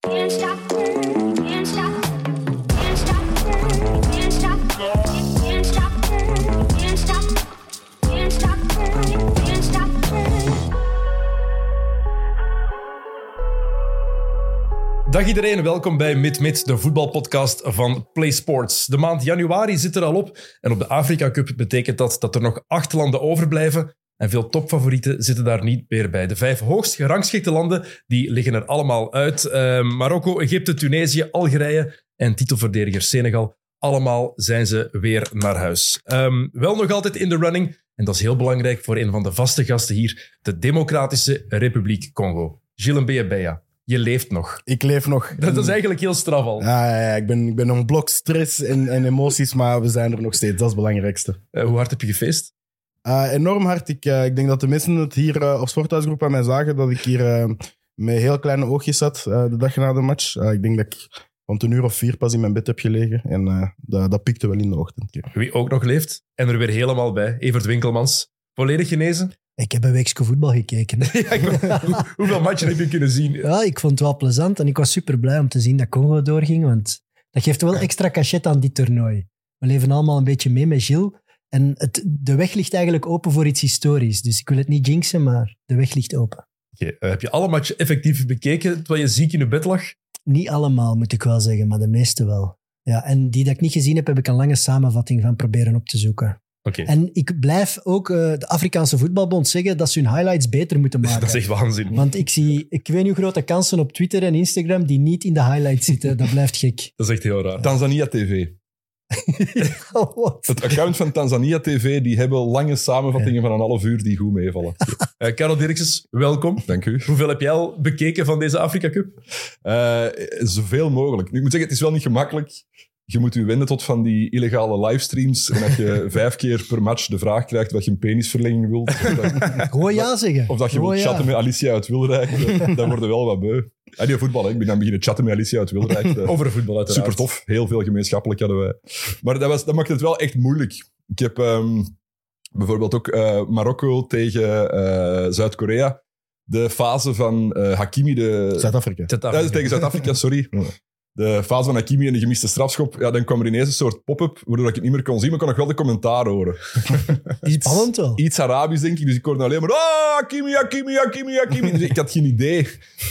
Can't stop, can't stop, can't stop, can't stop, can't stop, can't stop, can't stop, can't stop. Dag iedereen, welkom bij MidMid, de voetbalpodcast van PlaySports. De maand januari zit er al op en op de Afrika Cup betekent dat dat er nog acht landen overblijven. En veel topfavorieten zitten daar niet meer bij. De vijf hoogst gerangschikte landen die liggen er allemaal uit. Eh, Marokko, Egypte, Tunesië, Algerije en titelverdediger Senegal. Allemaal zijn ze weer naar huis. Ehm, wel nog altijd in de running. En dat is heel belangrijk voor een van de vaste gasten hier. De Democratische Republiek Congo. Gilles Mbeya, je leeft nog. Ik leef nog. Dat Mm. is eigenlijk heel straf al. Ja, ja, ja, ik, ben, ik ben nog een blok stress en, en emoties, maar we zijn er nog steeds. Dat is het belangrijkste. Eh, hoe hard heb je gefeest? Eh, enorm hard. Ik, eh, ik denk dat de mensen het hier eh, op Sporthuisgroep aan mij zagen, dat ik hier eh, met heel kleine oogjes zat eh, de dag na de match. Eh, ik denk dat ik rond een uur of vier pas in mijn bed heb gelegen en eh, dat, dat piekte wel in de ochtend. Wie ook nog leeft en er weer helemaal bij. Evert Winkelmans. Volledig genezen? Ik heb een weekje voetbal gekeken. hè. Ja, ik ben- hoe- hoeveel matchen heb je kunnen zien? Ja, ik vond het wel plezant en ik was super blij om te zien dat Congo doorging, want dat geeft wel extra cachet aan dit toernooi. We leven allemaal een beetje mee met Gilles en het, de weg ligt eigenlijk open voor iets historisch. Dus ik wil het niet jinxen, maar de weg ligt open. Oké, eh, heb je alle matchen effectief bekeken terwijl je ziek in je bed lag? Niet allemaal, moet ik wel zeggen, maar de meeste wel. Ja, en die dat ik niet gezien heb, heb ik een lange samenvatting van proberen op te zoeken. Oké, En ik blijf ook eh, de Afrikaanse voetbalbond zeggen dat ze hun highlights beter moeten maken. dat is echt waanzin. Want ik zie, ik weet niet hoe grote kansen op Twitter en Instagram die niet in de highlights zitten. Dat blijft gek. Dat is echt heel raar. Tanzania TV. Oh, wat? Het account van Tanzania TV, die hebben lange samenvattingen van een half uur die goed meevallen. Eh Karel Dirkses, welkom. Dank u. Hoeveel heb jij al bekeken van deze Afrika Cup? Eh, zoveel mogelijk. Nu, ik moet zeggen, het is wel niet gemakkelijk. Je moet je wenden tot van die illegale livestreams. En dat je vijf keer per match de vraag krijgt wat je een penisverlenging wilt. Of dat, Gewoon ja zeggen. of dat je Gewoon wilt ja. chatten met Alicia uit Wilrijk. Dat- Dat worden wel wat beu. En die voetbal, hè. ik ben dan beginnen chatten met Alicia uit Wilrijk. eh. Dat- Over voetbal uiteraard. Super tof. Heel veel gemeenschappelijk hadden wij. Maar dat, was, dat maakt het wel echt moeilijk. Ik heb ehm, bijvoorbeeld ook eh, Marokko tegen eh, Zuid-Korea. De fase van eh, Hakimi, de, Zuid-Afrika. ja, dat is tegen Zuid-Afrika, sorry. De fase van Hakimi en de gemiste strafschop, ja, dan kwam er ineens een soort pop-up, waardoor ik het niet meer kon zien, maar ik kon nog wel de commentaar horen. Is het spannend Ah, wel. Iets Arabisch, denk ik, dus ik hoorde alleen maar ah, Hakimi, Hakimi, Hakimi, Hakimi. Dus ik had geen idee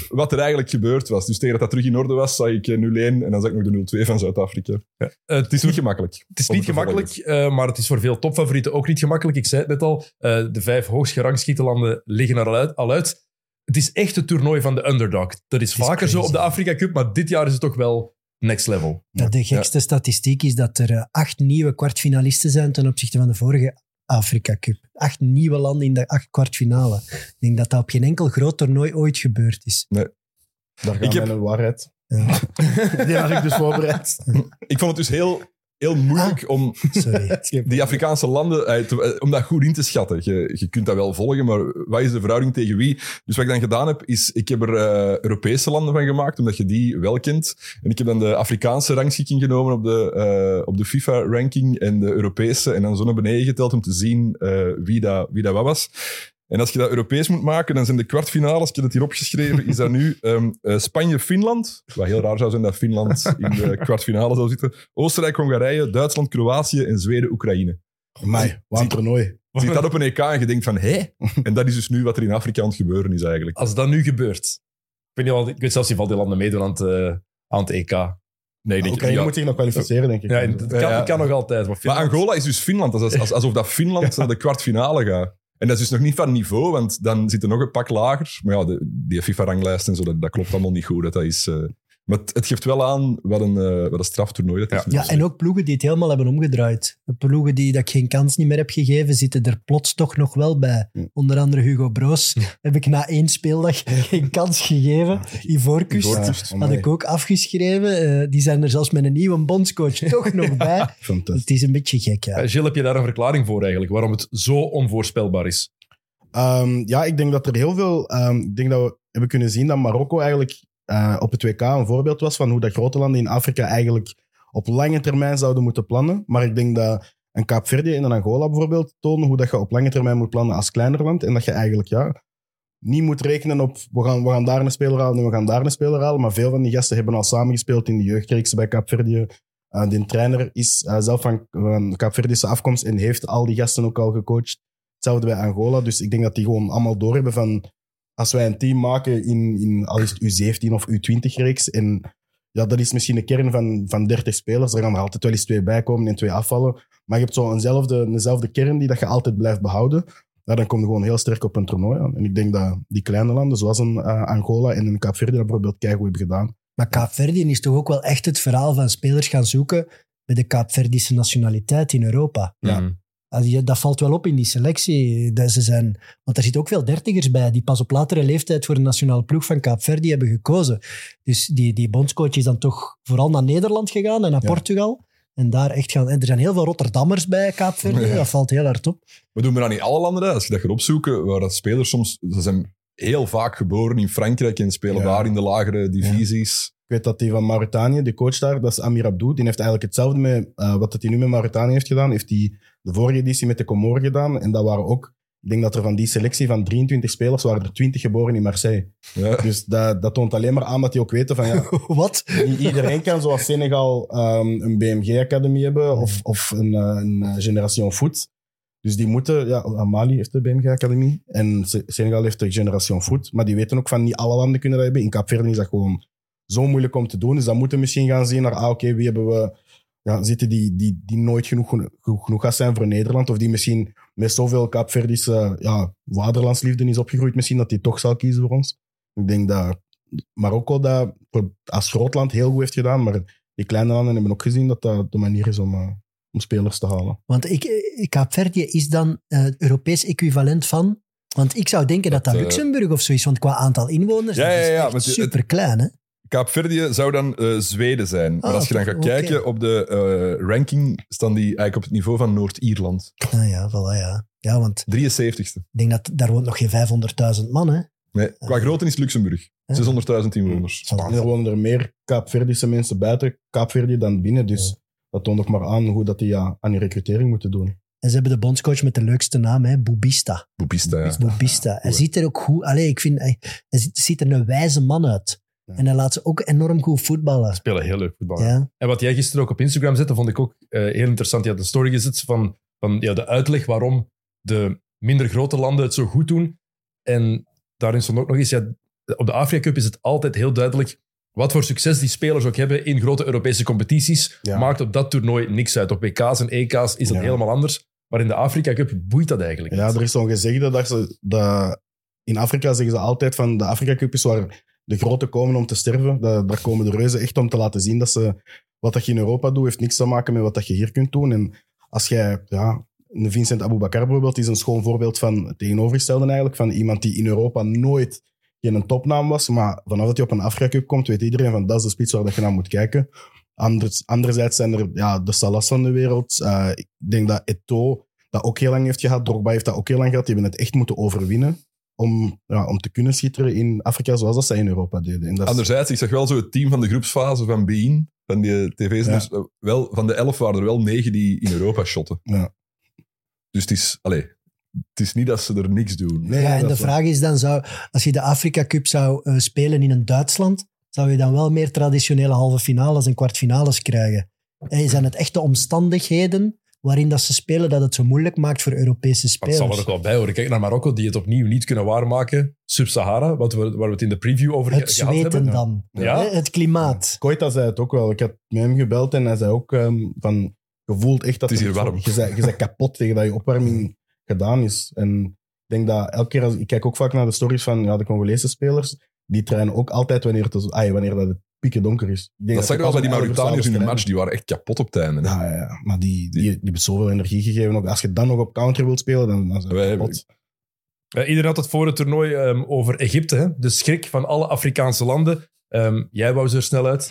wat er eigenlijk gebeurd was. Dus tegen dat dat terug in orde was, zag ik eh, 0-1 en dan zag ik nog de 0-2 van Zuid-Afrika. Eh, Het is niet gemakkelijk. Het is niet gemakkelijk, eh, maar het is voor veel topfavorieten ook niet gemakkelijk. Ik zei het net al, eh, de vijf hoogst gerangschieten landen liggen er al uit, al uit. Het is echt het toernooi van de underdog. Dat is is vaker zo crazy. op de Afrika Cup, maar dit jaar is het toch wel next level. Ja, de gekste statistiek is dat er eh, acht nieuwe kwartfinalisten zijn ten opzichte van de vorige Afrika Cup. Acht nieuwe landen in de acht kwartfinale. Ik denk dat dat op geen enkel groot toernooi ooit gebeurd is. Daar Ik gaat heb- mijn waarheid. Ja. Die had ik dus voorbereid. Ik vond het dus heel, heel moeilijk om Sorry. die Afrikaanse landen, eh, te- eh, om dat goed in te schatten. Je, je kunt dat wel volgen, maar wat is de verhouding tegen wie? Dus wat ik dan gedaan heb, is ik heb er eh, Europese landen van gemaakt, omdat je die wel kent. En ik heb dan de Afrikaanse rangschikking genomen op de, eh, op de FIFA-ranking en de Europese, en dan zo naar beneden geteld om te zien eh, wie, dat, wie dat wat was. En als je dat Europees moet maken, dan zijn de kwartfinales, ik heb het hier opgeschreven, is dat nu ehm, eh, Spanje-Finland, wat heel raar zou zijn dat Finland in de kwartfinale zou zitten, Oostenrijk-Hongarije, Duitsland-Kroatië en Zweden-Oekraïne. Amai, wat een toernooi. Je ziet dat op een EK en je denkt van, hé? En dat is dus nu wat er in Afrika aan het gebeuren is eigenlijk. Als dat nu gebeurt, ik weet, niet, of- ik weet zelfs niet of al die landen meedoen aan het, eh, aan het EK. Nee, ik denk- Oekraïne ja, moet zich nog kwalificeren, denk ik. ja, het kan, Ja. het kan nog altijd. Maar, Maar Finland- Angola is dus Finland, dat is als- als- alsof dat Finland naar de kwartfinale gaat. En dat is dus nog niet van niveau, want dan zit er nog een pak lager. Maar ja, de, die FIFA-ranglijst en zo, dat, dat klopt allemaal niet goed. Dat dat is, eh, maar het, het geeft wel aan wat een, eh, wat een straftoernooi dat is. Ja, en ook ploegen die het helemaal hebben omgedraaid. De ploegen die dat ik geen kans niet meer heb gegeven, zitten er plots toch nog wel bij. Onder andere Hugo Broos heb ik na één speeldag geen kans gegeven. Ivoorkust Ivoorkust. had ik ook afgeschreven. Eh, die zijn er zelfs met een nieuwe bondscoach toch nog bij. Fantastisch. Het is een beetje gek, ja. Eh, Gilles, heb je daar een verklaring voor eigenlijk? Waarom het zo onvoorspelbaar is? Ehm, ja, ik denk dat er heel veel. ehm, ik denk dat we hebben kunnen zien dat Marokko eigenlijk eh, op het WK een voorbeeld was van hoe dat grote landen in Afrika eigenlijk op lange termijn zouden moeten plannen. Maar ik denk dat een Kaapverdië en een Angola bijvoorbeeld tonen hoe dat je op lange termijn moet plannen als kleiner land. En dat je eigenlijk ja, niet moet rekenen op we gaan, we gaan daar een speler halen en we gaan daar een speler halen. Maar veel van die gasten hebben al samengespeeld in de jeugdreeks bij Capverdië. Eh, die trainer is eh, zelf van, van Capverdische afkomst en heeft al die gasten ook al gecoacht. Hetzelfde bij Angola. Dus ik denk dat die gewoon allemaal doorhebben van... Als wij een team maken in, in al is het U17 of U20-reeks en ja, dat is misschien een kern van, van 30 spelers. Er gaan er altijd wel eens twee bij komen en twee afvallen. Maar je hebt zo'n eenzelfde, eenzelfde kern die dat je altijd blijft behouden. Ja, dan kom je gewoon heel sterk op een toernooi aan. En ik denk dat die kleine landen, zoals een eh, Angola en een Kaapverdi, dat bijvoorbeeld keigoed hebben gedaan. Maar Kaapverdië is toch ook wel echt het verhaal van spelers gaan zoeken met de Kaapverdische nationaliteit in Europa. Mm. Mhm. Als je- Dat valt wel op in Ah, die selectie. Dat ze zijn, want er zitten ook veel dertigers bij die pas op latere leeftijd voor de nationale ploeg van Kaapverdi hebben gekozen. Dus die, die bondscoach is dan toch vooral naar Nederland gegaan en naar Ja. Portugal. En daar echt gaan. En er zijn heel veel Rotterdammers bij Kaapverdi. Ja. Dat valt heel hard op. We doen maar aan in alle landen. Hè. Als je dat gaat opzoeken, waar dat spelers soms... Ze zijn heel vaak geboren in Frankrijk en spelen Ja. daar in de lagere divisies. Ik weet dat die van Mauritanië, de coach daar, dat is Amir Abdou. Die heeft eigenlijk hetzelfde met eh, wat dat hij nu met Mauritanië heeft gedaan. Heeft hij de vorige editie met de Comoren gedaan. En dat waren ook, ik denk dat er van die selectie van 23 spelers, waren er 20 geboren in Marseille. Ja. Dus dat, dat toont alleen maar aan dat die ook weten van ja, Wat? niet iedereen kan zoals Senegal ehm, een BMG-academie hebben of, of een, eh, een eh, Generation Foot. Dus die moeten, ja, Mali heeft de BMG-academie en Se- Senegal heeft de Generation Foot. Maar die weten ook van niet alle landen kunnen dat hebben. In Kaapverdië is dat gewoon zo moeilijk om te doen. Dus dan moeten we misschien gaan zien naar, ah, oké, wie hebben we... Ja, zitten die, die, die nooit genoeg, genoeg, genoeg gaan zijn voor Nederland? Of die misschien met zoveel Kaapverdische ja, vaderlandsliefde is opgegroeid, misschien dat die toch zal kiezen voor ons? Ik denk dat Marokko dat pro- als groot land heel goed heeft gedaan, maar die kleine landen hebben ook gezien dat dat de manier is om, eh, om spelers te halen. Want ik, eh, Kaapverdië is dan eh, het Europees equivalent van... Want ik zou denken dat dat, Dat, eh, Luxemburg of zoiets, want qua aantal inwoners, Ja, Dus dat is ja, ja, echt want het- superklein, hè? Kaapverdië zou dan eh, Zweden zijn. maar Ah, als je dan gaat oké. kijken op de eh, ranking, staan die eigenlijk op het niveau van Noord-Ierland. Ah, ja, voilà, ja. Ja, want 73ste. ik denk dat daar woont nog geen 500.000 man, hè? Nee, qua Ah. grootte is Luxemburg. 600.000 inwoners. En er wonen er meer Kaapverdische mensen buiten Kaapverdië dan binnen, dus Ja. dat toont ook maar aan hoe dat die ja, aan die recrutering moeten doen. En ze hebben de bondscoach met de leukste naam, hè? Boubista. Boepista, ja. Boubista. Hij goed. ziet er ook goed... Allee, ik vind... Hij, hij ziet, ziet er een wijze man uit. Ja. En hij laat ze ook enorm goed voetballen. Spelen heel leuk voetbal. Ja. En wat jij gisteren ook op Instagram zette, vond ik ook eh, heel interessant. Je had een story gezet van, van ja, de uitleg waarom de minder grote landen het zo goed doen. En daarin stond ook nog eens, ja, op de Afrika Cup is het altijd heel duidelijk wat voor succes die spelers ook hebben in grote Europese competities. Ja. Maakt op dat toernooi niks uit. Op WK's en EK's is dat Ja. helemaal anders. Maar in de Afrika Cup boeit dat eigenlijk Ja, niet. er is zo'n gezegde dat ze. Dat, in Afrika zeggen ze altijd van de Afrika Cup is waar de grote komen om te sterven. Da- daar komen de reuzen echt om te laten zien dat ze. Wat dat je in Europa doet, heeft niks te maken met wat dat je hier kunt doen. En als jij. Ja, een Vincent Aboubakar bijvoorbeeld is een schoon voorbeeld van het tegenovergestelde eigenlijk. Van iemand die in Europa nooit geen topnaam was. Maar vanaf dat hij op een Afrika Cup komt, weet iedereen van dat is de spits waar dat je naar moet kijken. Anders, anderzijds zijn er ja, de Salas van de wereld. Eh, ik denk dat Eto'o dat ook heel lang heeft gehad. Drogba heeft dat ook heel lang gehad. Die hebben het echt moeten overwinnen om, ja, om te kunnen schitteren in Afrika zoals dat zij in Europa deden. En dat is- Anderzijds, ik zag wel zo het team van de groepsfase van Bein, van die tv's. Ja. Dus, eh, wel, van de elf waren er wel negen die in Europa shotten. Ja. Dus het is, allee, het is niet dat ze er niks doen. Nee, ja, en dat de is waar. vraag is dan, zou, als je de Afrika Cup zou eh, spelen in een Duitsland, zou je dan wel meer traditionele halve finales en kwartfinales krijgen? Eh, zijn het echt de omstandigheden waarin dat ze spelen dat het zo moeilijk maakt voor Europese Maar het spelers? zal er ook wel bij horen. Kijk naar Marokko, die het opnieuw niet kunnen waarmaken. Sub-Sahara, wat we, waar we het in de preview over het ge- gehad zweten hebben. dan, Ja. Eh, het klimaat. Koita zei het ook wel. Ik had met hem gebeld en hij zei ook ehm, van... Je voelt echt dat... Het is hier je- warm. Je bent, je bent kapot tegen dat je opwarming gedaan is. En ik denk dat elke keer... Als, ik kijk ook vaak naar de stories van ja, de Congolese spelers. Die trainen ook altijd wanneer, het, ah, ja, wanneer dat het pikken donker is. Ik denk Dat zag je pas wel bij om die elf uur Mauritaniërs in de s'avonds match, die waren echt kapot op het einde. hè. Ja, ja, ja, maar die, die, die hebben zoveel energie gegeven. Ook. Als je dan nog op counter wilt spelen, dan, dan zijn Wij- we kapot. Eh, iedereen had het voor het toernooi ehm, over Egypte. Hè? De schrik van alle Afrikaanse landen. Ehm, jij wou ze er snel uit.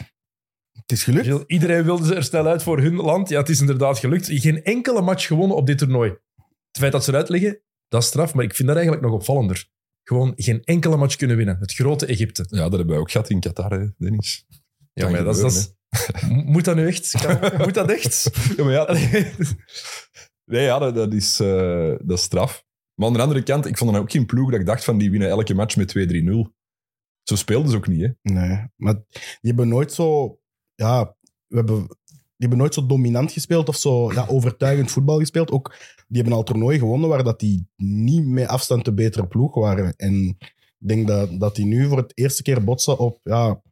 Het is gelukt. Gilles, Iedereen wilde ze er snel uit voor hun land. Ja, het is inderdaad gelukt. Geen enkele match gewonnen op dit toernooi. Het feit dat ze eruit liggen, dat is straf. Maar ik vind dat eigenlijk nog opvallender. Gewoon geen enkele match kunnen winnen. Het grote Egypte. Ja, dat hebben wij ook gehad in Qatar, hè, Dennis. Ja, Kan maar dat is... Dat is- moet dat nu echt? Kan- Moet dat echt? Ja, maar ja, Allee. nee, ja dat, dat is, eh, dat is straf. Maar aan de andere kant, ik vond er ook geen ploeg dat ik dacht van die winnen elke match met 2-3-0. Zo speelden ze ook niet, hè. Nee, maar die hebben nooit zo... Ja, we hebben, die hebben nooit zo dominant gespeeld of zo ja, overtuigend voetbal gespeeld. Ook, die hebben al toernooi gewonnen waar dat die niet met afstand de betere ploeg waren. En ik denk dat, dat die nu voor het eerste keer botsen op... Ja,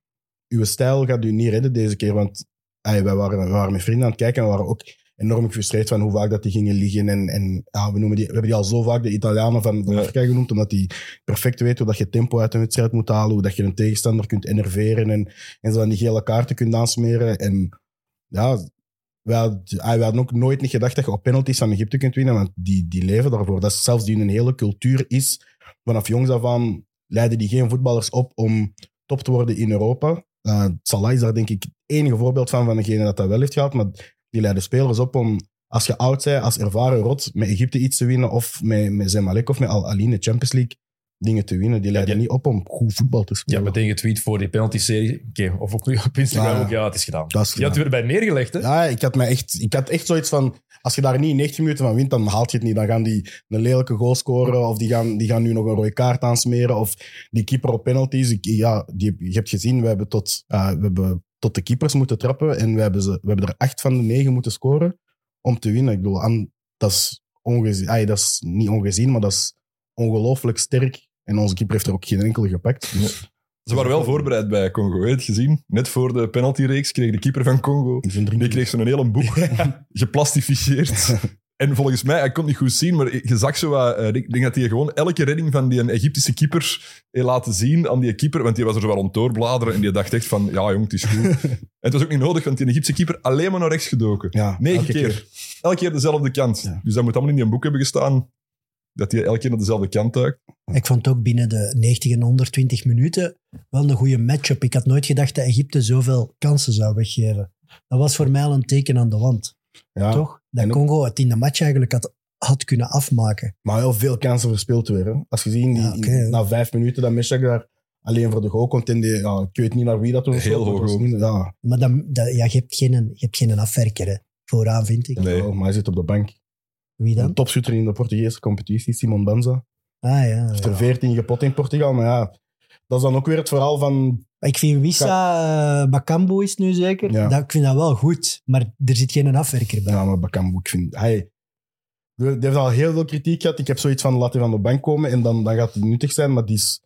uw stijl gaat u niet redden deze keer, want ey, wij, waren, wij waren met vrienden aan het kijken en we waren ook enorm gefrustreerd van hoe vaak dat die gingen liggen. En, en ja, we, noemen die, we hebben die al zo vaak de Italianen van, van Ja. Afrika genoemd, omdat die perfect weet hoe dat je tempo uit een wedstrijd moet halen, hoe dat je een tegenstander kunt enerveren en, en zo aan die gele kaarten kunt aansmeren. En ja, we hadden, ah, we hadden ook nooit niet gedacht dat je op penalties van Egypte kunt winnen, want die, die leven daarvoor. Dat is zelfs die hun hele cultuur is. Vanaf jongs af aan leiden die geen voetballers op om top te worden in Europa. Eh Salah is daar denk ik het enige voorbeeld van, van degene dat dat wel heeft gehad. Maar die leiden spelers op om, als je oud bent, als ervaren rot, met Egypte iets te winnen of met, met Zemalek of met Al-Ali in de Champions League dingen te winnen. Die leiden die- niet op om goed voetbal te Ja, spelen. meteen getweet voor die penalty-serie. Oké, of ook op Instagram. Ja. ook, ja, het is gedaan. Dat is Je had het weer bij neergelegd, hè? Ja, ik had, mij echt, ik had echt zoiets van... Als je daar niet 90 minuten van wint, dan haalt je het niet. Dan gaan die een lelijke goal scoren. Of die gaan, die gaan nu nog een rode kaart aansmeren. Of die keeper op penalties. Ik, ja, die, je hebt gezien, we hebben, tot, eh, we hebben tot de keepers moeten trappen. En we hebben, ze, we hebben er acht van de negen moeten scoren om te winnen. Ik bedoel, aan, dat, is ongezien, ay, dat is niet ongezien, maar dat is ongelooflijk sterk. En onze keeper heeft er ook geen enkele gepakt. Dus Ze waren wel voorbereid bij Congo, hè, het gezien. Net voor de penaltyreeks kreeg de keeper van Congo. ik vind drie- Die kreeg zo'n hele boek geplastificeerd. En volgens mij, hij kon het niet goed zien, maar je zag zo wat, eh, ik denk dat hij gewoon elke redding van die Egyptische keeper heeft laten zien aan die keeper, want die was er zo wel om doorbladeren en die dacht echt van, ja jong, het is goed. en het was ook niet nodig, want die Egyptische keeper alleen maar naar rechts gedoken. Ja, Negen elke keer. Elke keer dezelfde kant. Ja. Dus dat moet allemaal in die boek hebben gestaan, dat hij elke keer naar dezelfde kant duikt. Ik vond ook binnen de 90 en 120 minuten wel een goede matchup. Ik had nooit gedacht dat Egypte zoveel kansen zou weggeven. Dat was voor mij al een teken aan de wand, Ja. toch? Dat En ook- Congo het in de match eigenlijk had, had kunnen afmaken. Maar heel veel kansen verspeeld weer. Hè. Als je ziet, in die, Ja, oké, hè. na vijf minuten dat Meshack daar alleen voor de goal komt. En die, ja, ik weet niet naar wie dat was. Heel hoog ook. Ja, Maar dan, dat- ja, je, hebt geen, je hebt geen afwerker hè. vooraan, vind ik. Nee. wel, maar hij zit op de bank. Wie Een dan? topschutter in de Portugese competitie, Simon Banza. Ah ja. Heeft er veertien gepot in Portugal. Maar ja, dat is dan ook weer het verhaal van... Maar Ik vind Wissa, eh, Bakambu is het nu zeker. Ja. Dat, ik vind dat wel goed, maar er zit geen afwerker bij. Ja, maar Bakambu, ik vind... Hij, die heeft al heel veel kritiek gehad. Ik heb zoiets van, laat hij van de bank komen en dan, dan gaat hij nuttig zijn. Maar die is,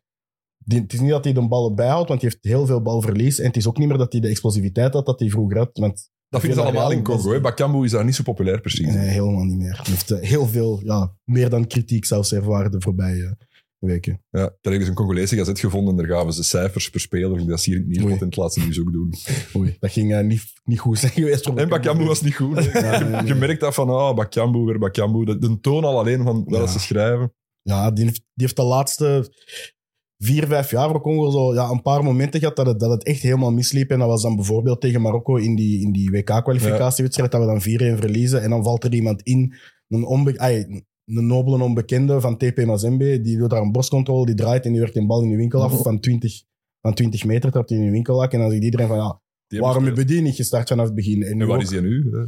die, het is niet dat hij de ballen bijhoudt, want hij heeft heel veel balverlies. En het is ook niet meer dat hij de explosiviteit had dat hij vroeger had. Want Dat vinden ze Ja, allemaal ja, in Congo. hè. Bakambu is daar niet zo populair precies. Nee, helemaal niet meer. Hij heeft eh, heel veel, ja, meer dan kritiek zelfs ervaren de voorbije weken. Ja, daar hebben ze een Congolese gazet gevonden en daar gaven ze cijfers per speler. Dat is hier niet Oei. in het laatste nieuws ook doen. Oei. Dat ging eh, niet, niet goed zijn geweest. voor En Bakambu was niet goed. hè. Ja, nee, nee. Je merkt dat van, ah, Bakambu, weer Bakambu. De, de toon al alleen van wat Ja. ze schrijven. Ja, die heeft, die heeft de laatste vier, vijf jaar voor Congo zo, ja, een paar momenten gehad dat het, dat het echt helemaal misliep. En dat was dan bijvoorbeeld tegen Marokko in die, in die WK-kwalificatiewedstrijd, dat we dan 4-1 verliezen. En dan valt er iemand in, een, onbe ai, een nobele onbekende van TP Mazembe, die doet daar een borstcontrole, die draait en die werkt een bal in de winkel Mhm. af van 20, van 20 meter, trapt hij in de winkel af. En dan zegt iedereen van, ja, Die Waarom hebben- hebben die niet gestart vanaf het begin? En, nu En waar ook, is hij nu? hè?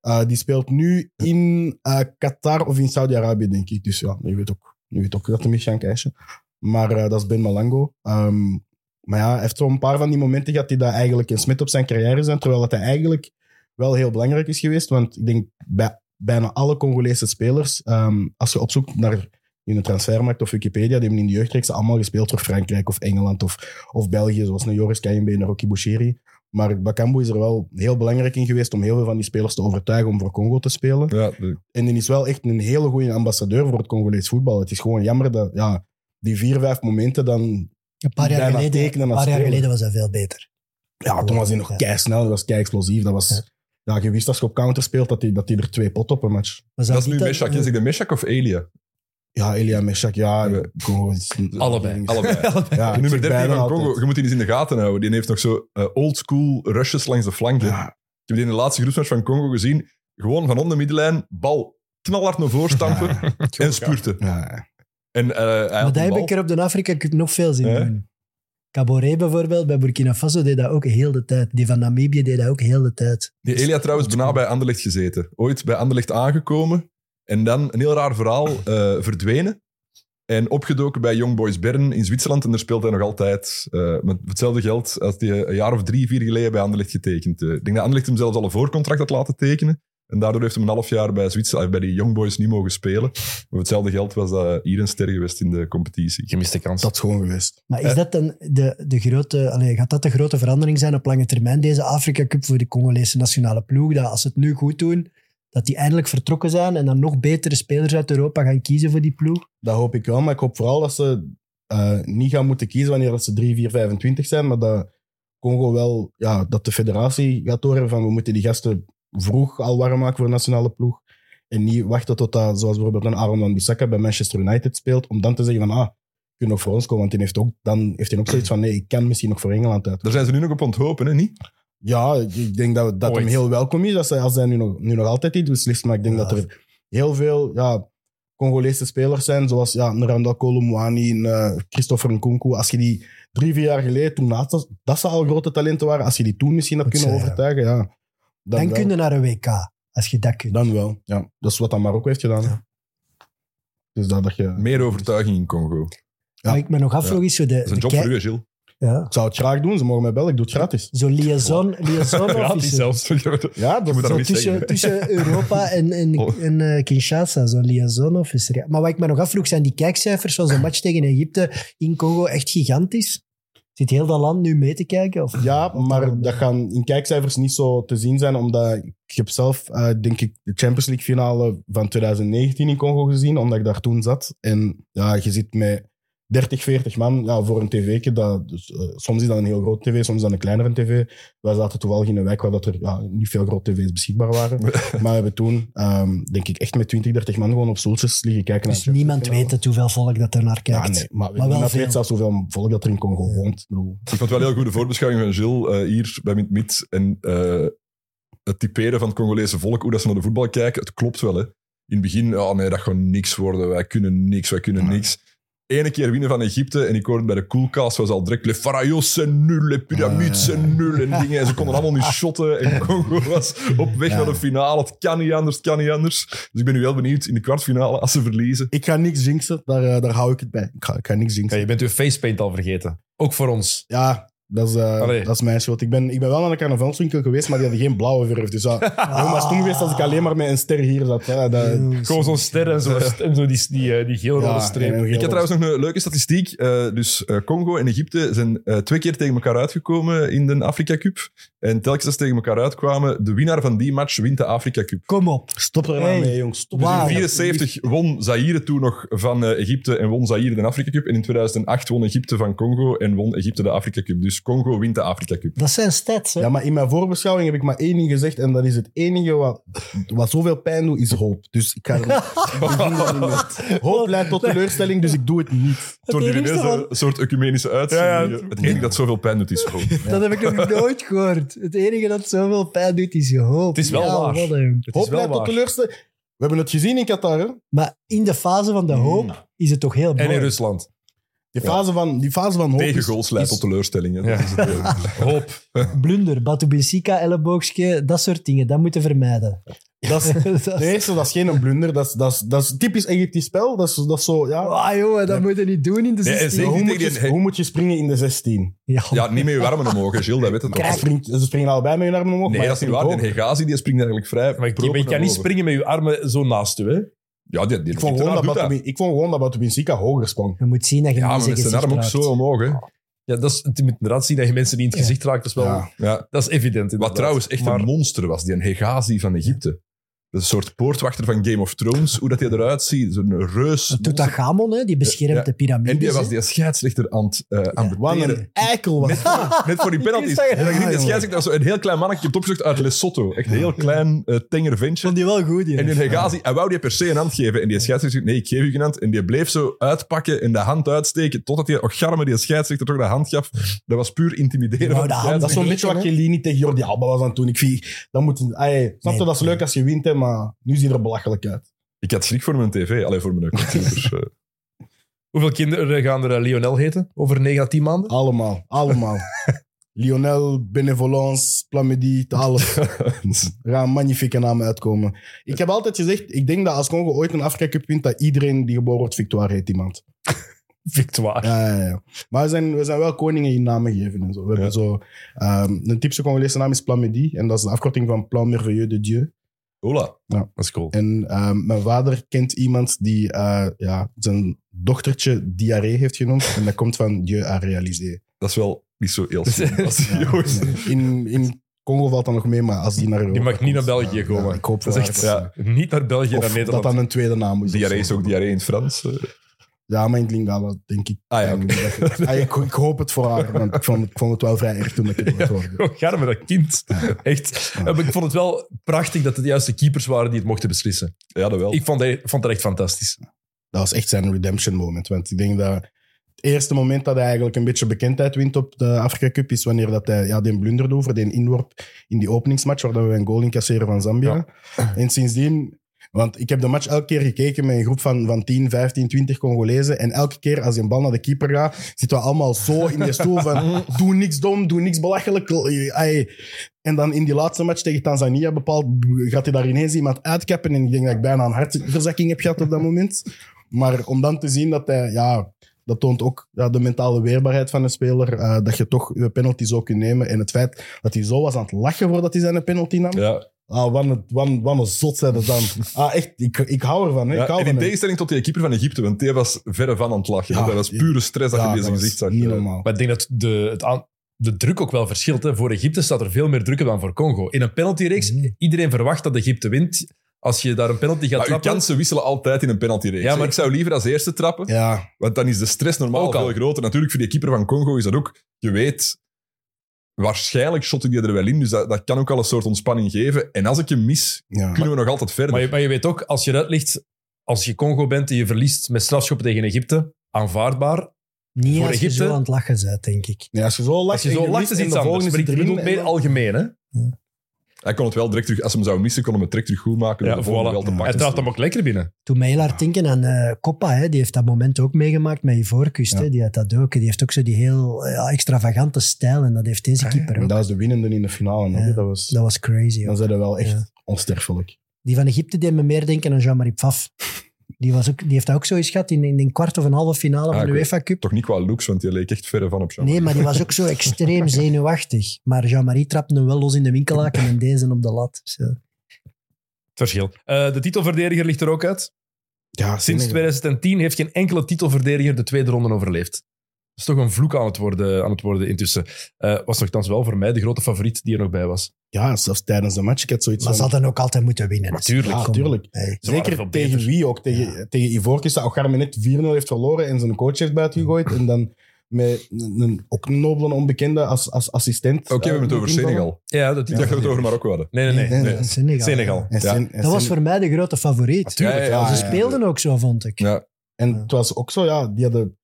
eh, die speelt nu in eh, Qatar of in Saudi-Arabië, denk ik. Dus ja, je weet ook, je weet ook dat hij gaan kijken. Maar eh, dat is Ben Malango. Ehm, maar ja, hij heeft zo'n paar van die momenten gehad die dat eigenlijk een smet op zijn carrière zijn. Terwijl dat hij eigenlijk wel heel belangrijk is geweest. Want ik denk bij bijna alle Congolese spelers, ehm, als je opzoekt naar in de transfermarkt of Wikipedia, die hebben in de jeugdreeks allemaal gespeeld voor Frankrijk of Engeland of, of België, zoals een Joris Kayenbe en een Rocky Boucheri. Maar Bakambu is er wel heel belangrijk in geweest om heel veel van die spelers te overtuigen om voor Congo te spelen. Ja, de- En die is wel echt een hele goede ambassadeur voor het Congolees voetbal. Het is gewoon jammer dat ja, die vier, vijf momenten dan... Een paar jaar, Bijna geleden, tekenen een als paar jaar speler. geleden was dat veel beter. Ja, toen was hij nog Ja. keisnel, dat was kei-explosief. Dat was... Ja. Ja, je wist als je op counter speelt dat hij dat die er twee pot op een match. Was dat is nu niet Meshak. Is ik de Meshak of Elia? Ja, Elia Meshak, ja. Ja. Congo is- Allebei. Allebei. Ja, ik zeg Nummer 13 bijna van altijd. Congo. Je moet die eens in de gaten houden. Die heeft nog zo eh, oldschool rushes langs de flanken. Ja. Ik heb die in de laatste groepsmatch van Congo gezien. Gewoon van onder de middenlijn, bal knalhard naar voren stampen en spurten. Ja. En, eh, hij had Maar een dat heb bal. ik er op de Afrika Cup nog veel zien Ja. doen. Caboret bijvoorbeeld, bij Burkina Faso, deed dat ook heel de tijd. Die van Namibië deed dat ook heel de tijd. Die Elia trouwens bijna bij Anderlecht gezeten. Ooit bij Anderlecht aangekomen. En dan, een heel raar verhaal, eh, verdwenen. En opgedoken bij Young Boys Bern in Zwitserland. En daar speelt hij nog altijd eh, met hetzelfde geld als hij een jaar of drie, vier geleden bij Anderlecht getekend. eh. ik denk dat Anderlecht hem zelfs al een voorcontract had laten tekenen. En daardoor heeft hij een half jaar bij, Zwitser, eh, bij die Young Boys niet mogen spelen. Maar voor hetzelfde geld was dat hier een ster geweest in de competitie. Gemiste kans. Dat is gewoon geweest. Maar is dat dan de, de grote, allee, gaat dat de grote verandering zijn op lange termijn, deze Afrika Cup voor de Congolese nationale ploeg? Dat als ze het nu goed doen, dat die eindelijk vertrokken zijn en dan nog betere spelers uit Europa gaan kiezen voor die ploeg? Dat hoop ik wel, maar ik hoop vooral dat ze eh, niet gaan moeten kiezen wanneer dat ze 3, 4, 25 zijn, maar dat Congo wel, ja, dat de federatie gaat doorhebben van we moeten die gasten vroeg al warm maken voor de nationale ploeg. En niet wachten tot dat, zoals bijvoorbeeld een Aaron van Bissaka bij Manchester United speelt, om dan te zeggen van ah, kun je nog voor ons komen, want die heeft ook, dan heeft hij ook zoiets van nee, ik kan misschien nog voor Engeland uit. Daar zijn ze nu nog op onthopen, hè? Niet? Ja, ik denk dat, dat Ooit. hem heel welkom is. Dat zij, als hij nu nog, nu nog altijd iets beslist. Maar ik denk Ja. dat er heel veel ja, Congolese spelers zijn. Zoals ja, Neranda Kolomwani en eh, Christopher Nkunku. Als je die drie, vier jaar geleden, toen naast dat, dat ze al grote talenten waren. Als je die toen misschien had Dat kunnen zei, ja. overtuigen. Ja, dan, Dan, wel. kun je naar een WK, als je dat kunt. Dan wel, ja. Dat is wat dat Marokko heeft gedaan. Ja. Dus dat, dat je... Meer overtuiging in Congo. Ja. Maar ik me nog afvroeg is zo de... Dat is een de job kei- voor u, hè, Gilles. ja. Ik zou het graag doen. Ze mogen mij bellen. Ik doe het gratis. Zo liaison, liaison Gratis officer. zelfs. Ja, dat moet is dat Zo niet tussen, zeggen. tussen Europa en, en, Oh. en eh, Kinshasa, zo'n liaison officer. Ja. Maar wat ik me nog afvroeg, zijn die kijkcijfers van zo'n match tegen Egypte in Congo echt gigantisch? Zit heel dat land nu mee te kijken? Of? Ja, maar dat gaan in kijkcijfers niet zo te zien zijn, omdat ik heb zelf, eh, denk ik, de Champions League finale van 2019 in Congo gezien, omdat ik daar toen zat. En ja, je zit met 30, 40 man ja, voor een tv. Dat, dus, eh, soms is dat een heel groot tv, soms is dat een kleinere tv. Wij zaten toevallig in een wijk waar dat er ja, niet veel grote tv's beschikbaar waren. maar we hebben toen, ehm, denk ik, echt met 20, 30 man gewoon op stoeltjes liggen kijken. Dus naar de niemand Champions weet het hoeveel volk dat er naar League. kijkt. Ja, nee, maar, Maar wel niemand veel. weet zelfs hoeveel volk dat er in Congo woont. Ik bedoel, Ik vond wel een heel goede voorbeschouwing van Gilles eh, hier bij Mint Mit. En eh, het typeren van het Congolese volk, hoe dat ze naar de voetbal kijken, het klopt wel. Hè. In het begin, oh nee, dat gaat niks worden. Wij kunnen niks, wij kunnen Nee. niks. Ene keer winnen van Egypte en ik hoorde bij de Coolcast was al direct Le Pharaohs zijn nul, Le Pyramides zijn nul en dingen. En ze konden allemaal nu shotten en Congo was op weg Ja. naar de finale. Het kan niet anders, het kan niet anders. Dus ik ben nu wel benieuwd in de kwartfinale als ze verliezen. Ik ga niks jinxen, daar, eh, daar hou ik het bij. Ik ga, ik ga niks Ja, jinxen. je bent uw facepaint al vergeten. Ook voor ons. Ja, dat is, eh, Allee. dat is mijn schuld. Ik ben, ik ben wel naar een carnavalswinkel geweest, maar die hadden geen blauwe verf. Dus dat ah. was toen geweest als ik alleen maar met een ster hier zat. Ja, dat, Heel Gewoon zo'n ster en zo, en zo die, die, eh, die geel-rode ja, streep. en heel Ik heb trouwens nog een leuke statistiek. Eh, dus eh, Congo en Egypte zijn eh, twee keer tegen elkaar uitgekomen in de Afrika Cup. En telkens als ze tegen elkaar uitkwamen, de winnaar van die match wint de Afrika Cup. Kom op. Stop er nou Hey. mee, jongens. Stop Wauw. In er 1974 won Zaire toen nog van eh, Egypte en won Zaire de Afrika Cup. En in 2008 won Egypte van Congo en won Egypte de Afrika Cup. Dus Congo wint de Afrika Cup. Dat zijn stats, hè? Ja, maar in mijn voorbeschouwing heb ik maar één ding gezegd. En dat is het enige wat, wat zoveel pijn doet, is hoop. Dus ik ga er ik doe dat niet meer. Hoop leidt tot teleurstelling, dus ik doe het niet. Het wordt hier enigste ineens een wat- soort ecumenische uitzending. het enige dat zoveel pijn doet is gewoon. Dat heb ik nog nooit gehoord. Het enige dat zoveel pijn doet, is je hoop. Het is wel ja, waar. wat een- Het is Hoop wel leidt tot waar. teleurstelling. We hebben het gezien in Qatar. hè. Maar in de fase van de hoop is het toch heel En in mooi. Rusland. Die, Ja. fase van, die fase van hoop Tegen is- goals leidt is- tot teleurstellingen. Dat Ja. is het, eh. Hoop. Blunder, Batubisika, elleboogje, dat soort dingen. Dat moeten vermijden. Dat is, Dat- De eerste, dat is geen blunder. Dat is, dat is, dat is typisch Egyptisch spel. Dat is, dat is zo, ja. Ah, jongen, dat Nee. moet je niet doen in de Nee, en 16. zeker hoe, moet tegen je, die- hoe moet je springen in de 16? Ja, Ja, niet meer je warmen omhoog, hè, Gilles, dat weet het nog. Ze springt- ze springen allebei met hun armen omhoog. Nee, maar dat is niet springt waar. Die ook. Hegazi die springt eigenlijk vrij. Maar je, proper je naar kan niet boven. springen met je armen zo naast u, hè? Ja, die, die, Ik vond, gewoon dat Batubin, ik vond gewoon dat Batubinsika hoger sprong. Je moet zien dat je Ja, niet maar zijn met zijn gezicht arm ook raakt. zo omhoog. Hè. Ja, dat is het moet inderdaad zien dat je mensen niet in het Ja. gezicht raakt. Dat is, wel, Ja. Ja. dat is evident. Wat inderdaad. trouwens echt Maar- een monster was, die een Hegazi van Egypte. Dat is een soort poortwachter van Game of Thrones, hoe dat hij eruit ziet. Zo'n reus. Dat doet dat Gamon, hè? die beschermt Ja. de piramides. En die was hè. Ah, die scheidsrechter aan het eh, aan het Wat beteren. een eikel was Net voor, net voor die penalties. Ik wist dat je- En dan ging Ja, die jongen. scheidsrechter, dat was een heel klein mannetje, op het opgezocht uit Lesotho. Echt een heel klein, eh, tenger ventje. vond die wel goed, ja. En die Hegazi, hij wou die per se een hand geven. En die scheidsrechter zei, nee, ik geef u geen hand. En die bleef zo uitpakken en de hand uitsteken, totdat die ocharme die scheidsrechter toch de hand gaf. Dat was puur intimideren. Die wou van de de hand Dat is scheidsrechter. zo'n beetje wat Chiellini tegen Jordi Alba was aan toen. Ik vind, dat moet... een- Ay, snap je, Nee. dat is leuk als je wint, hè, maar nu ziet er belachelijk uit. Ik had schrik voor mijn tv, alleen voor mijn computer. Eh, Hoeveel kinderen gaan er eh, Lionel heten over 9 à 10 maanden? Allemaal, allemaal. Lionel, Benevolence, Plamedy, Talef. Er gaan magnifieke namen uitkomen. Ik heb altijd gezegd, ik denk dat als Congo ooit een Afrika Cup wint, dat iedereen die geboren wordt Victoire heet iemand. Victoire. Ja, ja, ja. Maar we zijn, we zijn wel koningen die namen geven en zo. We hebben zo ehm, een typische Congolese naam is Plamedy. En dat is de afkorting van Plan Merveilleux de Dieu. Hola. Dat is cool. En ehm, mijn vader kent iemand die eh, ja, zijn dochtertje diarree heeft genoemd. En dat komt van Dieu à réaliser. Dat is wel niet zo heel slim. als die Ja, jongens- nee. in, in Congo valt dat nog mee, maar als die naar Europa mag niet komt, naar België eh, komen. ja, ik hoop Dat is wel echt dat- ja. niet naar België, of naar Nederland. dat dan een tweede naam is. of Diarree is zo. ook diarree in het Frans. eh. Ja, maar in het Lingala, denk ik. Ah ja, En oké. dat- ah, ik, ik hoop het voor haar, want ik vond, het- ik vond het wel vrij erg toen ik het hoorde. Gewoon gaar met dat kind. Echt. Ja. Maar Ik vond het wel prachtig dat het de juiste keepers waren die het mochten beslissen. Ja, dat wel. Ik vond dat, vond dat echt fantastisch. dat was echt zijn redemption moment. Want ik denk dat het eerste moment dat hij eigenlijk een beetje bekendheid wint op de Afrika Cup is wanneer dat hij ja, die blunder doet voor die inworp in die openingsmatch, waar dat we een goal incasseren van Zambia. En sindsdien, want ik heb de match elke keer gekeken met een groep van, van 10, 15, 20 Congolezen. En elke keer als een bal naar de keeper gaat, zitten we allemaal zo in die stoel van doe niks dom, doe niks belachelijk. Ai. En dan in die laatste match tegen Tanzania bepaald, gaat hij daar ineens iemand uitkappen. En ik denk dat ik bijna een hartverzakking heb gehad op dat moment. Maar om dan te zien dat hij, ja, dat toont ook ja, de mentale weerbaarheid van een speler. eh, dat je toch je penalty zou kunnen nemen. En het feit dat hij zo was aan het lachen voordat hij zijn penalty nam. ja. Ah, wat een, wat een, wat een zot zijn dat dan. Ah, echt, ik, ik hou ervan. Hè. Ja, ik hou en in van hem. tegenstelling tot die keeper van Egypte, want die was verre van aan het lachen. Ja, dat was pure stress dat Ja, je in zijn was gezicht zag. Niet Eh, normaal. Maar ik denk dat de, het aan- de druk ook wel verschilt. Hè. Voor Egypte staat er veel meer druk op dan voor Congo. In een penaltyreeks, iedereen verwacht dat Egypte wint. Als Mm. je daar een penalty gaat Maar uw trappen... kansen wisselen altijd in een penaltyreeks. Ja, Ja, maar- maar ik zou liever als eerste trappen, Ja, want dan is de stress normaal Ook al. veel groter. Natuurlijk, voor die keeper van Congo is dat ook, je weet, waarschijnlijk shot ik die er wel in, dus dat, dat kan ook al een soort ontspanning geven. En als ik hem mis, ja. kunnen we nog altijd verder. Maar je, maar je weet ook, als je eruit ligt, als je Congo bent en je verliest met strafschoppen tegen Egypte, aanvaardbaar. Niet Voor als je Egypte- zo aan het lachen bent, denk ik. Ja, als je zo lacht, Als je zo lacht, is en iets de anders. volgende Maar ik zit erin bedoel en meer dan- algemeen. Hè? Hij kon het wel direct terug, als ze hem zou missen, kon hem het direct terug goed maken. Ja, om de volgende voilà. wel te Ja. Hij pakken. trapt hem ook lekker binnen. Toen mij heel hard denken aan eh Coppa, hè, die heeft dat moment ook meegemaakt met Ivoorkust. Ja. hè, Die had dat ook. Die heeft ook zo die heel eh, ja, extravagante stijl en dat heeft deze keeper Maar ook. dat was de winnende in de finale. hè. Ja. Dat was, Dat was crazy. dan Ook. zijn we wel echt Ja. onsterfelijk. Die van Egypte deed me meer denken aan Jean-Marie Pfaff. Die, was ook, die heeft dat ook zo eens gehad in, in een kwart of een halve finale Ah, van de ik weet- UEFA Cup. Toch niet qua looks, want die leek echt verre van op Jean. Nee, maar die was ook zo extreem zenuwachtig. Maar Jean-Marie trapte hem wel los in de winkelhaken en deze op de lat. Zo. Het verschil. Eh, de titelverdediger ligt er ook uit. Ja, Sinds 2010 heeft geen enkele titelverdediger de tweede ronde overleefd. Dat is toch een vloek aan het worden, aan het worden intussen. Eh, was nogthans wel voor mij de grote favoriet die er nog bij was. Ja, zelfs tijdens de match. Ik had zoiets Maar ze van... hadden ook altijd moeten winnen. Maar tuurlijk, kom. tuurlijk. Hey. Ze waren Zeker veel tegen beter. wie ook. Tegen, tegen Ivorcus, dat Ogarme net 4-0 heeft verloren en zijn coach heeft buiten gegooid. En dan met een, een- ook een nobele onbekende als, als assistent. Oké, we hebben het over Senegal. Ja, dat Ik dacht dat we het over Marokko hadden. Nee, nee, nee. Nee, nee, nee. Senegal. Senegal. En, Ja. Sen- en Dat was Sen- voor mij de grote favoriet. Tuurlijk, Ja, ja, Ze ja, ja, ja. speelden ook zo, vond ik. Ja. En het was ook zo, ja, die hadden,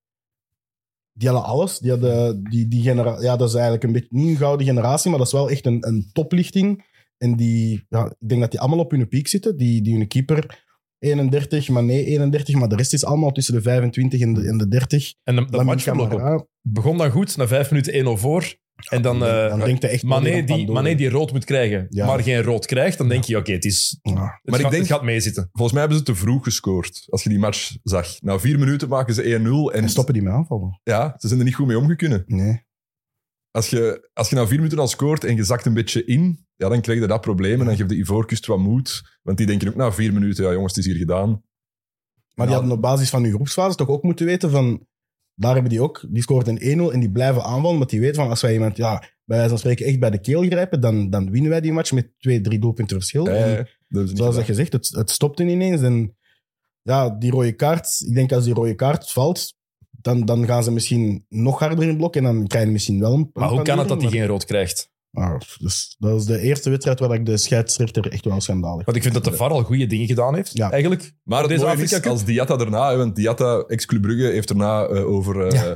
die hadden alles. Die hadden, die, die genera- ja, dat is eigenlijk een beetje niet een gouden generatie, maar dat is wel echt een, een toplichting. En die, ja, ik denk dat die allemaal op hun piek zitten. Die, die hun keeper 31, maar nee 31, maar de rest is allemaal tussen de 25 en de, en de 30. En de- dat Lamine matchverloop ook. Camara. begon dan goed, na vijf minuten 1-0 voor. En dan, eh dan denkt hij echt Mané, Mané die, Pandora. Mané die rood moet krijgen, Ja. maar geen rood krijgt, dan denk je, oké, het, is, het, Ja. Maar ik gaat, denk- het gaat meezitten. Volgens mij hebben ze te vroeg gescoord. Als je die match zag. Na vier minuten maken ze 1-0. En, En stoppen die met aanvallen? Ja, ze zijn er niet goed mee omgekunnen. Nee. Als je, als je na vier minuten al scoort en je zakt een beetje in, ja, dan krijg je dat probleem. En dan geeft de Ivoorkust wat moed. Want die denken ook na vier minuten, ja jongens, het is hier gedaan. Maar die Ja. hadden op basis van hun groepsfase toch ook moeten weten van... Daar hebben die ook. Die scoort een 1-0 en die blijven aanvallen. Omdat die weten van als wij iemand ja, bij wijze van spreken echt bij de keel grijpen, dan, dan winnen wij die match met 2-3 doelpunten verschil. Eh, En dat hebben ze niet Oh, zoals dat gedaan. gezegd, het, het stopte ineens. En ja, die rode kaart... Ik denk als die rode kaart valt, dan, dan gaan ze misschien nog harder in blok. En dan krijg je misschien wel een... Maar hoe kan het dat hij die geen rood krijgt? dus, dat is de eerste wedstrijd waar ik de scheidsrechter echt wel schandalig Want ik vind dat de VAR al goede dingen gedaan heeft, Ja. eigenlijk. Maar het Deze mooie Afrika is, Cup- als Diatta daarna, hè, want Diatta, ex-Club Brugge, heeft daarna eh, over eh,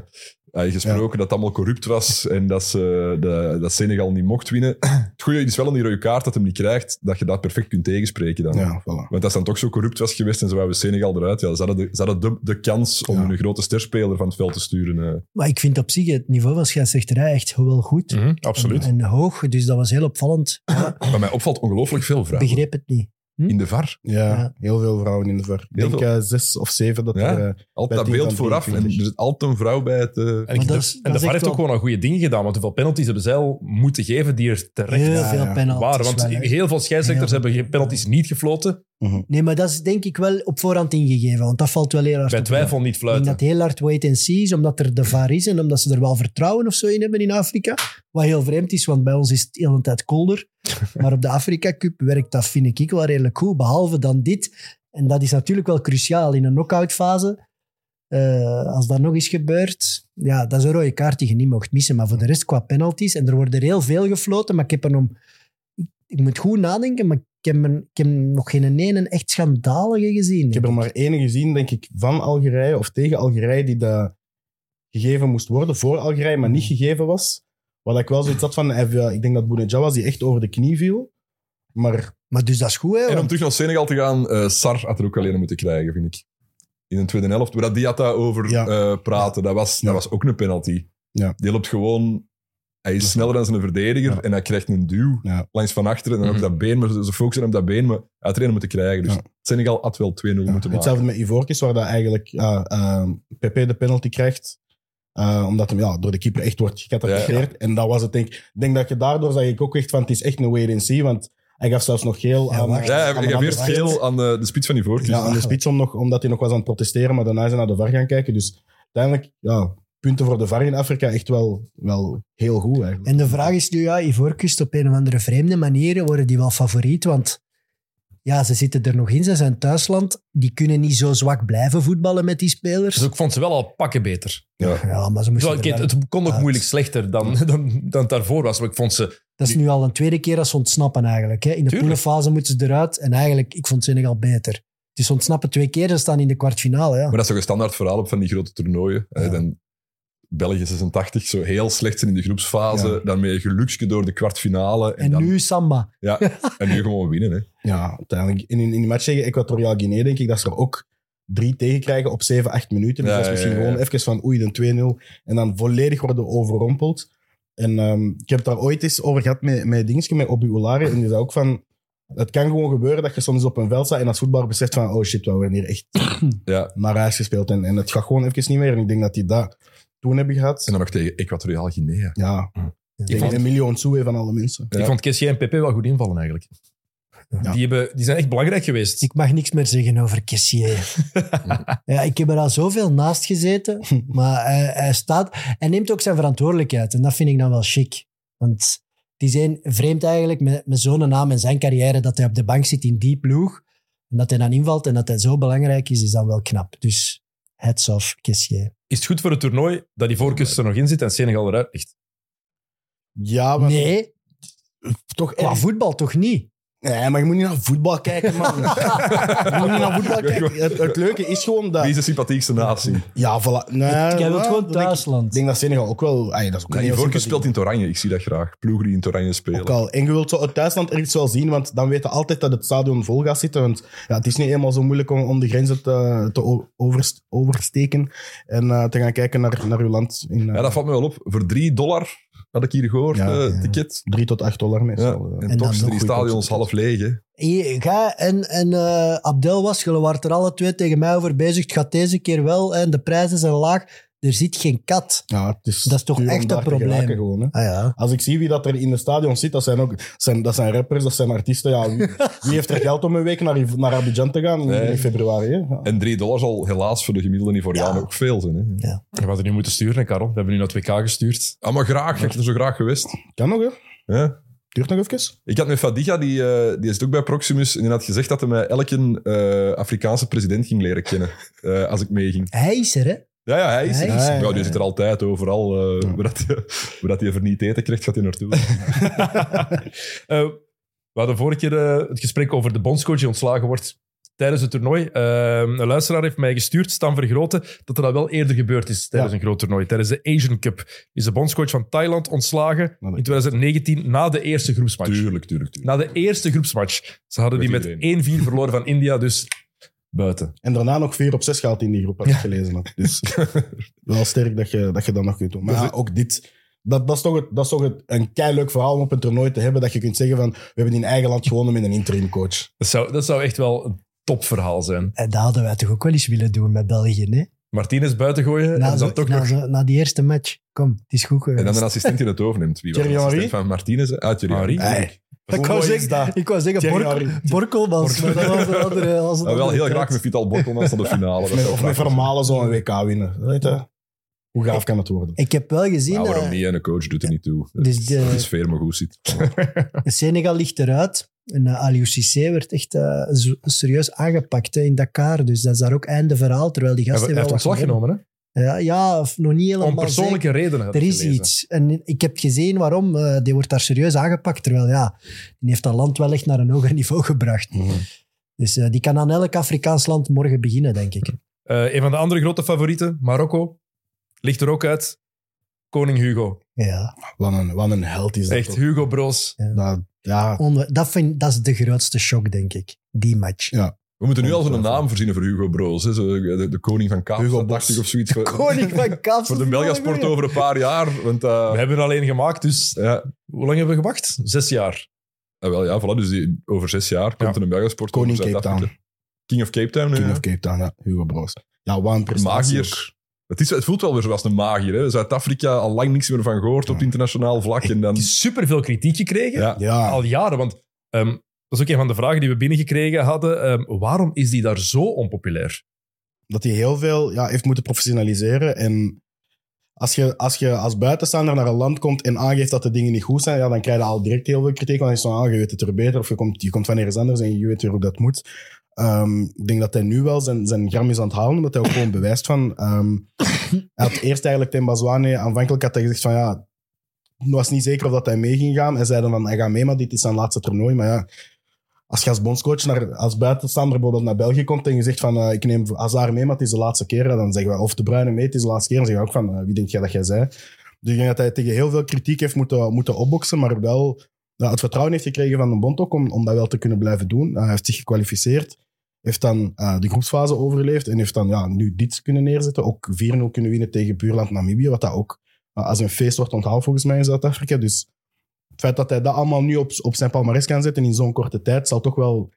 eh, gesproken dat het allemaal corrupt was en dat, ze, eh, de, dat Senegal niet mocht winnen. Het goede is wel aan die rode kaart dat hem niet krijgt, dat je dat perfect kunt tegenspreken dan. Ja, voilà. Want als het dan toch zo corrupt was geweest en ze wouden Senegal eruit, ja, ze hadden, de, ze hadden de, de kans om Ja. een grote sterspeler van het veld te sturen. eh. Maar ik vind op zich het niveau van scheidsrechterij echt wel goed. Mhm. Absoluut. En hoog, dus dat was heel opvallend. Wat mij opvalt, ongelooflijk veel Ik vragen. begreep het niet. In de VAR. Ja, Ja. heel veel vrouwen in de ver. Ik Heel denk eh, zes of zeven dat Ja? er... eh, Altijd dat Bij tien beeld van vooraf. En er 23. zit altijd een vrouw bij het... eh, En, ik- Maar dat de- is- en dat de VAR is echt heeft ook wel- gewoon al goede dingen gedaan, want hoeveel penalties hebben zij al moeten geven die er terecht Heel Ja, veel ja. penalties. waren? Want wel, hè. heel veel scheidsrechters Heel veel. hebben geen penalties niet gefloten, Nee, maar dat is denk ik wel op voorhand ingegeven, want dat valt wel heel hard bij op de hand. twijfel niet Ik denk fluiten. dat het heel hard wait and see is, omdat er de VAR is en omdat ze er wel vertrouwen of zo in hebben in Afrika. Wat heel vreemd is, want bij ons is het heel een tijd kolder. Maar op de Afrika Cup werkt dat, vind ik, wel redelijk goed. Behalve dan dit. En dat is natuurlijk wel cruciaal in een knock-outfase. Eh, als dat nog eens gebeurt, ja, dat is een rode kaart die je niet mocht missen. Maar voor de rest, qua penalties, en er worden er heel veel gefloten, maar ik heb er om... Ik moet goed nadenken, maar ik heb, een- ik heb nog geen ene echt schandalige gezien. Ik heb er maar ene gezien, denk ik, van Algerije of tegen Algerije die dat gegeven moest worden voor Algerije, maar niet gegeven was. Wat ik wel zoiets had van, eh, ja, ik denk dat Bounedjah was die echt over de knie viel. Maar Maar dus dat is goed, hè? En want- om terug naar Senegal te gaan, eh, Sar had er ook alleen moeten krijgen, vind ik. In de tweede helft. Maar dat- Die had daarover Ja. eh, praten. Dat was, dat Ja. was ook een penalty. Ja. Die loopt gewoon... Hij is sneller dan zijn verdediger Ja. en hij krijgt een duw Ja. langs van achteren. En dan Mhm. op dat been, maar ze ze focussen hem op dat been, maar hij had er een moeten krijgen. Dus Ja. Senegal had wel 2-0 moeten maken. hetzelfde met Ivorkis, waar dat eigenlijk eh eh, Pepe de penalty krijgt. eh, omdat hem ja, door de keeper echt wordt gecatapulteerd. En dat was het, denk ik. Ik denk dat je daardoor zag ik ook echt van, het is echt een wait and see, want hij gaf zelfs nog geel Ja, aan... wacht. Ja, hij- aan hij de gaf andere eerst kant. geel aan de, de spits van die voorkeur. ja, aan Dus de spits om nog, omdat hij nog was aan het protesteren, maar daarna is hij naar de VAR gaan kijken. Dus uiteindelijk, ja, punten voor de VAR in Afrika echt wel, wel heel goed eigenlijk. En de vraag is nu, ja, Ivoorkust op een of andere vreemde manier worden die wel favoriet, want ja, ze zitten er nog in, ze zijn thuisland, die kunnen niet zo zwak blijven voetballen met die spelers. Dus ik vond ze wel al pakken beter. Ja, maar ze moesten Terwijl, er kijk, wel- het kon ook uit. moeilijk slechter dan, dan, dan het daarvoor was, maar ik vond ze... dat is nu al een tweede keer dat ze ontsnappen eigenlijk. Hè. In de Tuurlijk. poelenfase moeten ze eruit en eigenlijk, ik vond Senegal beter. Dus ontsnappen twee keer, ze staan in de kwartfinale. Ja. Maar dat is toch een standaard verhaal op van die grote toernooien. hè. Ja. Dan België 86, zo heel slecht zijn in de groepsfase. Ja. Dan ben je geluksje door de kwartfinale. En, En dan, nu Samba. Ja, en nu gewoon winnen. Hè. Ja, uiteindelijk. In, in die match tegen Equatoriaal Guinea denk ik dat ze er ook drie tegen krijgen op 7, 8 minuten. Dus Ja, dat is misschien ja, ja, gewoon ja. even van oei, de 2-0. En dan volledig worden overrompeld. En ehm, ik heb het daar ooit eens over gehad met, met dingetje, met Obi Olari. En die zei ook van... Het kan gewoon gebeuren dat je soms op een veld staat en als voetballer beseft van oh shit, we hebben hier echt Ja. naar huis gespeeld. En, en het gaat gewoon even niet meer. En ik denk dat die dat toen hebben gehad. En Mm. dan nog tegen Equatoriaal Guinea. Ja. Ik vond- Tegen Emilio Onsue van alle mensen. Ja. Ik vond Kessie en Pepe wel goed invallen, eigenlijk. Ja. Die, hebben, die zijn echt belangrijk geweest. Ik mag niks meer zeggen over Kessier. ja, ik heb er al zoveel naast gezeten, maar hij, hij staat... Hij neemt ook zijn verantwoordelijkheid en dat vind ik dan wel chic. Want die zijn vreemd eigenlijk met, met zo'n naam en zijn carrière dat hij op de bank zit in die ploeg. En dat hij dan invalt en dat hij zo belangrijk is, is dan wel knap. Dus heads off, Kessier. Is het goed voor het toernooi dat die voorkust er nog in zit en Senegal eruit ligt? Ja, maar Nee, toch qua echt. voetbal toch niet? Nee, maar je moet niet naar voetbal kijken, man. je moet niet naar voetbal kijken. Het, het leuke is gewoon Wie is dat... de sympathiekste natie? Nou, Ja, voilà. Nee, Jij ja, wilt gewoon dat denk Ik thuisland. ik denk dat Senegal ook wel... Ay, dat is ook een Die heel sympathiek- voorkeur speelt in het oranje. Ik zie dat graag. Ploegen die in het oranje spelen. Ook al. En je wilt zo het thuisland ergens wel zien, want dan weet je altijd dat het stadion vol gaat zitten. Want ja, het is niet eenmaal zo moeilijk om, om de grenzen te, te o- overst- oversteken en eh, te gaan kijken naar, naar je land. In, eh, Ja, dat valt me wel op. Voor 3 dollar had ik hier gehoord, Ja, eh, ja. eh, ticket. 3 tot 8 dollar Ja. meestal. En, Ja. dan toch nog zijn die goedkoop stadions tickets. half leeg. hè. Hier, Ga en, en eh, Abdel was, jullie waren er alle twee tegen mij over bezig. Het gaat deze keer wel en de prijzen zijn laag. Er zit geen kat. Ja, het is Dat is toch duur om echt een daar te probleem. geraken Gewoon, hè. Ah ja. Als ik zie wie dat er in de stadion zit, dat zijn, ook, zijn, dat zijn rappers, dat zijn artiesten. Ja, wie, wie heeft er geld om een week naar, naar Abidjan te gaan Nee. in februari? Hè? Ja. En 3 dollar zal helaas voor de gemiddelde Ivorianen Ja. ook veel zijn. Hè. We hadden nu moeten sturen, hè, Karel. We hebben nu naar het WK gestuurd. Ah, maar graag. Ik heb er zo graag geweest. Kan nog, hè? Ja. Duurt nog even. Ik had met Fadiga, die, eh, die zit ook bij Proximus, en die had gezegd dat hij mij elke eh, Afrikaanse president ging leren kennen eh, als ik meeging. Hij is er, hè? Ja, ja, hij is er. Hij is er. Ja, die zit er altijd, overal. eh, waar, dat, hij- waar dat hij even niet eten krijgt, gaat hij naartoe. Eh, we hadden vorige keer eh, het gesprek over de bondscoach die ontslagen wordt. tijdens het toernooi. Eh, een luisteraar heeft mij gestuurd, Stan Vergroten, dat er dat wel eerder gebeurd is tijdens een groot toernooi. Tijdens de Asian Cup is de bondscoach van Thailand ontslagen in 2019 na de eerste groepsmatch. Tuurlijk, tuurlijk, Nou, tuurlijk. Na de eerste groepsmatch. Ze hadden die Met met 1-4 verloren van India, dus buiten. En daarna nog 4 op 6 gehaald in die groep, als ik gelezen had. Dus wel sterk dat je, dat je dat nog kunt doen. Maar Dus ja, het- ook dit, dat, dat is toch, het, dat is toch het, een leuk verhaal om op een toernooi te hebben. Dat je kunt zeggen van, we hebben in eigen land gewonnen met een interim coach. Dat zou, dat zou echt wel een topverhaal zijn. En Eh, dat hadden wij toch ook wel eens willen doen met België, nee? Martinez buiten gooien Na, en zo, dan toch na, nog... zo- na die eerste match. Kom, het is goed geweest. En dan een assistent die het overneemt. Wie was de Thierry Henry? assistent van Martinez? hè? Ah, Thierry Henry. Henry. Hey, ik, hoe wou mooi is zeggen, dat? ik wou zeggen Thierry Bork- Henry. Borkelmans, maar dat was een andere... was een Nou, wel andere heel tijd. graag met Vital Borkelmans tot de finale. Dat Of met, zou of met graag zijn. Vermalen zo'n WK winnen. Weet je? Hoe gaaf kan het worden? Ik heb wel gezien... Nou, waarom eh, niet? En een coach doet er niet toe. Dus Dus eh, de- Het is fair, maar goed zit. Senegal ligt eruit. En eh, Aliou Cissé werd echt eh, zo- serieus aangepakt hè, in Dakar. Dus dat is daar ook einde verhaal, terwijl die Hij gasten heeft wel wat ontslag gewonnen. genomen, hè? Ja, ja, of nog niet helemaal Om persoonlijke redenen. heb zeker. ik Er is gelezen. iets. En ik heb gezien waarom. eh, die wordt daar serieus aangepakt. Terwijl, ja, die heeft dat land wel echt naar een hoger niveau gebracht. Mhm. Dus eh, die kan aan elk Afrikaans land morgen beginnen, denk ik. Eh, een van de andere grote favorieten, Marokko, ligt er ook uit. Koning Hugo. Ja, Wat een, wat een held is dat. Echt toch? Hugo Broos. Nou. Dat, ja, Onwe- dat, vind, dat is de grootste shock, denk ik. Die match. We moeten nu al zo'n naam voorzien voor Hugo Broos. Hè? Zo, de, de koning van Hugo Kaapstad, Bos. dacht ik, of zoiets. Voor, Koning van Kaapstad. voor de Belgasport over een paar jaar. Want, eh, We hebben er alleen gemaakt, dus ja, hoe lang hebben we gewacht? Zes jaar. ah, wel, ja, voilà, dus die, over zes jaar komt er een Belgasport Koning over Cape Town. Zuid-Afrika. King of Cape Town, nu, King ja. of Cape Town, ja. Hugo Broos. Ja, wat een prestatie. ook. magier. Het, is, het voelt wel weer zoals een magier. hè. Zuid-Afrika al lang niks meer van gehoord op internationaal vlak. En dan, Super veel kritiek gekregen. ja, Ja, Al jaren, want ehm, dat is ook een van de vragen die we binnengekregen hadden. Ehm, waarom is die daar zo onpopulair? dat hij heel veel ja, heeft moeten professionaliseren. En als je, als je als buitenstaander naar een land komt en aangeeft dat de dingen niet goed zijn, ja, dan krijg je al direct heel veel kritiek. Want dan is het van, ah, je weet het er beter, of je komt, je komt van ergens anders en je weet weer hoe dat moet. Ehm, ik denk dat hij nu wel zijn, zijn gram is aan het halen, omdat hij ook gewoon bewijst van... ehm, hij had eerst eigenlijk tegen Bazwane, aanvankelijk had hij gezegd van ja... Het was niet zeker of dat hij mee ging gaan. Hij zei dan van, hij gaat mee, maar dit is zijn laatste toernooi. Maar ja, als je als bondscoach naar, als buitenstaander bijvoorbeeld naar België komt en je zegt van eh, ik neem Hazard mee, maar het is de laatste keer, ja, dan zeggen we of De Bruyne mee, het is de laatste keer, dan zeggen we ook van eh, wie denk jij dat jij zei. Dus ik denk dat hij tegen heel veel kritiek heeft moeten, moeten opboksen, maar wel ja, het vertrouwen heeft gekregen van de bond ook om, om dat wel te kunnen blijven doen. Eh, hij heeft zich gekwalificeerd, heeft dan eh, de groepsfase overleefd en heeft dan ja, nu dit kunnen neerzetten. Ook 4-0 kunnen winnen tegen buurland Namibië, wat dat ook eh, als een feest wordt onthaald volgens mij in Zuid-Afrika. Dus het feit dat hij dat allemaal nu op, op zijn palmarès kan zetten in zo'n korte tijd, zal toch wel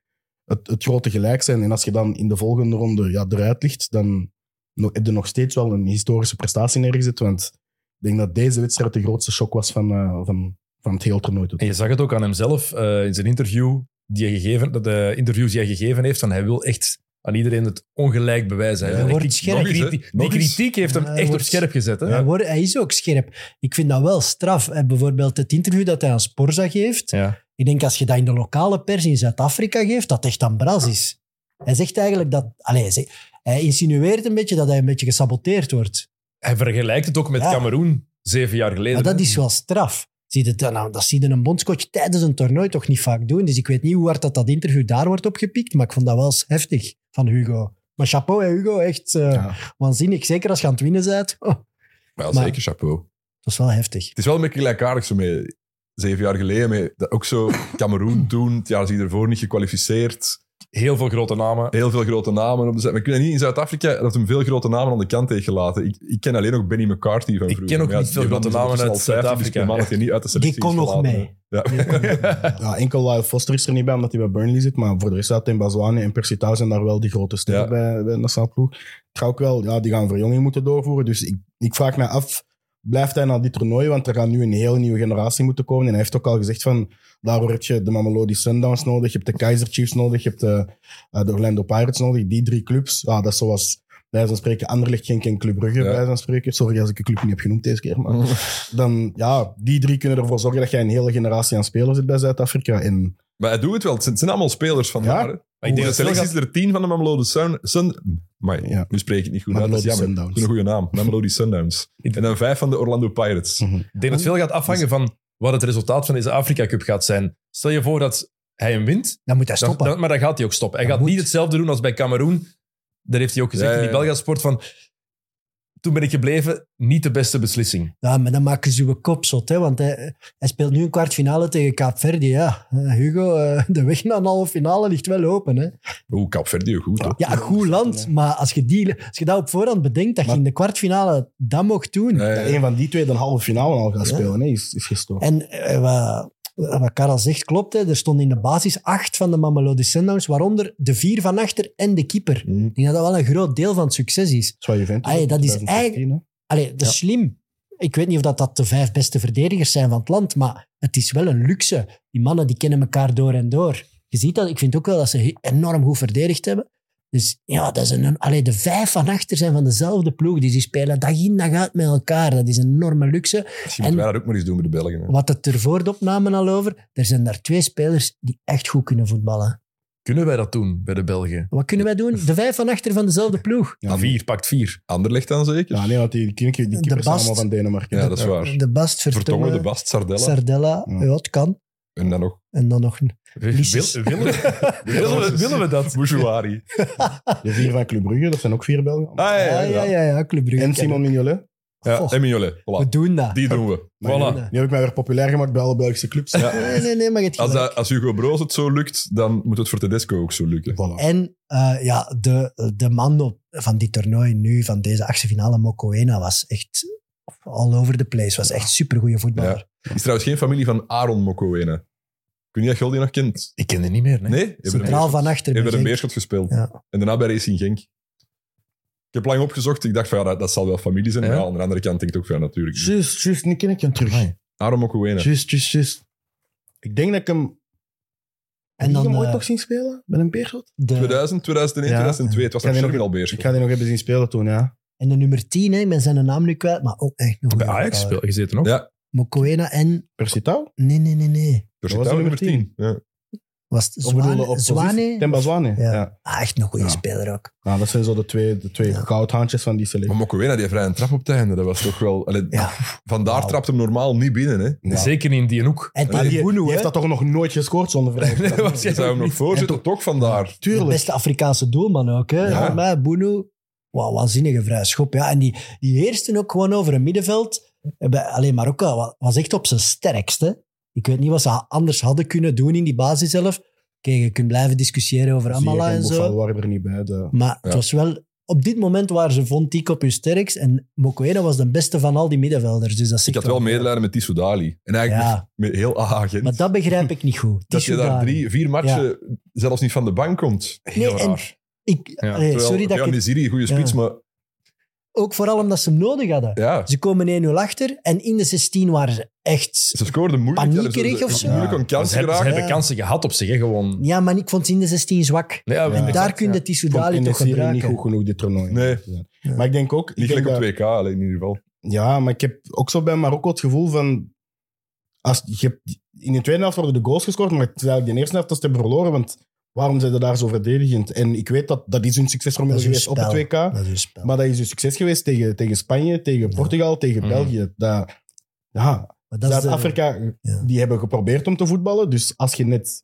het, het grote gelijk zijn. En als je dan in de volgende ronde ja, eruit ligt, dan no- heb je nog steeds wel een historische prestatie neergezet. Want ik denk dat deze wedstrijd de grootste shock was van, eh, van, van het hele toernooi. tot En je zag het ook aan hemzelf eh, in zijn interview, die hij gegeven, dat de interviews die hij gegeven heeft, van hij wil echt aan iedereen het ongelijk bewijzen. Hij Hij wil wordt echt- scherp. Die, Nog kriti- eens, hè? die Nog eens. kritiek heeft hem Ja, hij echt op wordt- scherp gezet. Hè? Hij, wordt, hij is ook scherp. Ik vind dat wel straf. En bijvoorbeeld het interview dat hij aan Sporza geeft. Ja. Ik denk als je dat in de lokale pers in Zuid-Afrika geeft, dat echt aan bras is. Hij zegt eigenlijk dat... Allez, hij, zegt- hij insinueert een beetje dat hij een beetje gesaboteerd wordt. Hij vergelijkt het ook met Ja. Cameroen zeven jaar geleden. Maar dat is wel straf. Zie je dat, nou, dat zie je een bondscoach tijdens een toernooi toch niet vaak doen. Dus ik weet niet hoe hard dat, dat interview daar wordt opgepikt, maar ik vond dat wel eens heftig van Hugo. Maar chapeau, hè, Hugo. Echt eh, Ja. waanzinnig. Zeker als je aan het winnen bent. Oh, dat wel Maar- zeker chapeau. is wel heftig. Het is wel een beetje gelijkaardig zo met zeven jaar geleden. Met, dat ook zo Cameroen toen, het jaar is ervoor niet gekwalificeerd. Heel veel grote namen. Heel veel grote namen op de zet. Maar ik weet niet, in Zuid-Afrika dat hem veel grote namen aan de kant heeft gelaten. Ik, ik ken alleen nog Benny McCarthy van Ik vroeger. ken ook Maar niet veel die man grote is namen ondertussen uit al Zuid-Afrika. 50, Dus die man dat hij niet uit de Die selectie kon is nog gelaten, mee. hè. Ja. Die kon nog mee. Ja, enkel Lyle Foster is er niet bij, omdat hij bij Burnley zit. Maar voor de rest zaten in Bazwane en Persitouw zijn daar wel die grote sterren Ja. bij, bij de nationale ploeg. Het gaat ook wel, ja, die gaan verjonging moeten doorvoeren. Dus ik, ik vraag me af, blijft hij naar dit toernooi? Want er gaat nu een heel nieuwe generatie moeten komen. En hij heeft ook al gezegd van, daarvoor heb je de Mamelodi Sundowns nodig, je hebt de Kaiser Chiefs nodig, je hebt de, eh, de Orlando Pirates nodig. Die drie clubs, ja, dat is zoals... Bij van spreken, Anderlecht, Genk en Club Brugge, Ja. bij van spreken. Sorry als ik een club niet heb genoemd deze keer, maar dan ja, die drie kunnen ervoor zorgen dat jij een hele generatie aan spelers hebt bij Zuid-Afrika. En Maar hij doet het wel. Het zijn, het zijn allemaal spelers van Ja. daar. hè. Maar ik denk de dat selectie België- is er tien van de Mamelodi Sun... Sun maar Ja. nu spreek ik het niet goed uit. Dat is Mamelodi jammer. Sundowns. Dat is een goede naam. Mamelodi Sundowns. En dan vijf van de Orlando Pirates. Hm. Ik denk dat veel gaat afhangen van wat het resultaat van deze Afrika Cup gaat zijn. Stel je voor dat hij hem wint, Dan moet hij dan- stoppen. dan- maar dan gaat hij ook stoppen. Hij Dat gaat moet. niet hetzelfde doen als bij Cameroen. Dat heeft hij ook gezegd Ja, in ja, die ja. Belgasport van... Toen ben ik gebleven, niet de beste beslissing. Ja, maar dan maken ze uw kop zot, hè, want hij, hij speelt nu een kwartfinale tegen Kaapverdi. Ja, Eh, Hugo, eh, de weg naar een halve finale ligt wel open. Hè. Oeh, Capverdi, goed hoor. Ja, goed land, maar als je, die, als je dat op voorhand bedenkt, dat je Maar- in de kwartfinale dat mocht doen. Ja, ja, Dat ja. een van die twee de halve finale al gaat Eh, Ja. spelen, nee, is, is gestoord. En eh, wat, wat Karel zegt klopt, hè. er stonden in de basis acht van de Mamelodi Sundowns, waaronder de vier van achter en de keeper. Mhm. Ik denk dat dat wel een groot deel van het succes is. Dat is wat Juventus Ah, ja, ook dat is 2016, hè. Allee, dat is slim. Ik weet niet of dat, dat de vijf beste verdedigers zijn van het land, maar het is wel een luxe. Die mannen die kennen elkaar door en door. Je ziet dat, ik vind ook wel dat ze he- enorm goed verdedigd hebben. Dus ja, dat is een, allee, de vijf van achter zijn van dezelfde ploeg. Dus die spelen dag in dag uit met elkaar. Dat is een enorme luxe. Misschien moeten En- wij dat ook maar eens doen met de Belgen. hè. Wat het er voor de opname al over, er zijn daar twee spelers die echt goed kunnen voetballen. Kunnen wij dat doen bij de Belgen? Wat kunnen wij doen? De vijf van achter van dezelfde ploeg. Ja, vier, pakt vier. Anderlecht dan zeker? Ja, nee, want die, die, keeper- die De keepers zijn Bast. allemaal van Denemarken. Ja, dat is waar. De Bast, Vertongen, de Vertongen, Bast, Sardella. Sardella. Ja. Ja, het kan. en dan nog En dan nog een... Liesjes. Wil- willen, we- willen, we, willen we dat? Bouchouari. De vier van Club Brugge, dat zijn ook vier Belgen. Ah, ja, Ja, ja, ja. ja, ja Club Brugge. en Simon Mignolet. ja. Goh, En Mignolet, voilà. we doen dat. Die doen we. Maar Voilà. Nu heb ik mij weer populair gemaakt bij alle Belgische clubs. Ja. Nee, nee, nee, maar je hebt Als, gelijk. dat, als Hugo Broos het zo lukt, dan moet het voor Tedesco ook zo lukken. Voilà. En eh, ja, de, de man op, van dit toernooi nu, van deze achtste finale, Mokoena, was echt all over the place. Was echt supergoeie voetballer. Ja. Is trouwens geen familie van Aaron Mokoena. Ik weet niet of je die nog kent. Ik ken die niet meer, nee. Nee? Hebben we Centraal van achter. dus Heeft bij een Genk. Beerschot gespeeld. Ja. En daarna bij Racing Genk. Ik heb lang opgezocht. Ik dacht van ja, dat, dat zal wel familie zijn. Ja. Maar ja, aan de andere kant denk ik ook van ja, natuurlijk. niet. Juist, juist, nu ken ik hem terug. Amai. Aaron Mokoena. Juist, juist, juist. Ik denk dat ik hem... Heb En ik hem dan ooit eh, nog zien spelen? Met een Beerschot? de, 2000, 2001, Ja. 2002. Het was Ik ga nog die nog- Charmin al Ik Beerschot. ga die nog hebben zien spelen toen, ja. en de nummer 10, hè, ik ben zijn naam nu kwijt, maar ook echt nog Bij Ajax speel, gezeten nog. Ja. Mokoena en... Persitouw? Nee, nee, nee, nee. Dus Dat was daar de nummer 10. Ja. Was het Zwane? Zwane? Temba Zwane. Ja. Ja. Ah, echt een goede Ja. speler ook. Nou, dat zijn zo de twee, de twee Ja. goudhaantjes van die Maar selectie. Mokoena, die vrije trap op het einde, dat was toch wel... Allee, Ja. Vandaar Wauw. trapt hem normaal niet binnen, hè. Ja. Zeker niet in die hoek. En Die, Maar die, die Bunu, heeft hè, dat toch nog nooit gescoord zonder vrij. Nee, Ja, waarschijnlijk Zou hem nog niet. voorzitten, toch vandaar. de Tuurlijk. beste Afrikaanse doelman ook. Hè? Ja. Voor mij, Bunu, wauw, waanzinnige vrije schop. Ja. En die, die heerste ook gewoon over een middenveld. Bij, alleen Marokko wa- was echt op zijn sterkste. Ik weet niet wat ze ha- anders hadden kunnen doen in die basis zelf. Kijk, je kunt blijven discussiëren over Amala Ziyech en Buffon zo. waren er niet bij. De... Maar het Ja. was wel... Op dit moment waren ze, vond ik, op hun sterkst. En Mokoena was de beste van al die middenvelders. Dus dat Ik zegt had wel medelijden met Tissou Dali. En eigenlijk Ja, met met heel AH Gent. maar dat begrijp ik niet goed. dat je Tissou daar Dali. drie, vier matchen zelfs niet van de bank komt. Heel Nee, en- raar. Ik, Ja, allee, Terwijl, sorry dat ik ja, het... Niziri, goede spits, Ja. maar Ook vooral omdat ze hem nodig hadden. ja, Ze komen 1-0 achter en in de 16 waren ze echt... ze scoorden moeilijk. Paniekerig Ja, ze- of ze- zo? Moeilijk om Ja, kans Dus ze, hebben, ze geraakt. hebben kansen gehad op zich, hè, gewoon. Ja, maar ik vond ze in de 16 zwak. Nee, ja, in de- Daar kun je Tissou Dali Vond toch NSC niet gebruiken. goed genoeg dit toernooi. Nee. Ja. Maar ik denk ook... ik Niet denk gelijk dat- op 2K, alleen in ieder geval. Ja, maar ik heb ook zo bij Marokko het gevoel van... Als, je hebt, in de tweede helft worden de goals gescoord, maar terwijl ik de eerste helft als hebben verloren, want waarom zijn ze daar zo verdedigend? En ik weet dat dat is hun Dat succesformule is hun geweest op het spel. 2K, Dat is een spel. maar dat is hun succes geweest tegen, tegen Spanje, tegen Ja. Portugal, tegen Mhm. België. Dat, ja, Maar dat is de- Zuid-Afrika, Ja. die hebben geprobeerd om te voetballen, dus als je net...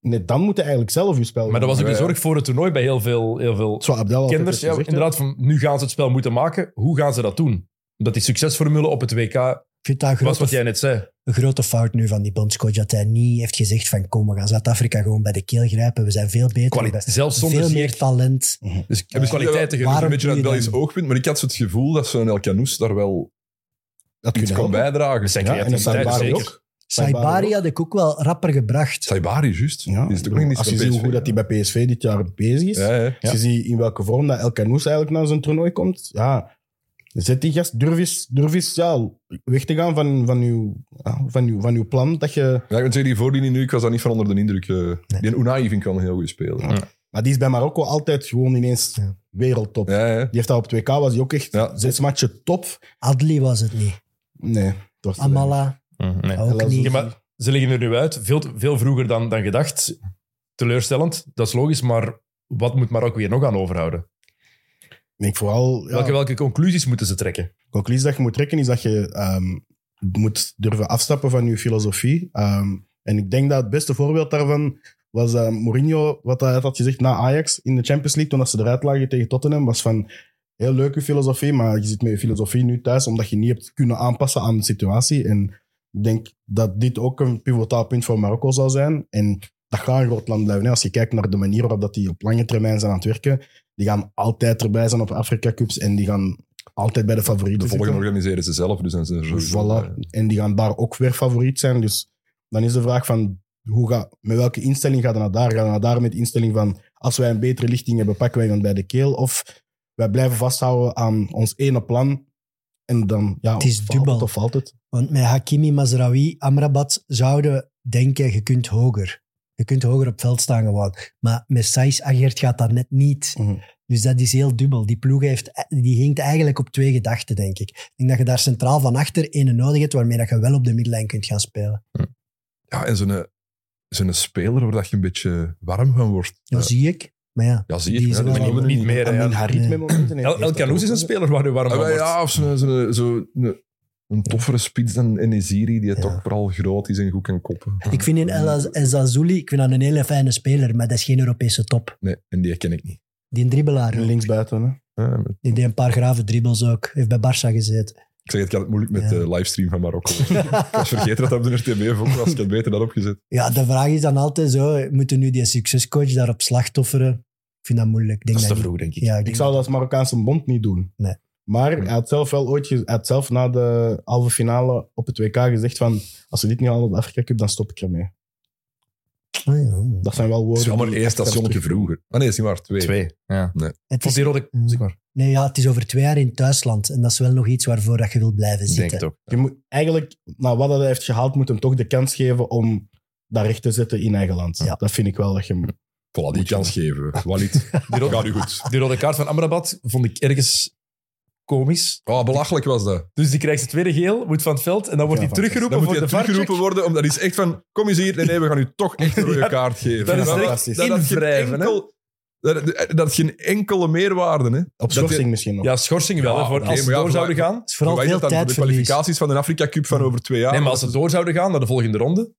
Net dan moet je eigenlijk zelf je spel Maar dat was ook Ja, de ja. zorg voor het toernooi bij heel veel, heel veel Zo, Abdel had kinders. het net Ja, gezegd, hè. inderdaad, van, nu gaan ze het spel moeten maken. Hoe gaan ze dat doen? Omdat die succesformule op het WK Ik vind dat een was grote, wat jij net zei. een grote fout nu van die bondscoach. Dat hij niet heeft gezegd van kom, we gaan Zuid-Afrika gewoon bij de keel grijpen. We zijn veel beter. Kwaliteit. Zelfs We hebben zonder veel zeer. meer talent. Dus ik heb Ja. kwaliteiten wel- Waarom Een beetje doe aan het je Belgisch dat? oogpunt, maar ik had zo het gevoel dat zo'n El Canoes daar wel Dat iets kunnen kon helpen. bijdragen. Zijn Ja, en dat creativiteit, Saibari zeker. ook. Saibari had ik ook wel rapper gebracht. Saibari, juist. Ja, Die is ook nog niet als je ziet van hoe PSV, goed dat hij bij PSV dit jaar bezig is, ja. Ja, ja. als je ziet in welke vorm dat El Canoes eigenlijk naar zijn toernooi komt, ja, zet die gast, durf eens, durf eens ja, weg te gaan van, van, uw, ja, van, uw, van uw plan. Dat je, Ja, ik moet zeggen, die voordiening nu, ik was daar niet van onder de indruk. eh. Die Unai vind ik wel een heel goed speler. Ja. maar die is bij Marokko altijd gewoon ineens Ja. wereldtop. Ja, ja. Die heeft dat op 2K, was hij ook echt Ja. zes matchen top. Adli was het niet. Nee, eh, het was Amala ook Elazouz. niet. Ja, maar ze liggen er nu uit. Veel, veel vroeger dan, dan gedacht. Teleurstellend, dat is logisch. Maar wat moet Marokko weer nog aan overhouden? Nee, ik vooral, ja, Welke, welke conclusies moeten ze trekken? De conclusie dat je moet trekken is dat je ehm, moet durven afstappen van je filosofie. Ehm, En ik denk dat het beste voorbeeld daarvan was eh, Mourinho, wat hij had gezegd na Ajax in de Champions League, toen dat ze eruit lagen tegen Tottenham, was van heel leuke filosofie, maar je zit met je filosofie nu thuis, omdat je niet hebt kunnen aanpassen aan de situatie. En ik denk dat dit ook een pivotaal punt voor Marokko zal zijn. En dat gaat een groot land blijven. hè. Als je kijkt naar de manier waarop dat die op lange termijn zijn aan het werken, die gaan altijd erbij zijn op Afrika Cups en die gaan altijd bij de favorieten De volgende zitten. organiseren ze zelf, dus dan zijn ze Dus sowieso- Voilà. En die gaan daar ook weer favoriet zijn. Dus dan is de vraag van hoe ga, met welke instelling gaat je naar daar? Gaat je naar daar met de instelling van als wij een betere lichting hebben, pakken wij iemand bij de keel? Of wij blijven vasthouden aan ons ene plan en dan ja, Het is of dubbel. Valt, of valt het? Want met Hakimi, Mazraoui, Amrabat zouden denken, je kunt hoger. Je kunt hoger op het veld staan gewoon. Maar met Saiz Agert gaat dat net niet. Mhm. Dus dat is heel dubbel. Die ploeg heeft, die hinkt eigenlijk op twee gedachten, denk ik. Ik denk dat je daar centraal van achter ene nodig hebt, waarmee dat je wel op de midlijn kunt gaan spelen. Ja, en zo'n eh, zo'n speler waar dat je een beetje warm van wordt. Dat Ja, zie ik. Maar ja, ja, zie je. die het, is hè, wel- die noemen Niet het meer, hè. Amin Harit Nee. met momenten. heeft- El, El heeft dat Khanous is ook. een speler waar je warm van Ah, wel, wordt. ja, of zo'n zo, zo, een, een toffere spits dan Enesiri, die Ja. toch vooral groot is en goed kan koppen. ik vind in El El Azuli, ik vind dat een hele fijne speler, maar dat is geen Europese top. Nee, en die ken ik niet. Die dribbelaar, Een linksbuiten. Hè? Ah, maar die deed een paar grave dribbles ook. Heeft bij Barça gezeten. ik zeg het, ik had het moeilijk met Ja. de livestream van Marokko. ik was vergeten dat dat op de RTV vond, als ik het beter had opgezet. Ja, de vraag is dan altijd zo, moeten nu die succescoach daarop slachtofferen? Ik vind dat moeilijk. Ik Denk dat niet. denk Ja, ik Ik denk- zou dat als Marokkaanse bond niet doen. Nee. Maar hij had zelf wel ooit ge- hij had zelf na de halve finale op het WK gezegd van als we dit niet halen op de Afrika Cup, dan stop ik ermee. Ah, ja. Dat zijn wel woorden. Het is wel maar die één echt zelfs stationnetje terug- vroeger. Ah nee, is niet waar, twee. Twee. Ja. Het Voor is, die rode... Mm. Zeg maar. nee, ja, het is over twee jaar in het thuisland. En dat is wel nog iets waarvoor dat je wilt blijven Ik denk zitten. het ook. Je moet eigenlijk, na wat hij heeft gehaald, moet hem toch de kans geven om daar recht te zetten in eigen land. Ja. Dat vind ik wel dat je... hem- Voilà, die Moet je kans geven we. Walid, Die rode, gaat nu goed. die rode kaart van Amrabat vond ik ergens komisch. Oh, belachelijk was dat. Dus die krijgt zijn tweede geel, moet van het veld. En dan wordt Ja, hij van- teruggeroepen Dan moet voor je de VAR-check. teruggeroepen worden, omdat is echt van... Kom eens hier, nee, nee, we gaan u toch echt een rode Ja, kaart geven. dat is dat, echt dat, had geen invrijven, hè? enkel, dat, dat had geen enkele meerwaarde, hè. Op Dat je- schorsing misschien nog. Ja, schorsing wel. Ja, hè, voor oké, als ze maar ja, door voor- zouden gaan. Het is vooral Verwijt veel dat dan voor de tijdverlies. kwalificaties van de Afrika Cup van over twee jaar. nee, maar als ze door zouden gaan naar de volgende ronde,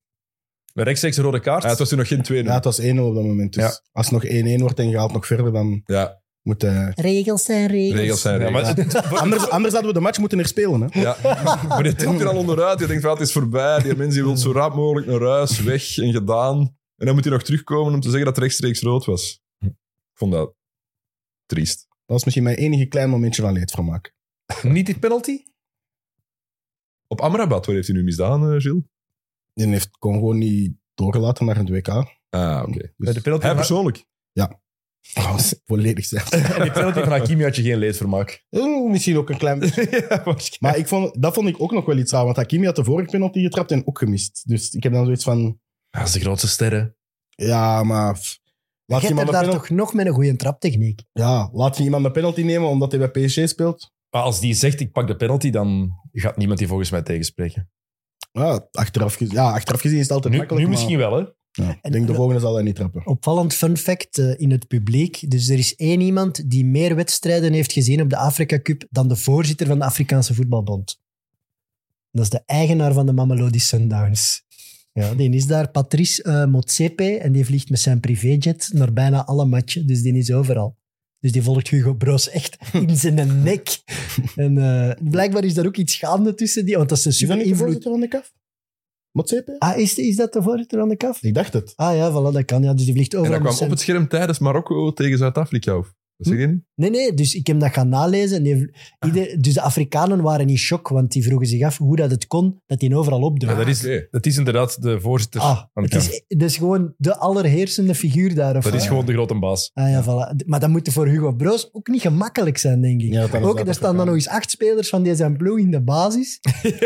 met rechtstreeks een rode kaart. Ja, Ah, het was toen nog geen 2 Ja, het was 1-0 op dat moment. Dus Ja. als het nog 1-1 wordt en je haalt nog verder, dan Ja, moet hij... Regels zijn regels. regels zijn Ja, regels. maar het- Anders, anders hadden we de match moeten herspelen. Hè? Ja. Maar je tilt er al onderuit. Je denkt, van, het is voorbij. Die mensen wil zo raap mogelijk naar huis, weg en gedaan. En dan moet hij nog terugkomen om te zeggen dat het rechtstreeks rood was. Ik vond dat triest. Dat is misschien mijn enige klein momentje van leedvermaak. niet die dus- penalty? Op Amrabat, waar heeft hij nu misdaan, eh, Gilles? Die heeft Congo niet doorgelaten naar het WK. Ah, oké. Dus- De penalty Hij van- persoonlijk. Dat was volledig zelfs. en die penalty van Hakimi had je geen leedvermaak. Eh, Misschien ook een klein beetje. Maar ik vond, dat vond ik ook nog wel iets aan. Want Hakimi had de vorige penalty getrapt en ook gemist. Dus ik heb dan zoiets van... Dat is de grootste sterren. Ja, maar... f- Laat Je je, iemand hebt er een daar penalty, toch nog met een goede traptechniek. ja, laat je iemand een penalty nemen omdat hij bij PSG speelt? Maar als die zegt, ik pak de penalty, dan gaat niemand die volgens mij tegenspreken. Ja, achteraf, gez- ja, achteraf gezien is het altijd Nu, makkelijk. nu misschien maar, wel, hè? Ja, ik denk de volgende zal hij niet trappen. Opvallend fun fact eh, in het publiek. Dus er is één iemand die meer wedstrijden heeft gezien op de Afrika Cup dan de voorzitter van de Afrikaanse Voetbalbond. Dat is de eigenaar van de Mamelodi Sundowns. Ja, die is daar, Patrice eh, Motsepe, en die vliegt met zijn privéjet naar bijna alle matchen. Dus die is overal. Dus die volgt Hugo Broos echt in zijn nek. En eh, blijkbaar is daar ook iets gaande tussen die, want dat is een Is dat super niet de invloed. voorzitter van de KAF? Motsepe? Ah, is, is dat de voorzitter aan de kaf? Ik dacht het. Ah ja, voilà, dat kan. Ja, dus die vliegt En overal dat met kwam op zijn- het scherm tijdens Marokko tegen Zuid-Afrika. Of? Dat zeg je niet? Nee, nee, dus ik heb dat gaan nalezen. En die- ieder- dus de Afrikanen waren in shock, want die vroegen zich af hoe dat het kon dat die overal opdook. Ja, dat is- Ah, Oké. Het is inderdaad de voorzitter. Ah, van het de is, dat is gewoon de allerheersende figuur daar. Of dat wat? is gewoon de grote baas. Ah, ja, voilà. Maar dat moet voor Hugo Broos ook niet gemakkelijk zijn, denk ik. Ja, dat is ook, dat er staan ook, dan ja. nog eens acht spelers van die zijn ploeg in de basis.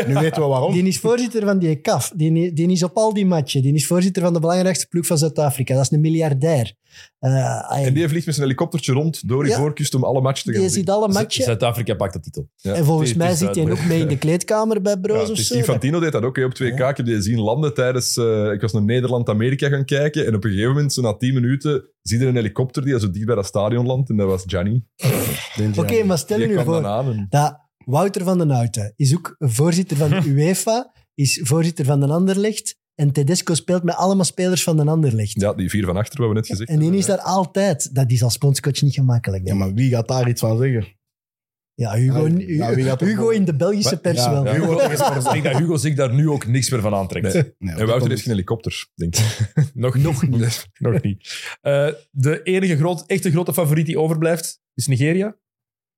Nu weten we waarom. Die is voorzitter van die E CAF. Die, die is op al die matchen. Die is voorzitter van de belangrijkste ploeg van Zuid-Afrika. Dat is een miljardair. Eh, ah, ja, En die vliegt met zijn helikoptertje rond door die Ja. voorkust om alle matchen te gaan die zien. ziet alle matchen. Zuid-Afrika pakt de titel. Ja. En volgens Het is- mij het is zit hij ook duidelijk. mee in de kleedkamer bij Broos Ja, of het is- zo. Dus Infantino deed dat ook hè, op 2K. Ik heb die zien landen tijdens... eh, ik was naar Nederland-Amerika gaan kijken. En op een gegeven moment, zo na 10 minuten, zie je een helikopter die zo dicht bij dat stadion landt. En dat was Gianni. Oké, maar stel je Die nu kwam dan voor aan. En, dat Wouter van den Houten is ook voorzitter van de UEFA, is voorzitter van de Anderlecht En Tedesco speelt met allemaal spelers van een ander licht. Ja, die vier van achter, wat we net gezegd en die hebben, is daar altijd. Dat is als bondscoach niet gemakkelijk. Ja, denk ik. maar wie gaat daar iets van zeggen? Ja, Hugo, Ja, Hugo, wie gaat er- Hugo in de Belgische Wat? pers Ja, wel. ja. Hugo, ik denk dat Hugo zich daar nu ook niks meer van aantrekt. Nee. Nee, En Wouter heeft geen helikopter, denk ik. Nog, nog niet. nog niet. Eh, de enige groot, echte grote favoriet die overblijft is Nigeria.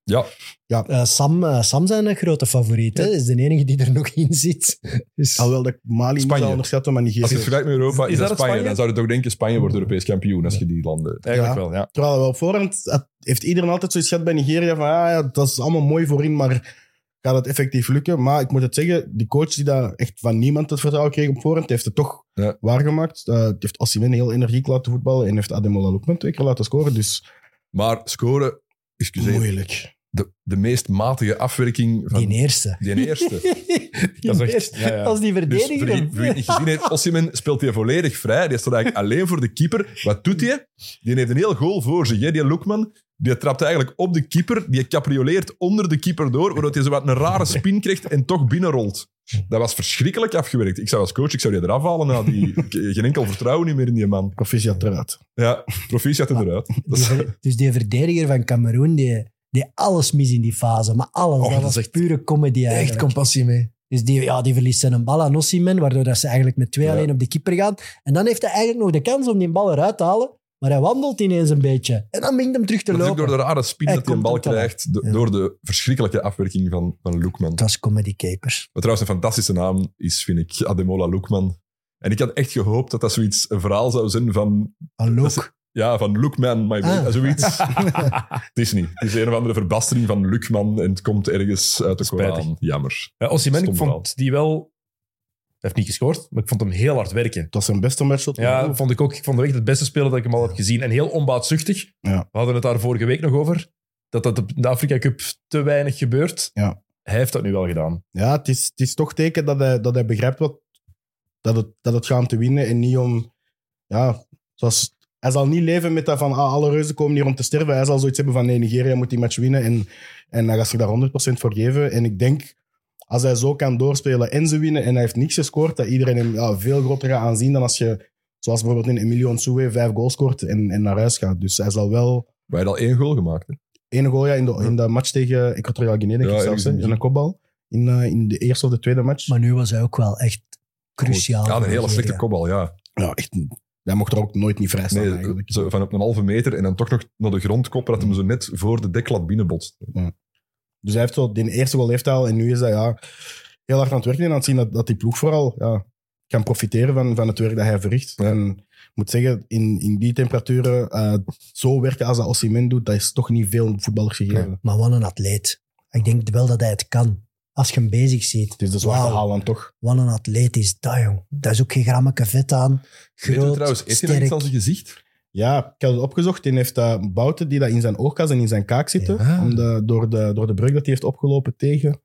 Ja, Eh, Sam, eh, Sam zijn een grote favoriet. hè. Is de enige die er nog in zit. Dus, Alhoewel dat ik Mali niet Spanje. zou onderschatten, maar als je Nigeria. het vergelijkt met Europa, Is is dat dat het Spanje. Spanje? Dan zou je toch denken, Spanje wordt Europees kampioen als je die landen... Eigenlijk Ja. wel, ja. Terwijl wel op voorhand eh, heeft iedereen altijd zoiets gehad bij Nigeria van ah ja, ja, dat is allemaal mooi voorin, maar gaat het effectief lukken? Maar ik moet het zeggen, de coach die daar echt van niemand het vertrouwen kreeg op voorhand, heeft het toch Ja. waargemaakt. Eh, die heeft Osimhen heel energiek laten voetballen en heeft Ademola Lookman twee keer laten scoren, dus Maar scoren, excuseer, moeilijk. de, de meest matige afwerking van die die, eerste. eerste. Die Dat is echt- eerste. ja, ja. Als die Dus verdediger... voor wie, voor wie het niet gezien heeft, Osimhen speelt hij volledig vrij. Die staat eigenlijk alleen voor de keeper. Wat doet hij? Die heeft een heel goal voor zich. hè. Die Loekman, die trapt eigenlijk op de keeper. Die caprioleert onder de keeper door, waardoor hij zo wat een rare spin krijgt en toch binnenrolt. Dat was verschrikkelijk afgewerkt. Ik zou als coach, ik zou die eraf halen. Nou, die, ik- geen enkel vertrouwen niet meer in die man. Proficiat eruit. Ja, proficiat eruit. Dat Die is- ver- dus die verdediger van Cameroen, die, die alles mis in die fase. Maar alles. Och, dat dat was is echt- pure comedy eigenlijk. Echt compassie mee. Dus die, ja, die verliest zijn een bal aan Osimhen, waardoor dat ze eigenlijk met twee Ja. alleen op de keeper gaan. En dan heeft hij eigenlijk nog de kans om die bal eruit te halen, maar hij wandelt ineens een beetje. En dan begint hem terug te dat is ook lopen. door de rare spin Hij dat hij een komt bal hem te laat. krijgt, do- Ja. door de verschrikkelijke afwerking van, van Loekman. Het was Comedy Capers. Wat trouwens een fantastische naam is, vind ik, Ademola Loekman. En ik had echt gehoopt dat dat zoiets een verhaal zou zijn van, Hallo. Dat ja, van Lookman, my Ah. baby, zoiets. het is niet. Het is een of andere verbastering van Lukman en het komt ergens uit de Spijtig. Koran. Jammer. Ja, Eh, Osimhen, ik Stom verhaal. vond die wel... Hij heeft niet gescoord, maar ik vond hem heel hard werken. Het was zijn beste matchshot. Ja, vond ik ook. Ik vond hem echt het beste speler dat ik hem al heb gezien. En heel onbaatzuchtig. Ja. We hadden het daar vorige week nog over. Dat dat op de Afrika Cup te weinig gebeurt. Ja. Hij heeft dat nu wel gedaan. Ja, het is, het is toch teken dat hij, dat hij begrijpt wat, dat, het, dat het gaat om te winnen en niet om... Ja, zoals, hij zal niet leven met dat van ah, alle reuzen komen hier om te sterven. Hij zal zoiets hebben van nee, Nigeria moet die match winnen en, en hij gaat zich daar 100% voor geven. En ik denk, als hij zo kan doorspelen en ze winnen en hij heeft niks gescoord, dat iedereen hem ja, veel groter gaat aanzien dan als je, zoals bijvoorbeeld in Emilio Nsue, vijf goals scoort en, en naar huis gaat. Dus hij zal wel... Maar hij had al één goal gemaakt. hè. Ene goal ja, in, de, in de match tegen Equatorial Guinea, denk Ja, ik zelfs, hè, ergens in in een kopbal. In, eh, in de eerste of de tweede match. Maar nu was hij ook wel echt cruciaal. Ja, voor een hele Nigeria. slechte kopbal, ja. Ja, echt. Hij mocht er ook nooit niet vrij staan. Nee, eigenlijk. Dus, zo van op een halve meter en dan toch nog naar de grond koppen dat hem zo net voor de deklat binnenbotst. Dus hij heeft zo die eerste goal heeft hij al en nu is hij ja, heel hard aan het werken en aan het zien dat, dat die ploeg vooral ja, kan profiteren van, van het werk dat hij verricht. En ik moet zeggen, in, in die temperaturen eh, zo werken als dat Osimhen doet, dat is toch niet veel voetballers gegeven. Maar wat een atleet. Ik denk wel dat hij het kan. Als je hem bezig ziet. Het is de dus zwarte Wauw, Haaland toch? Wat een atleet is dat, jong. Daar is ook geen grammetje vet aan. Weet je Groot, trouwens, heeft hij nog sterk. iets aan zijn gezicht? Ja, ik had het opgezocht en heeft dat Bouten die dat in zijn oogkas en in zijn kaak zitten, Ja. om de, door, de, door de breuk dat hij heeft opgelopen tegen.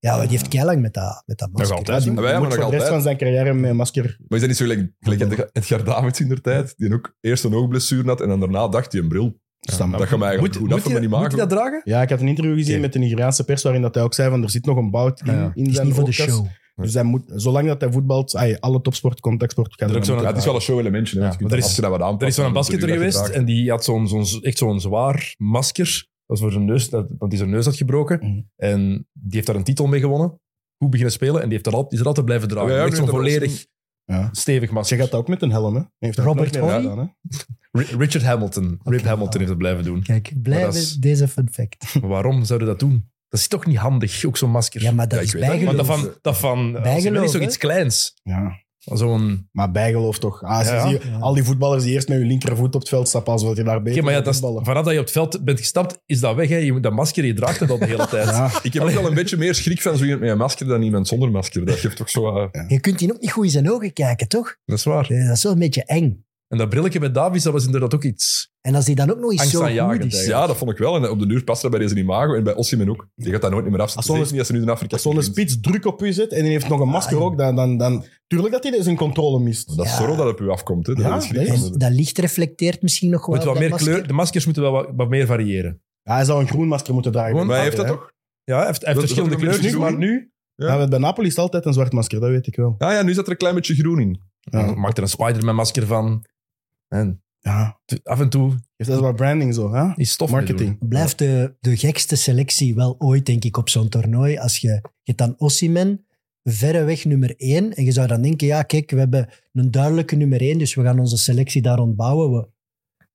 Ja, maar die heeft keilang met dat, met dat masker. Nog altijd. Ja, die Maar wij hebben moet nog voor de rest altijd- van zijn carrière met een masker Maar is dat niet zo gelijk, gelijk Edgar Davids in der tijd? Die ook eerst een oogblessure had en dan daarna dacht hij een bril. staan. Dat gaat mij eigenlijk Moet, goed moet, af van hij, mijn moet hij imago. dat dragen? Ja, ik had een interview gezien Oké. Ah, met de Nigeriaanse pers waarin dat hij ook zei van er zit nog een bout in, Ja, ja. in is zijn niet voor de oogkas. show. Dus hij moet, zolang dat hij voetbalt, ai, alle topsport, contactsport, kan Er is ook zo'n- Ja, het is wel een show-elementje. hè, want je kunt maar er is- dat- als je dat wat Er is aanpast, wel een dan basketter doe je dat geweest graag. en die had zo'n, zo'n, echt zo'n zwaar masker. Dat is voor zijn neus, dat, want die zijn neus had gebroken. Mhm. En die heeft daar een titel mee gewonnen. Goed beginnen spelen en die heeft dat altijd, is dat altijd blijven dragen. Ja, ja, echt nu zo'n dat was volledig Ja. stevig Je masker. gaat dat ook met een helm, hè? Hij heeft dat Robert nooit meer Horry? gedaan, hè? Ri- Richard Hamilton, Rip Oké. Hamilton heeft dat blijven doen. Kijk, blij Maar dat met is- deze fun fact. Maar waarom zouden dat doen? Dat is toch niet handig, ook zo'n masker. Ja, maar dat Ja, ik is weet dat niet, Want bijgeloof. dat van, dat van Bijgeloof, Osimhen is toch hè? iets kleins? Ja. Zo'n... Maar bijgeloof toch. Ah, als je Ja. ziet, Ja. al die voetballers die eerst met hun linkervoet op het veld stappen, als wil je daar beter Oké, maar ja, mee dat is, voetballen. vanaf dat je op het veld bent gestapt, is dat weg. Hè? Je moet dat masker, je draagt het al de hele tijd. Ja. Ik heb ook wel een beetje meer schrik van zo iemand met een masker dan iemand zonder masker. Dat geeft toch zo... eh, wat- Je kunt die ook niet goed in zijn ogen kijken, toch? Dat is waar. Eh, Dat is wel een beetje eng. En dat brilletje bij Davies, dat was inderdaad ook iets. En als die dan ook nog eens zo goed Angstaanjagend, is. eigenlijk. ja, dat vond ik wel. En op de duur past dat bij deze imago en bij Osimhen ook. Je gaat dat nooit meer afzetten. Als zo'n- Zeker niet als ze nu in Afrika Als zo'n komt. spits druk op u zit en die heeft nog een masker Ah, ja. ook, dan, dan, dan... Tuurlijk dat hij zijn controle mist. Dat is Ja. zorro dat op u afkomt. Hè. Dat Ja, is schrik. dat En dat licht reflecteert misschien nog wel. Moet wat dat meer masker. kleur, de maskers moeten wel wat, wat meer variëren. Ja, hij zou een groen masker moeten dragen. Gewoon- Maar hij heeft dat Hè? toch? Ja, hij heeft, hij heeft Dat- verschillende dat is ook een kleurtjes, maar beetje nu... Ja, bij Napoli is het altijd een zwart masker, dat weet ik wel. Ja, ja, nu zit er een klein beetje groen in. Ja. Maak er een Spider-Man-masker van. En Ja. t- af en toe Heeft dat wat branding zo, hè? is stof. Marketing. Blijft de, de gekste selectie wel ooit, denk ik, op zo'n toernooi. Als je, je hebt dan Ossiman, verreweg nummer één. En je zou dan denken, ja, kijk, we hebben een duidelijke nummer één, dus we gaan onze selectie daar ontbouwen. We,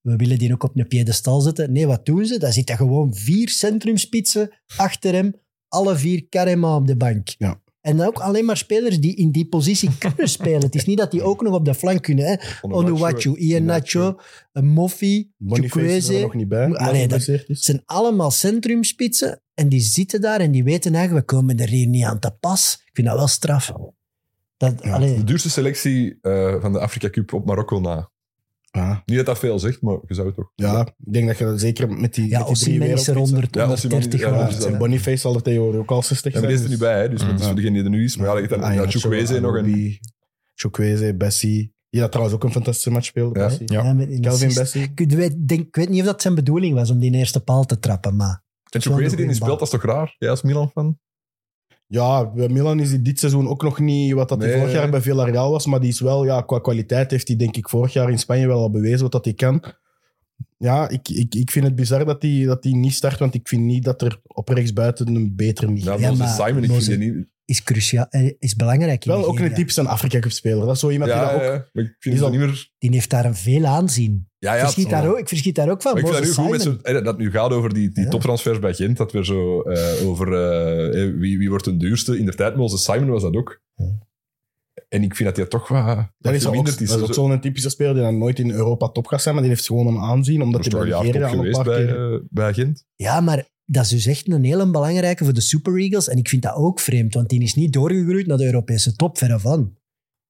we willen die ook op een piedestal zetten. Nee, wat doen ze? Daar zitten gewoon vier centrumspitsen achter hem. Alle vier Karema op de bank. Ja. En dan ook alleen maar spelers die in die positie kunnen spelen. Het is niet dat die ook nog op de flank kunnen. Hè? Onuwachu, Ian Nacho, Moffi, Boniface is er Chukwueze. nog niet bij. Allee, dat dat- geblesseerd het is. zijn allemaal centrumspitsen en die zitten daar en die weten eigenlijk, we komen er hier niet aan te pas. Ik vind dat wel straf. Dat, Ja, allee, De duurste selectie eh, van de Afrika Cup op Marokko na. Ja. Niet dat dat veel zegt, maar je zou het toch. ja, ik denk dat je dat zeker met die, ja, met die drie Osimhen is er wereldspitsen- 100, Ja, Osimhen is- 130 ja, Ja, dus geworden. dat- en Boniface zal er tegenwoordig ook al 60 Ja, maar zijn. die is er nu dus- bij, hè, dus Mm. dat is voor degene die er nu is. Maar ja, dan, Ah, ja, Chukwueze nog een... Anobi, Chukwueze, Bessie. Die dat trouwens ook een fantastische match speelde, Ja. Bessie. Ja, met- in de Calvin assist. Bessie. Ik weet, denk, ik weet niet of dat zijn bedoeling was om die eerste paal te trappen, maar En Chukwueze die goede niet speelt, bal. dat is toch raar? Jij als Milan-fan? Ja, bij Milan is hij dit seizoen ook nog niet wat dat hij Nee. vorig jaar bij Villarreal was. Maar die is wel, ja, qua kwaliteit heeft hij denk ik vorig jaar in Spanje wel al bewezen wat dat hij kan. Ja, ik, ik, ik vind het bizar dat hij dat die niet start, want ik vind niet dat er op rechtsbuiten een beter niet Ja, is. Ja, Moses maar Simon, ik Moses- vind die niet... is cruciaal, eh, is belangrijk. in Wel ook Nigeria. een typische Afrika Cup speler. Dat is zo iemand die Ja, dat ook... ja, maar ik vind is het al- niet meer... Die heeft daar een veel aanzien. Ja, ja, verschiet het- daar ook, ik verschiet daar ook van. Maar ik vind dat nu Moses goed met Simon. zo'n- eh, dat het nu gaat over die, die Ja. toptransfers bij Gent. Dat weer zo eh, over eh, eh, wie, wie wordt de duurste. In de tijd, Moses Simon was dat ook. En ik vind dat hij toch wat, wat Dat is, ook, dat verminderd is ook zo'n typische speler die dan nooit in Europa top gaat zijn, maar die heeft gewoon een aanzien, Dat omdat is hij toch bij een jaar Nigeria top al een geweest paar bij, keer... eh, bij Gent. Ja, maar dat is dus echt een hele belangrijke voor de Super Eagles. En ik vind dat ook vreemd, want die is niet doorgegroeid naar de Europese top, verre van. En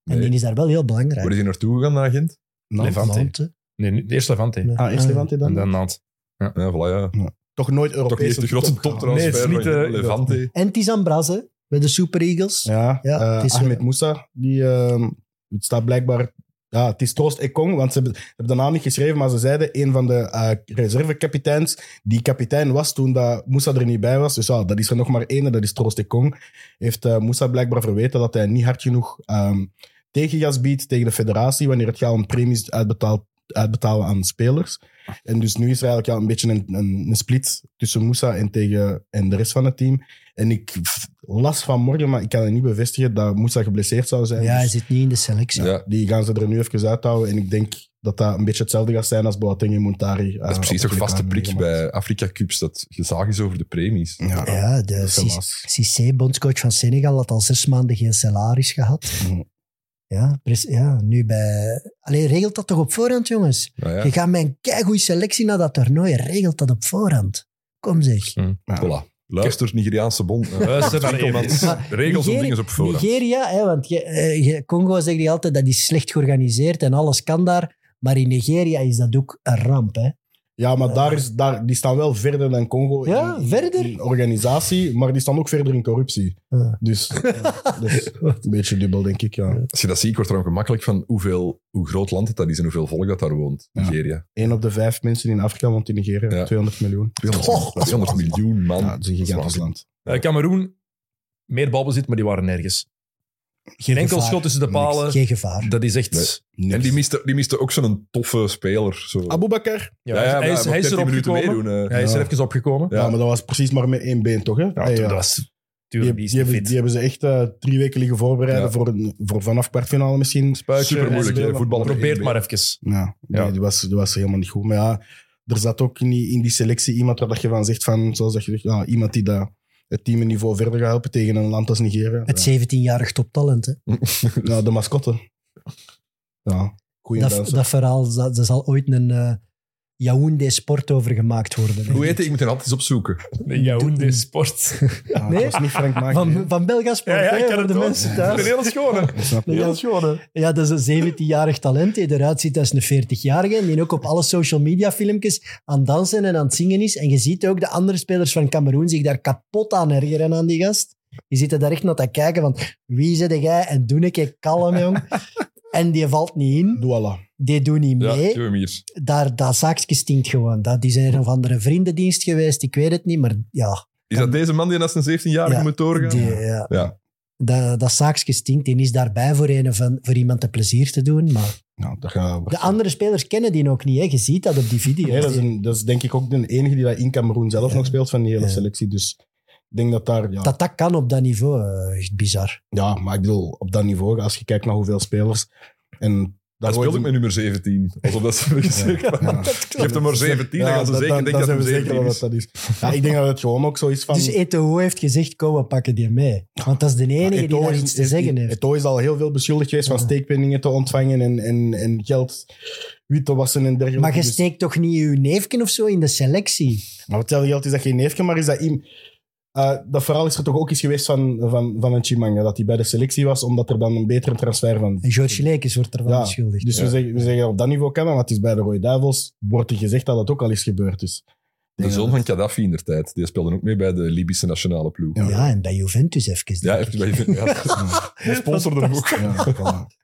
Nee. die is daar wel heel Waar belangrijk. is hij naartoe gegaan naar Gent? Nantes. Levante. Lante. Nee, nu- eerst Levante. Nou, Ah, eerst Levante dan? En dan Nantes. Ja, voilà, ja. Toch nooit Toch Europese niet de grootste top gehaald. Nee, het toptransfer is niet, van Gent, eh, Levante. En Tizan Braze bij de Super Eagles. Ja, Ja, eh, het is, Ahmed eh, Moussa, die eh, het staat blijkbaar... Ja, het is Troost Ekong, want ze hebben, ze hebben de naam niet geschreven, maar ze zeiden een van de eh, reservekapiteins, die kapitein was toen dat Moussa er niet bij was. Dus ja, dat is er nog maar één, en dat is Troost Ekong. Heeft eh Moussa blijkbaar verweten dat hij niet hard genoeg ehm, tegengas biedt tegen de federatie wanneer het gaat om premies uitbetaald, uitbetalen aan spelers. En dus nu is er eigenlijk ja, een beetje een, een, een split tussen Moussa en, tegen, en de rest van het team. En ik las vanmorgen, maar ik kan het niet bevestigen, dat Moussa geblesseerd zou zijn. Ja, hij Dus zit niet in de selectie. Ja. die gaan ze er nu even uithouden. En ik denk dat dat een beetje hetzelfde gaat zijn als Boateng en Montari. eh, Dat is precies toch vaste prik bij Afrika Cups. Dat gezaag is over de premies. Ja, Ja, de dat is Cis- helaas. Cissé, bondscoach van Senegal, had al zes maanden geen salaris gehad. Mhm. Ja, pres- ja nu bij... Allee, regelt dat toch op voorhand, jongens? Nou ja, Je gaat met een keigoede selectie naar dat toernooi. Regelt dat op voorhand. Kom zeg. Ja. voilà. Luister, Nigeriaanse bond. Eh, Luister naar Winkelmans. Maar Regels om Nigeria- dingen op voorhand. Nigeria, hè, want je, eh, je- Congo zegt je altijd dat is slecht georganiseerd en alles kan daar. Maar in Nigeria is dat ook een ramp. Hè? Ja, maar daar is, daar, die staan wel verder dan Congo Ja, in, verder? in organisatie, maar die staan ook verder in corruptie. Ja. Dus ja, dat is een beetje dubbel, denk ik. Ja. Als je dat ziet, ik word er ongemakkelijk van hoeveel, hoe groot land het dat is en hoeveel volk dat daar woont. Ja. Nigeria. Eén op de vijf mensen in Afrika woont in Nigeria, Ja. 200 miljoen. 200, Goh, 200 miljoen man. Ja, het is een gigantisch waanzin. land. Eh, Cameroen, meer balbezit, maar die waren nergens. Geen enkel gevaar. schot tussen de palen. Geen gevaar. Dat is echt... Nee. En die miste, die miste ook zo'n toffe speler. Zo. Abubakar. Ja, hij is, hij is erop gekomen. Meedoen, eh. Hij is er Ah, Ja. even opgekomen. Ja. maar dat was precies maar met één been, toch? Hè? Ja, Hey, toen ja. dat was... Die, Tuurlijk, die is die niet hebben, fit. die hebben ze echt eh, drie weken liggen voorbereiden Ja. voor, een- voor vanaf kwartfinale misschien. Super moeilijk, hè, voetbal. Probeer het maar even. Ja, Ja. Nee, die, was, die was helemaal niet goed. Maar ja, er zat ook niet in die selectie iemand waar dat je van zegt, van, zoals dat je zegt, ja, iemand die dat, het team een niveau verder gaat helpen tegen een land als Nigeria. Ja. Het 17-jarig toptalent. Hè? Ja, de mascotte. Ja, goeie Dat, danser. dat verhaal, dat, er zal ooit een eh Yaoundé Sport over gemaakt worden. hè. Hoe heet hij? Ik moet hem altijd eens opzoeken. De Yaoundé Sport. Ja, Nee? Dat was niet Frank Maak. Van, van Belgasport, Ja, ja, hè, ik ken voor het de ook. mensen Een thuis. hele schone. Een heel Ja, dat is een 17-jarig talent die eruit ziet als een 40-jarige. en Die ook op alle social media filmpjes aan het dansen en aan het zingen is. En je ziet ook de andere spelers van Cameroen zich daar kapot aan ergeren aan die gast. Die zitten daar echt naar te kijken van wie zit jij en doe een keer kalm, jong. En die valt niet in, Douala. die doet niet Ja, mee. doe hem hier. Daar, dat zaakje stinkt gewoon. Dat, die zijn er of andere vriendendienst geweest, ik weet het niet. Maar ja, Is dat deze man die als een 17-jarige Ja, moet doorgaan? die, ja. Ja. dat, dat zaakje stinkt. Die is daarbij voor, een, van, voor iemand een plezier te doen. Maar Nou, dat gaat de andere spelers kennen die ook niet. Hè. Je ziet dat op die video's. Nee, dat is, Die- een- dat is denk ik ook de enige die dat in Cameroen zelf nog speelt van die hele Ja. selectie. Dus ik denk dat daar... Ja, dat dat kan op dat niveau, eh, echt bizar. ja, maar ik bedoel, op dat niveau, als je kijkt naar hoeveel spelers... En Dat speelde ik met nummer 17. Alsof dat ze hebben gezegd. Ja. Je hebt er maar 17, dan gaan ze dat- zeker dat- denken dat zijn het we hem zeker 17 wel is. dat dat is. Ja, ik denk dat het gewoon ook zo is van... Dus Eto'o heeft gezegd, kom, we pakken die mee. Want dat is de enige die daar iets te zeggen heeft. Eto'o is al heel veel beschuldigd geweest van Ja. steekpenningen te ontvangen en, en, en geld wit te wassen en dergelijke. Maar je Dus- steekt toch niet je neefje of zo in de selectie? Maar wat hetzelfde geld is dat geen neefje, maar is dat im- Eh, dat verhaal is er toch ook eens geweest van, van, van een Chimanga, dat hij bij de selectie was, omdat er dan een betere transfer van... En George Lekes wordt ervan Ja, beschuldigd. Dus we, zeggen, we zeggen op dat niveau kan dat, want het is bij de Rode Duivels wordt er gezegd dat dat ook al is gebeurd. Dus, De zoon van Gaddafi in der tijd. Die speelde ook mee bij de Libische nationale ploeg. Ja. Ja, Ja, en bij Juventus even. denk ik. heeft hij bij ja. Hij sponsorde hem ook. Ja, voilà.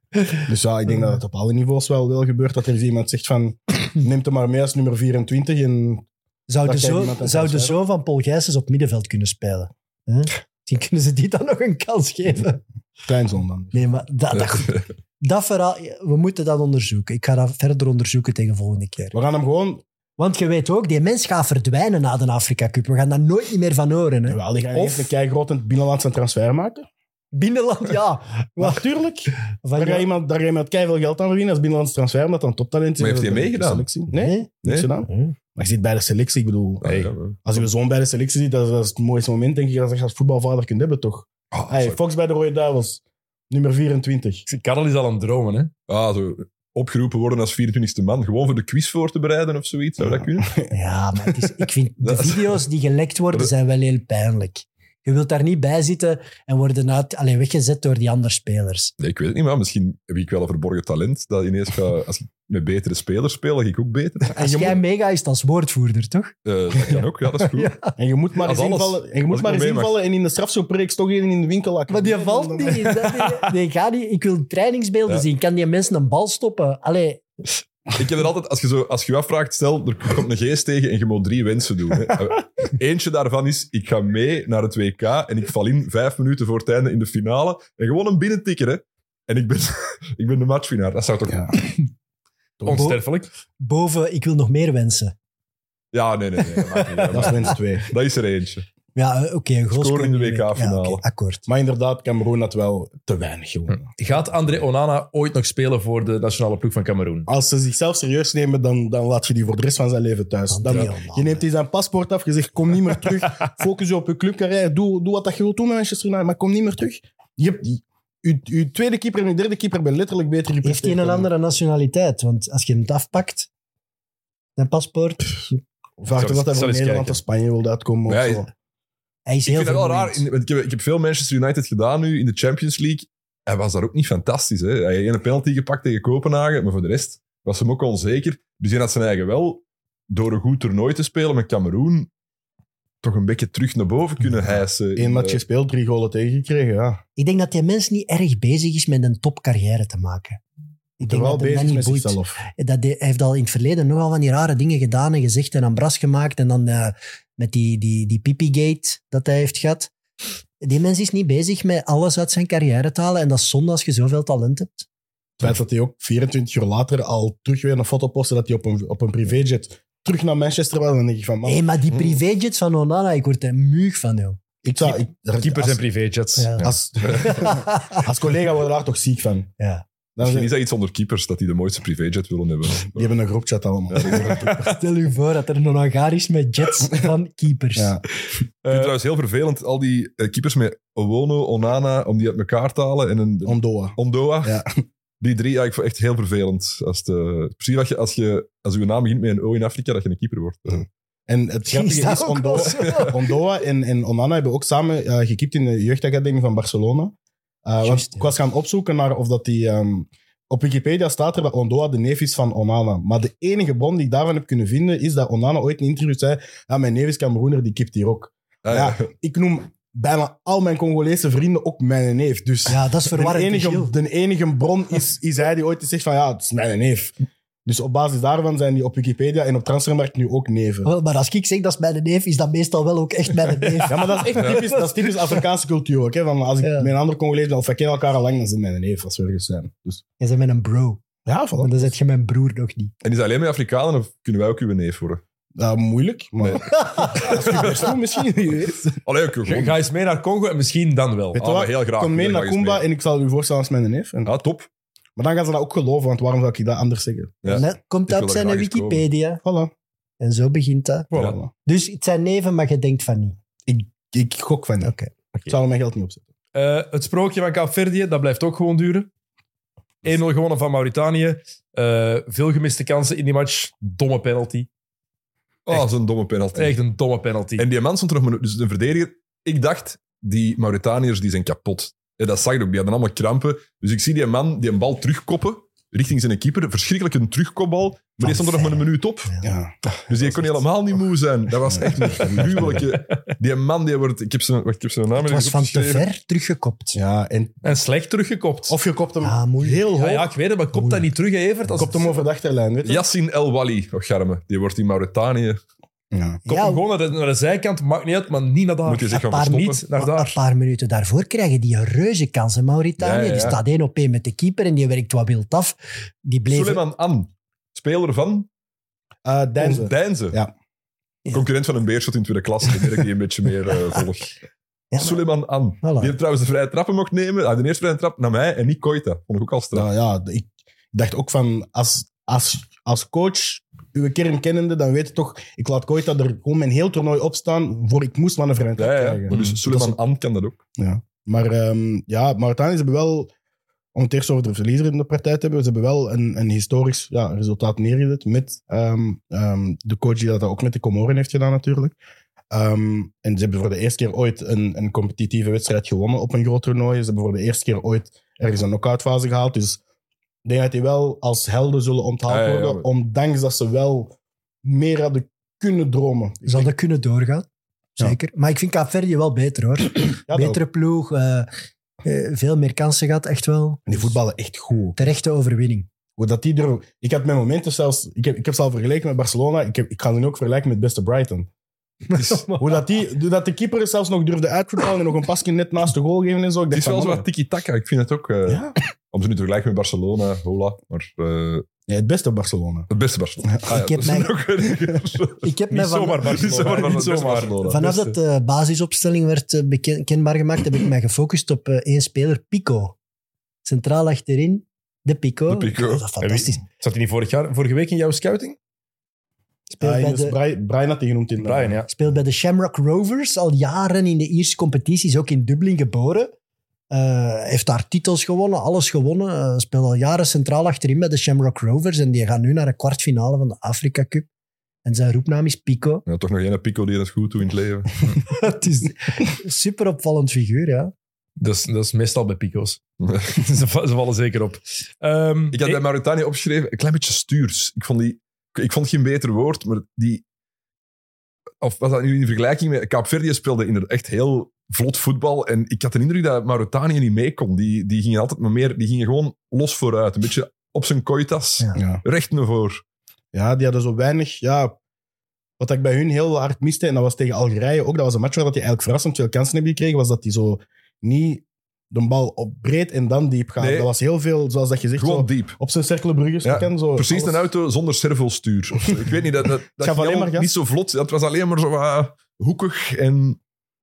Dus ja, ik denk dat het op alle niveaus wel, wel gebeurt, dat er eens iemand zegt van, neem hem maar mee als nummer 24 en Zouden Dat jij zo, niemand aan zou de kan zo van Paul Gijsens op middenveld kunnen spelen? Hè? Misschien kunnen ze die dan nog een kans geven. kleinzoon dan. Nee, maar dat, dat, dat verhaal, we moeten dat onderzoeken. Ik ga dat verder onderzoeken tegen volgende keer. We gaan hem gewoon... Want je weet ook, die mens gaat verdwijnen na de Afrika Cup. We gaan daar nooit niet meer van horen. Hè? Wel, die gaan Of- of... een keigroot binnenlandse transfer maken. Binnenland, ja. Natuurlijk. Van Daar gaat jou- iemand, daar gaat iemand keiveel geld aan verdienen als binnenlands transfer, omdat dat een toptalent is. Maar heeft hij Dat is meegedaan? de selectie. Nee, niks gedaan. Hm. Maar je zit bij de selectie, ik bedoel... Ah, hey, als je zoon bij de selectie ziet, dat is, dat is het mooiste moment, denk ik, dat je als voetbalvader kunt hebben, toch? Ah, Hey, sorry. Fox bij de Rode Duivels, nummer 24. Karel is al aan het dromen, hè? Ah, zo opgeroepen worden als 24e man. Gewoon voor de quiz voor te bereiden of zoiets. Zou dat kunnen? Ja, maar het is, ik vind de Dat is- video's die gelekt worden zijn wel heel pijnlijk. Je wilt daar niet bij zitten en worden uit, alleen weggezet door die andere spelers. Nee, ik weet het niet, maar misschien heb ik wel een verborgen talent. Dat ineens ga, als ik met betere spelers speel, dan ga ik ook beter. Als jij meegaat, is het als woordvoerder, toch? Eh, dat kan ook, ja, dat is goed. Ja. En je moet maar Als eens alles. invallen en, je Als moet ik maar nog eens mee mag. invallen en in de strafschoppreeks toch één in de winkel lakken. Maar die valt niet. Is dat niet- Nee, ga niet. Ik wil trainingsbeelden Ja. zien. Kan die mensen een bal stoppen? Allee, Ik heb er altijd, als je, zo, als je je afvraagt, stel, er komt een geest tegen en je moet drie wensen doen. Hè. Eentje daarvan is, ik ga mee naar het WK en ik val in vijf minuten voor het einde in de finale en gewoon een binnentikker, hè. En ik ben, ik ben de matchwinnaar. Dat zou toch... Ja, Ja. Onsterfelijk. boven, ik wil nog meer wensen. nee, nee, nee. Dat, maakt niet uit. Dat is wens 2. dat is er eentje. Ja, eh, oké. een goal Scoren in de scoren WK-finale. Ja, oké, akkoord. Maar inderdaad, Cameroen had wel te weinig gewonnen. Gaat André Onana ooit nog spelen voor de nationale ploeg van Cameroen? Als ze zichzelf serieus nemen, dan, dan laat je die voor de rest van zijn leven thuis. Dan, André Onana. je neemt die zijn paspoort af, je zegt kom niet meer terug. Focus je op je clubcarrière, doe, doe wat dat je wilt doen met Manchester United, maar kom niet meer terug. Je hebt die, uw, uw tweede keeper en uw derde keeper ben letterlijk beter Heeft hij gepresteerd een dan- andere nationaliteit? Want als je hem afpakt, zijn paspoort, Vraag Zal toch eens- dat hij zal voor eens Nederland kijken. of Spanje wilde uitkomen Ja, eh, of hij- zo. hij is Ik heel vind dat wel vermoeiend. raar. in- want ik, heb, ik heb veel Manchester United gedaan nu in de Champions League. Hij was daar ook niet fantastisch. Hè? Hij heeft een penalty gepakt tegen Kopenhagen, maar voor de rest was hem ook onzeker. Dus hij had zijn eigen wel, door een goed toernooi te spelen met Cameroen, toch een beetje terug naar boven kunnen hijsen. Eén eh, match matchje. gespeeld, drie golen tegengekregen, ja. Ik denk dat die mens niet erg bezig is met een topcarrière te maken. Ik denk Terwijl dat hem dat bezig met niet boeit. zichzelf. Dat die- hij heeft al in het verleden nogal van die rare dingen gedaan en gezegd en aan bras gemaakt. En dan eh, met die, die, die Pipi-gate dat hij heeft gehad. Die mens is niet bezig met alles uit zijn carrière te halen. En dat is zonde als je zoveel talent hebt. Het feit dat hij ook 24 uur later al terug weer een foto postte dat hij op een, op een privéjet terug naar Manchester was. Dan denk ik van, man, Hé, maar Hmm. die privéjets van Onana, ik word er muug van, joh. ik zou... Ik, Keepers en als, privéjets. Ja. als, als collega word ik daar toch ziek van. Ja. Dan zijn- Misschien is dat iets onder keepers, dat die de mooiste privéjet willen hebben. Eh, die hebben een groepchat allemaal. Stel u voor dat er een Hongaar is met jets van keepers. Ja. Ik vind het trouwens heel vervelend, al die eh, keepers met Owono, Onana, om die uit elkaar te halen. En een Ondoa. Ondoa. Ja. Die drie, ja, ik vond echt heel vervelend. Als het, eh, precies wat je, als je als uw naam begint met een O in Afrika, dat je een keeper wordt. Eh, En het Is grappige dat is, ook Ondoa, wel zo? Ondoa en, en Onana hebben ook samen eh gekiept in de jeugdacademie van Barcelona. Eh, want Juist, ik ja. was gaan opzoeken naar of dat die... ehm, op Wikipedia staat er dat Ondoa de neef is van Onana. Maar de enige bron die ik daarvan heb kunnen vinden, is dat Onana ooit in een interview zei ja, mijn neef is Cameroener, die kipt hier ook. ah, Ja, ik noem bijna al mijn Congolese vrienden ook mijn neef. Dus Ja, dat is de, verwarrend. enige, Michiel. de enige bron is, is hij die ooit zegt van ja, het is mijn neef. Dus op basis daarvan zijn die op Wikipedia en op Transfermarkt nu ook neven. Wel, maar als ik zeg dat is mijn neef, is dat meestal wel ook echt mijn neef. Ja, maar dat is echt typisch, dat is typisch Afrikaanse cultuur. Ook, hè? Van als ik Ja. met een ander Congolees ben, of wij kennen elkaar al lang, dan zijn mijn neef als we ergens zijn. Dus, Je bent mijn bro. ja, voilà. Want dan zet je mijn broer nog niet. En is dat alleen met Afrikanen of kunnen wij ook uw neef worden? Ja, moeilijk, maar als je het best doet, misschien. wie weet. Allee, ook Ga, gewoon. ga eens mee naar Congo en misschien dan wel. Weet je Ah, wat? maar heel graag. Kom mee heel naar graag eens Kumba mee. en ik zal u voorstellen als mijn neef. En, Ja, Ah, top. Maar dan gaan ze dat ook geloven, want waarom zou ik dat anders zeggen? Ja. Net Komt wil uit er zijn graag eens Wikipedia. Voilà. En zo begint dat. Voilà. Voilà. Dus het zijn neven, maar je denkt van niet. Ik gok van dat. Oké. Ik zou er mijn geld niet op zetten. Eh, het sprookje van Kaapverdië, dat blijft ook gewoon duren. 1-0 gewonnen van Mauritanië. Eh, veel gemiste kansen in die match. Domme penalty. Oh, zo'n domme penalty. Echt een domme penalty. En die man stond er nog maar... Dus de verdediger... Ik dacht, die Mauritaniërs die zijn kapot. En dat zag ik ook. Die hadden allemaal krampen. Dus ik zie die man die een bal terugkoppen richting zijn keeper. Verschrikkelijk een terugkopbal. Maar die stond er nog maar een minuut op. Ja. Dus die kon helemaal niet moe zijn. Dat was echt een gruwelijke... Die man die wordt... Ik heb zijn, wacht, ik heb zijn naam Het ergens was van te opgeschreven. ver teruggekopt. ja, en En slecht teruggekopt. of je kopt hem Ah, moeilijk. heel hoog, ja, ja, ik weet het, maar komt dat niet terug, hè, Evert? Als kopt hem over de achterlijn, weet je? Yassin El Wali, of Garme. Die wordt in Mauritanië... Ja. Kop Ja, hem gewoon naar de, naar de zijkant, maakt niet uit, maar niet naar daar. Moet je zich een gaan paar, verstoppen. niet naar maar daar. een paar minuten daarvoor krijgen die een reuze kans. hè, Mauritanië Ja, ja, ja. die staat één op één met de keeper en die werkt wat wild af. Die bleef... Suleiman An. Speler van Eh, Deinze. Deinze. Ja. Concurrent van een beerschot in tweede klasse, dat merk die een beetje meer eh volg. maar- Suleiman An. Voilà. Die heeft trouwens de vrije trappen mocht nemen. Ah, de eerste vrije trap naar mij en niet Koita. Vond ik ook al straf. Nou ja, ik dacht ook van als, als, als coach, uw kern kennende, dan weet je toch, ik laat Koita er gewoon mijn heel toernooi opstaan voor ik moest maar een vrije trap Ja, ja. krijgen. Maar dus Suleiman An kan dat ook. Maar ehm, ja, Mauritaniërs hebben wel, om het eerst over de verliezer in de partij te hebben, ze hebben wel een, een historisch ja, resultaat neergezet met ehm, ehm, de coach die dat ook met de Comoren heeft gedaan natuurlijk. Ehm, en ze hebben voor de eerste keer ooit een, een competitieve wedstrijd gewonnen op een groot toernooi. Ze hebben voor de eerste keer ooit ergens een knock-outfase gehaald. Dus ik denk dat die wel als helden zullen onthaald Ja, ja, ja, worden, maar- ondanks dat ze wel meer hadden kunnen dromen. Ik Zal denk- dat kunnen doorgaan? Ja. Zeker. Maar ik vind Kaapverdië wel beter, hoor. ja, dat ook. Betere ploeg. eh, eh, veel meer kansen gehad, echt wel. En die voetballen echt goed. Terechte overwinning. Hoe dat die er, ik had mijn momenten zelfs... Ik heb, ik heb ze al vergeleken met Barcelona. Ik, heb, ik ga ze nu ook vergelijken met beste Brighton. Dus Het is- Hoe dat, die, dat de keeper zelfs nog durfde uitvoetballen en nog een pasje net naast de goal geven en zo. Ik het dacht is wel zo van, wat tiki-taka. Ik vind het ook... eh, Ja. Om ze nu te vergelijken met Barcelona, hola. Maar eh, Nee, het beste Barcelona. het beste Barcelona. Ah, Ik heb dat is mijn- ook weer- Ik heb Niet mij van- zomaar Niet zomaar, Barcelona. Niet maar het beste zomaar. Barcelona. Vanaf dat de basisopstelling werd eh, beken- kenbaar gemaakt, heb ik mij gefocust op eh, één speler, Pico. Centraal achterin, de Pico. De Pico. Dat is fantastisch. Zat hij niet vorig jaar, vorige week in jouw scouting? Speelt, Ja, bij hij is de, Brian, Brian had die genoemd in... Brian, ja. speelt bij de Shamrock Rovers, al jaren in de Ierse competities, ook in Dublin geboren. Eh, heeft daar titels gewonnen, alles gewonnen. Eh, speelt al jaren centraal achterin bij de Shamrock Rovers. En die gaan nu naar de kwartfinale van de Afrika Cup. En zijn roepnaam is Pico. Ja, toch nog één Pico die dat goed doet in het leven. Het is een super opvallend figuur, ja. Dat is, dat is meestal bij Pico's. ze, va- ze vallen zeker op. Ehm, Ik had bij eh, Mauritanië opgeschreven, een klein beetje stuurs. Ik vond, die, ik vond geen beter woord, maar die... Of was dat nu in vergelijking met... Kaapverdië speelde inderdaad echt heel vlot voetbal. En ik had de indruk dat Mauritanië niet mee kon. Die, die gingen altijd maar meer... Die gingen gewoon los vooruit. Een beetje op zijn koitas. Ja. Ja. Recht naar voor. ja, die hadden zo weinig... Ja, wat ik bij hun heel hard miste, en dat was tegen Algerije ook, dat was een match waar dat die eigenlijk verrassend veel kansen hebben gekregen, was dat die zo niet de bal op breed en dan diep gaan. Nee. Dat was heel veel, zoals dat je zegt, Gewoon zo diep. op zijn cirkelenbruggen Ja, stukken. zo Precies alles. een auto zonder servostuur. Of zo. Ik weet niet, dat, dat, dat gaf alleen helemaal maar gas. niet zo vlot. Dat was alleen maar zo wat hoekig en...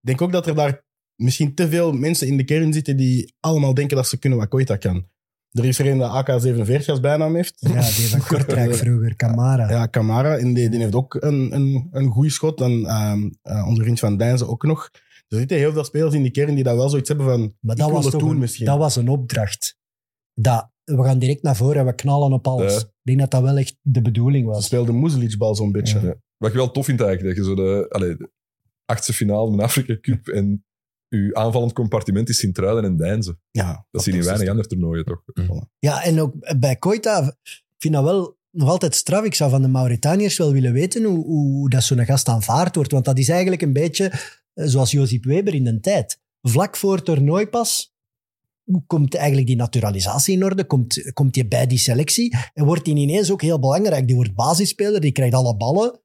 Ik denk ook dat er daar misschien te veel mensen in de kern zitten die allemaal denken dat ze kunnen wat Koita kan. Er is er een dat AK-47 als bijnaam heeft. Ja, die van Kortrijk vroeger, Kamara. Ja, Kamara. En die, die heeft ook een, een, een goeie schot. En ehm, eh, onze vriend van Deinze ook nog. Er zitten heel veel spelers in die kern die daar wel zoiets hebben van... Maar ik dat wil was, het toch doen een, misschien. dat was een opdracht. Dat, we gaan direct naar voren en we knallen op alles. Ja. Ik denk dat dat wel echt de bedoeling Ze was. speelde Muzelic-bal zo'n beetje. Ja. Wat ik wel tof vind eigenlijk, dat je zo de, allee, de achtste finale van de Afrika Cup en uw aanvallend compartiment is Sint-Truiden en Deinzen. Ja, Dat zien in weinig andere toernooien toch. Ja, en ook bij Koita, ik vind dat wel nog altijd straf. Ik zou van de Mauritaniërs wel willen weten hoe, hoe dat zo'n gast aanvaard wordt. Want dat is eigenlijk een beetje eh, zoals Josip Weber in de tijd. Vlak voor het toernooi pas hoe komt eigenlijk die naturalisatie in orde? Komt, komt die bij die selectie? En wordt die ineens ook heel belangrijk? Die wordt basisspeler, die krijgt alle ballen.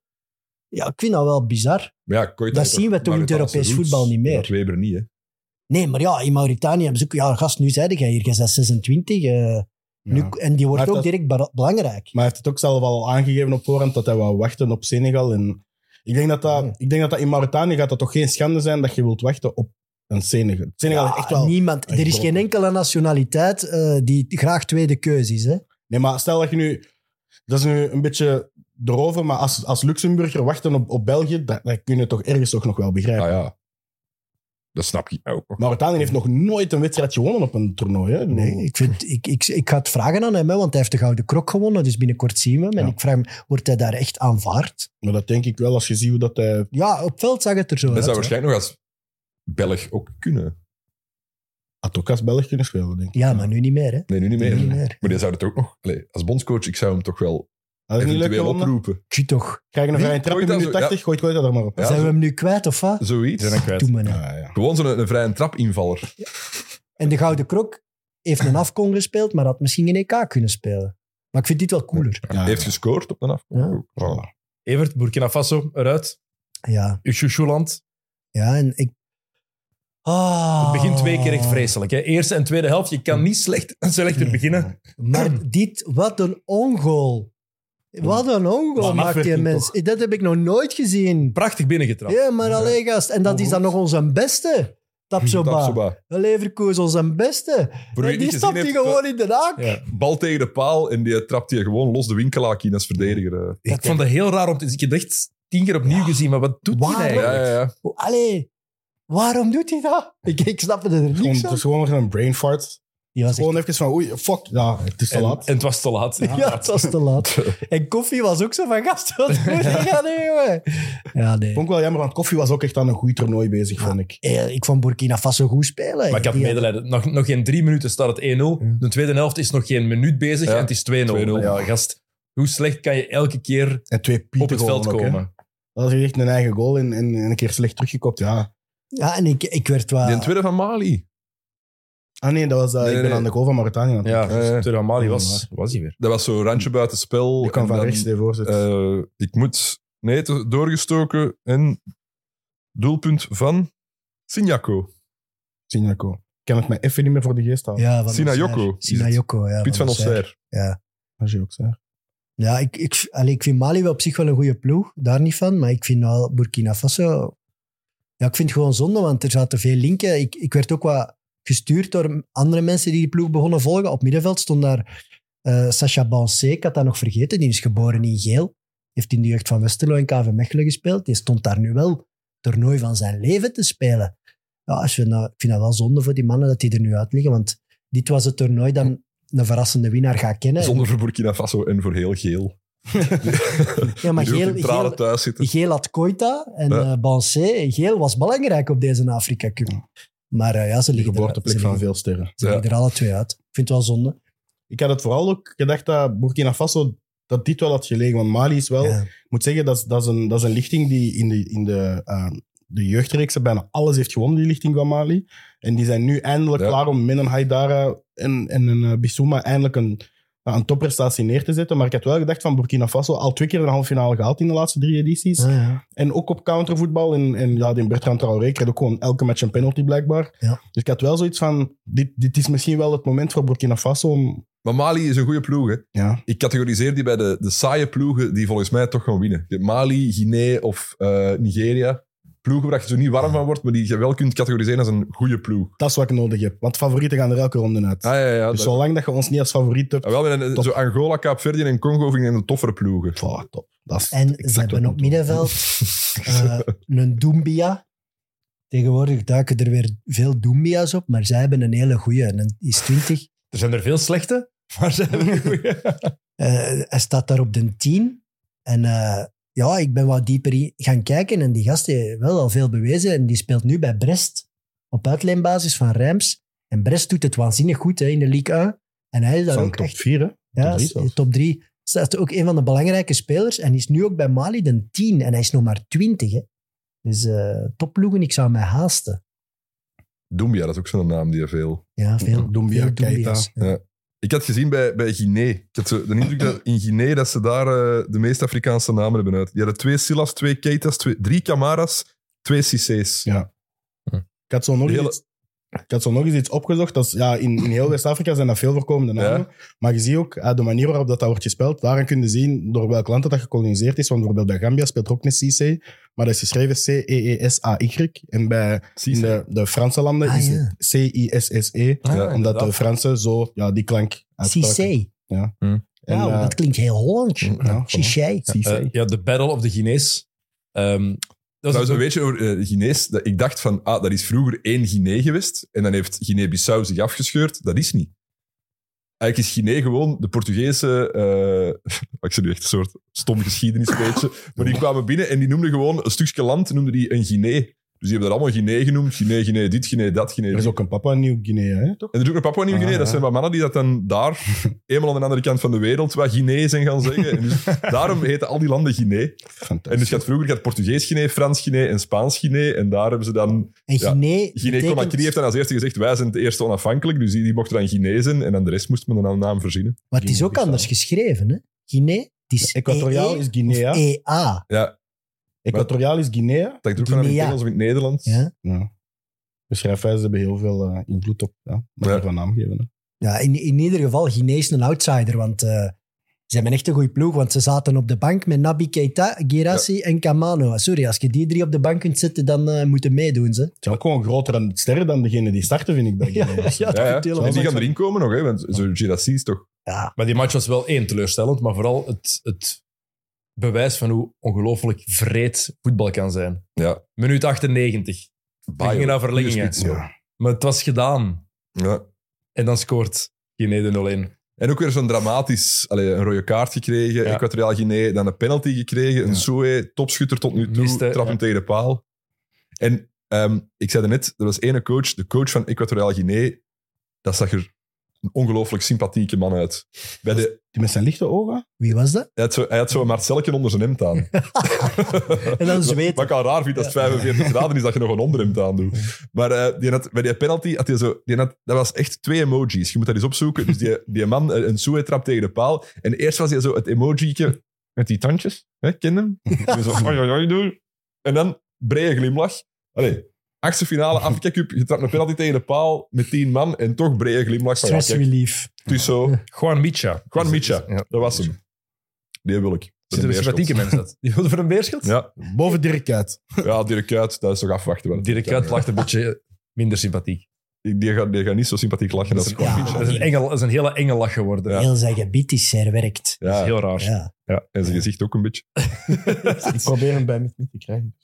Ja, ik vind dat wel bizar. Maar ja, Koita Dat heeft zien we toch in het Marokkaanse Europees roots. voetbal niet meer. Dat Weber niet, hè. Nee, maar ja, in Mauritanië hebben ze ook... Ja, gast, nu zeiden jij hier, jij bent 26. eh, nu, en die wordt Maar ook dat- direct bera- belangrijk. Maar hij heeft het ook zelf al aangegeven op voorhand dat hij wou wachten op Senegal. En ik, denk dat dat, Hmm. ik denk dat dat in Mauritanië gaat dat toch geen schande zijn dat je wilt wachten op een Senegal. Senegal Ja, is echt wel... niemand, een er is grote- geen enkele nationaliteit eh, die graag tweede keuze is. Hè? Nee, maar stel dat je nu... Dat is nu een beetje erover, maar als, als Luxemburger wachten op, op België, dat, dat kun je toch ergens toch nog wel begrijpen. Ah ja. Dat snap je ook. nog. Mauritanië heeft nog nooit een wedstrijd gewonnen op een toernooi. Hè? Nee, ik, vind, ik, ik, ik ga het vragen aan hem, hè, want hij heeft de Gouden Krok gewonnen, dus binnenkort zien we hem. En Ja. ik vraag me, wordt hij daar echt aanvaard? Maar dat denk ik wel, als je ziet hoe dat eh, hij... Ja, op veld zag het er zo Dat uit. zou hè. waarschijnlijk nog als Belg ook kunnen. Had ook als Belg kunnen spelen, denk ik. Ja, maar nu niet meer. Hè? Nee, nu niet meer. Nu niet meer. Maar die zou het ook nog... Allee, als bondscoach, ik zou hem toch wel Als het niet lukt, eventueel gewonnen, oproepen. Tjie toch. krijg je een Wie? vrije trap in Koita minuut zo- ja. 80, gooit Koita er maar op. Ja, zijn zo- we hem nu kwijt of wat? Zoiets. Zijn hem kwijt. Doe maar nou. Ja, ja. Gewoon zo'n een vrije trap invaller. En de Gouden Krok heeft een afkon gespeeld, maar had misschien een EK kunnen spelen. Maar ik vind dit wel cooler. Ja, Heeft Ah, ja. gescoord op Oh, de afkomst. Ja. Voilà. Evert, Burkina Faso, eruit. Ja, Ushushuland. ja en ik... Ah. Het begint twee keer echt vreselijk. Hè? Eerste en tweede helft, je kan niet slecht, slechter Nee. beginnen. Hmm. Maar dit, wat een ongoal. Wat een ongoal Maar maakt die afwerking mens. Dat heb ik nog nooit gezien. Prachtig binnengetrapt. Ja, maar alleen gast. En dat is dan nog onze beste. Hmm, Tapsoba. Tapsoba. Leverkusen, onze beste. Voor wie En het die niet stapt gezien hij heeft, eh, gewoon in de haak. eh? Ja. Bal tegen de paal en die trapt hij gewoon los de winkelaak in als verdediger. eh. Ik vond dat heel raar om te zien. Ik heb het echt tien keer opnieuw gezien, maar wat doet hij Waarom? Ja, eigenlijk? ja, ja. O, Allee, waarom doet hij dat? Ik, ik snap het Het er is niet gewoon- dus Het van. is gewoon weer een brain fart. Die was echt- Gewoon even van, oei, fuck, ja, het is te En, laat. en het was te laat. ja, het was te laat. En Koffie was ook zo van gast. Wat moet ik gaan doen, jongen? Ja, nee. vond ik wel jammer, want Koffie was ook echt aan een goed toernooi bezig, vond ik. Eh, Ik vond Burkina Faso goed spelen. Maar ik had Die- medelijden. Nog, nog geen drie minuten staat het 1-0. De tweede helft is nog geen minuut bezig Ja. en het is 2-0. 2-0. Maar Ja, gast, hoe slecht kan je elke keer En twee pieten op het veld gewoon ook, hè. komen? Dat was echt een eigen goal en, en, en een keer slecht teruggekopt, ja. Ja, en ik, ik werd wel... Die tweede van Mali. Ah nee, dat was, eh, Nee, ik ben nee. aan de goal van Mauritanië. aan het Ja, denken. Eh. Terwijl Mali was, was hij weer. Dat was zo'n randje buiten spel. Je kan En van dan, rechts de voorzet. eh, ik moet... Nee, het is doorgestoken. En doelpunt van Sinjako. Sinako. Ik kan het mij even niet meer voor de geest halen. Ja, van Sinayoko Auxerre. is het. Sinayoko, ja. Piet van Auxerre. Osser. Als je ook zei. Ja, ik, ik, allee, ik vind Mali wel op zich wel een goede ploeg, daar niet van. Maar ik vind wel Burkina Faso... Ja, ik vind het gewoon zonde, want er zaten veel linken. Ik, ik werd ook wat gestuurd door andere mensen die die ploeg begonnen volgen. Op middenveld stond daar eh Sacha Bancé, ik had dat nog vergeten. Die is geboren in Geel. Heeft in de jeugd van Westerlo en KV Mechelen gespeeld. Die stond daar nu wel het toernooi van zijn leven te spelen. Ja, als je nou, ik vind dat wel zonde voor die mannen dat die er nu uit liggen. Want dit was het toernooi dat een verrassende winnaar gaat kennen. Zonder voor Burkina Faso en voor heel geel. ja, maar Die ook Geel, in tranen Geel, thuis zitten. Geel had Koita en Ja. eh Bancé. Geel was belangrijk op deze Afrika Cup. Maar eh, ja, ze De liggen, er, ze geboorteplek van liggen- veel sterren. ze liggen er alle twee uit. Ik vind het wel zonde. Ik had het vooral ook gedacht dat Burkina Faso dat dit wel had gelegen, want Mali is wel... Ja. Ik moet zeggen, dat is, dat is, een, dat is een lichting die in de, in de, eh, de jeugdreeksen bijna alles heeft gewonnen, die lichting van Mali. En die zijn nu eindelijk Ja. klaar om met een Haidara en, en een eh, Bissouma eindelijk een, ja, een topprestatie neer te zetten. Maar ik had wel gedacht van Burkina Faso, al twee keer een halve finale gehaald in de laatste drie edities. Ah, ja. En ook op countervoetbal. En, en ja, die Bertrand Traoré kreeg ook gewoon elke match een penalty blijkbaar. Ja. Dus ik had wel zoiets van, dit, dit is misschien wel het moment voor Burkina Faso om... Maar Mali is een goede ploeg, hè. Ja, Ik categoriseer die bij de, de saaie ploegen die volgens mij toch gaan winnen. Je hebt Mali, Guinea of eh, Nigeria. Ploegen waar je zo niet warm van wordt, maar die je wel kunt categoriseren als een goede ploeg. dat is wat ik nodig heb. Want favorieten gaan er elke ronde uit. Ah, ja, ja, dus dat- zolang dat je ons niet als favoriet hebt... Ah, wel, met een- Top. zo Angola, Kaapverdië en Congo vind ik een toffere ploegen. Pff, top. Dat is En exact ze hebben wat op ik bedoel. middenveld eh, een Dumbia. Tegenwoordig duiken er weer veel Dumbia's op, maar zij hebben een hele goeie. En die is 20. Er zijn er veel slechte, maar ze hebben een goeie. Eh, hij staat daar op de 10. En eh, ja, ik ben wat dieper in- gaan kijken. En die gast heeft wel al veel bewezen. En die speelt nu bij Brest op uitleenbasis van Reims. En Brest doet het waanzinnig goed hè, in de Ligue 1. En hij is daar Van ook top echt vier, hè? top ja, eh, drie zelfs. top 3. Staat ook een van de belangrijke spelers. En is nu ook bij Mali de 10. En hij is nog maar 20. Hè. Dus eh topploegen, ik zou mij haasten. Doumbia, dat is ook zo'n naam die er veel... Ja, veel. Doumbia, veel Keita. Doumbia's. Ja. Ja. Ik had gezien bij, bij Guinea. Ik had zo de indruk dat in Guinea dat ze daar eh, de meeste Afrikaanse namen hebben uit. Die hadden twee Silas, twee Keitas, twee, drie Kamaras, twee Cissés. Ja. Ik had zo nog, De eens hele- iets, ik had zo nog eens iets opgezocht. Dat is, ja, in, in heel West-Afrika zijn dat veel voorkomende Ja. namen. Maar je ziet ook eh, de manier waarop dat, dat wordt gespeeld. Daarin kun je zien door welk land dat, dat gekoloniseerd is. Want bijvoorbeeld bij Gambia speelt er ook een CC. Maar dat is geschreven E C-E-E-S-A-Y. En bij in Cissé. de, de Franse landen Ah, is ja. het C-I-S-S-E. Ah, E, Ja, Omdat de inderdaad. Fransen zo ja, die klank uitspraken. Cissé. Ja. Hm. eh, En, Wauw, eh, Mm, dat klinkt heel Hollands. ja, voilà. Cissé. Cissé. Eh, ja, de Battle of the Guinees. Ehm, dat is Trouwens, een een beetje... beetje over eh, Guinees. Dat Ik dacht van, ah, dat is vroeger één Guinea geweest. En dan heeft Guinea-Bissau zich afgescheurd. Dat is niet. Eigenlijk is Guinea gewoon de Portugese... eh, ik zeg nu echt een soort stom geschiedenisbeetje. maar die kwamen binnen en die noemden gewoon een stukje land noemden die een Guinea. Dus die hebben dat allemaal Guinea genoemd. Guinea, Guinea dit, Guinea dat, Guinea Er is ook een Papua Nieuw-Guinea, hè, toch? En er is ook een Papua Nieuw-Guinea. Ah, dat ja. zijn wat mannen die dat dan daar, eenmaal aan de andere kant van de wereld, wat Guinea zijn gaan zeggen. En dus daarom heten al die landen Guinea. En dus Fantastisch. je had vroeger je had Portugees Guinea, Frans Guinea en Spaans Guinea. En daar hebben ze dan... En Ja. Guinea Guinea-Conakry betekent- heeft dan als eerste gezegd, wij zijn het eerste onafhankelijk. Dus die, die mochten dan Guinea zijn. En dan de rest moest men dan een naam verzinnen. Maar het is ook Guinea-Bissau. anders geschreven, hè? Guinea, het dus- is Equatoriaal EE is Guinea. of E EA. Ja, Equatoriaal is Guinea. dat ik er ook van heb in het Guinea. Engels of in het Nederlands. Ja. Ja. Dus schrijfwijzen hebben heel veel eh, invloed op ja, wat Ja. we van naam geven. Hè. Ja, in, in ieder geval, Guinea is een outsider, want eh, ze hebben echt een goede ploeg, want ze zaten op de bank met Nabi Keita, Girassi en Kamano. Sorry, als je die drie op de bank kunt zetten, dan eh, moeten meedoen ze. Het zijn ook gewoon groter en sterren dan degene die starten, vind ik. Bij Ja, Guinea. ja, Ja, ja. natuurlijk. En die gaan erin komen nog, hè, want zo'n Girassi is toch... Ja, Maar die match was wel één teleurstellend, maar vooral het, het bewijs van hoe ongelooflijk vreed voetbal kan zijn. Ja. Minuut 98. We gingen naar verlengingen. Spits, ja. Maar het was gedaan. Ja. En dan scoort Guinea de 0-1. En ook weer zo'n dramatisch, allee, een rode kaart gekregen, Ja. Equatoriaal Guinea, dan een penalty gekregen, een Ja. Soe, topschutter tot nu toe, Miste, trap hem ja. tegen de paal. En ehm, ik zei net, er was ene coach, de coach van Equatoriaal Guinea, dat zag er een ongelooflijk sympathieke man uit. Bij de, Die met zijn lichte ogen. wie was dat? hij had zo- hij had zo'n Marcelke onder zijn hemd aan. En dan zweet. Wat ik al raar vind, als het 45 graden is, dat je nog een onderhemd aan doet. Maar eh, die had, bij die penalty had hij zo... Die had, dat was echt twee emojis. Je moet dat eens opzoeken. Dus die, die man, eh, een soe trap tegen de paal. En eerst was hij zo het emojietje met die tandjes. Hè, ken hem? En zo, oi, oi, oi, doei. En dan brede glimlach. Allee, achtste finale, Afrika Cup. Je trapt een penalty tegen de paal met tien man. En toch brede glimlach. Van, ja, Stress kijk, relief. het is zo. Juan Micha. Juan Micha. Ja. Dat was hem. Die wil ik. Zit er een sympathieke mens uit? Die wilde voor een beerschot? Ja, Boven Dirk uit. ja, Dirk Kuyt, dat is toch afwachten. wat het Dirk kan, Kuyt hè. lacht een beetje minder sympathiek. Die, die, gaat, die gaat niet zo sympathiek lachen Dat als is, Kwame Ja. Pietje. dat is een, engel, dat is een hele engellach geworden. Ja. Heel zijn gebied is herwerkt. Dat is Ja, heel raar. Ja. en zijn gezicht ook een beetje. Ik probeer hem bij mij niet te krijgen.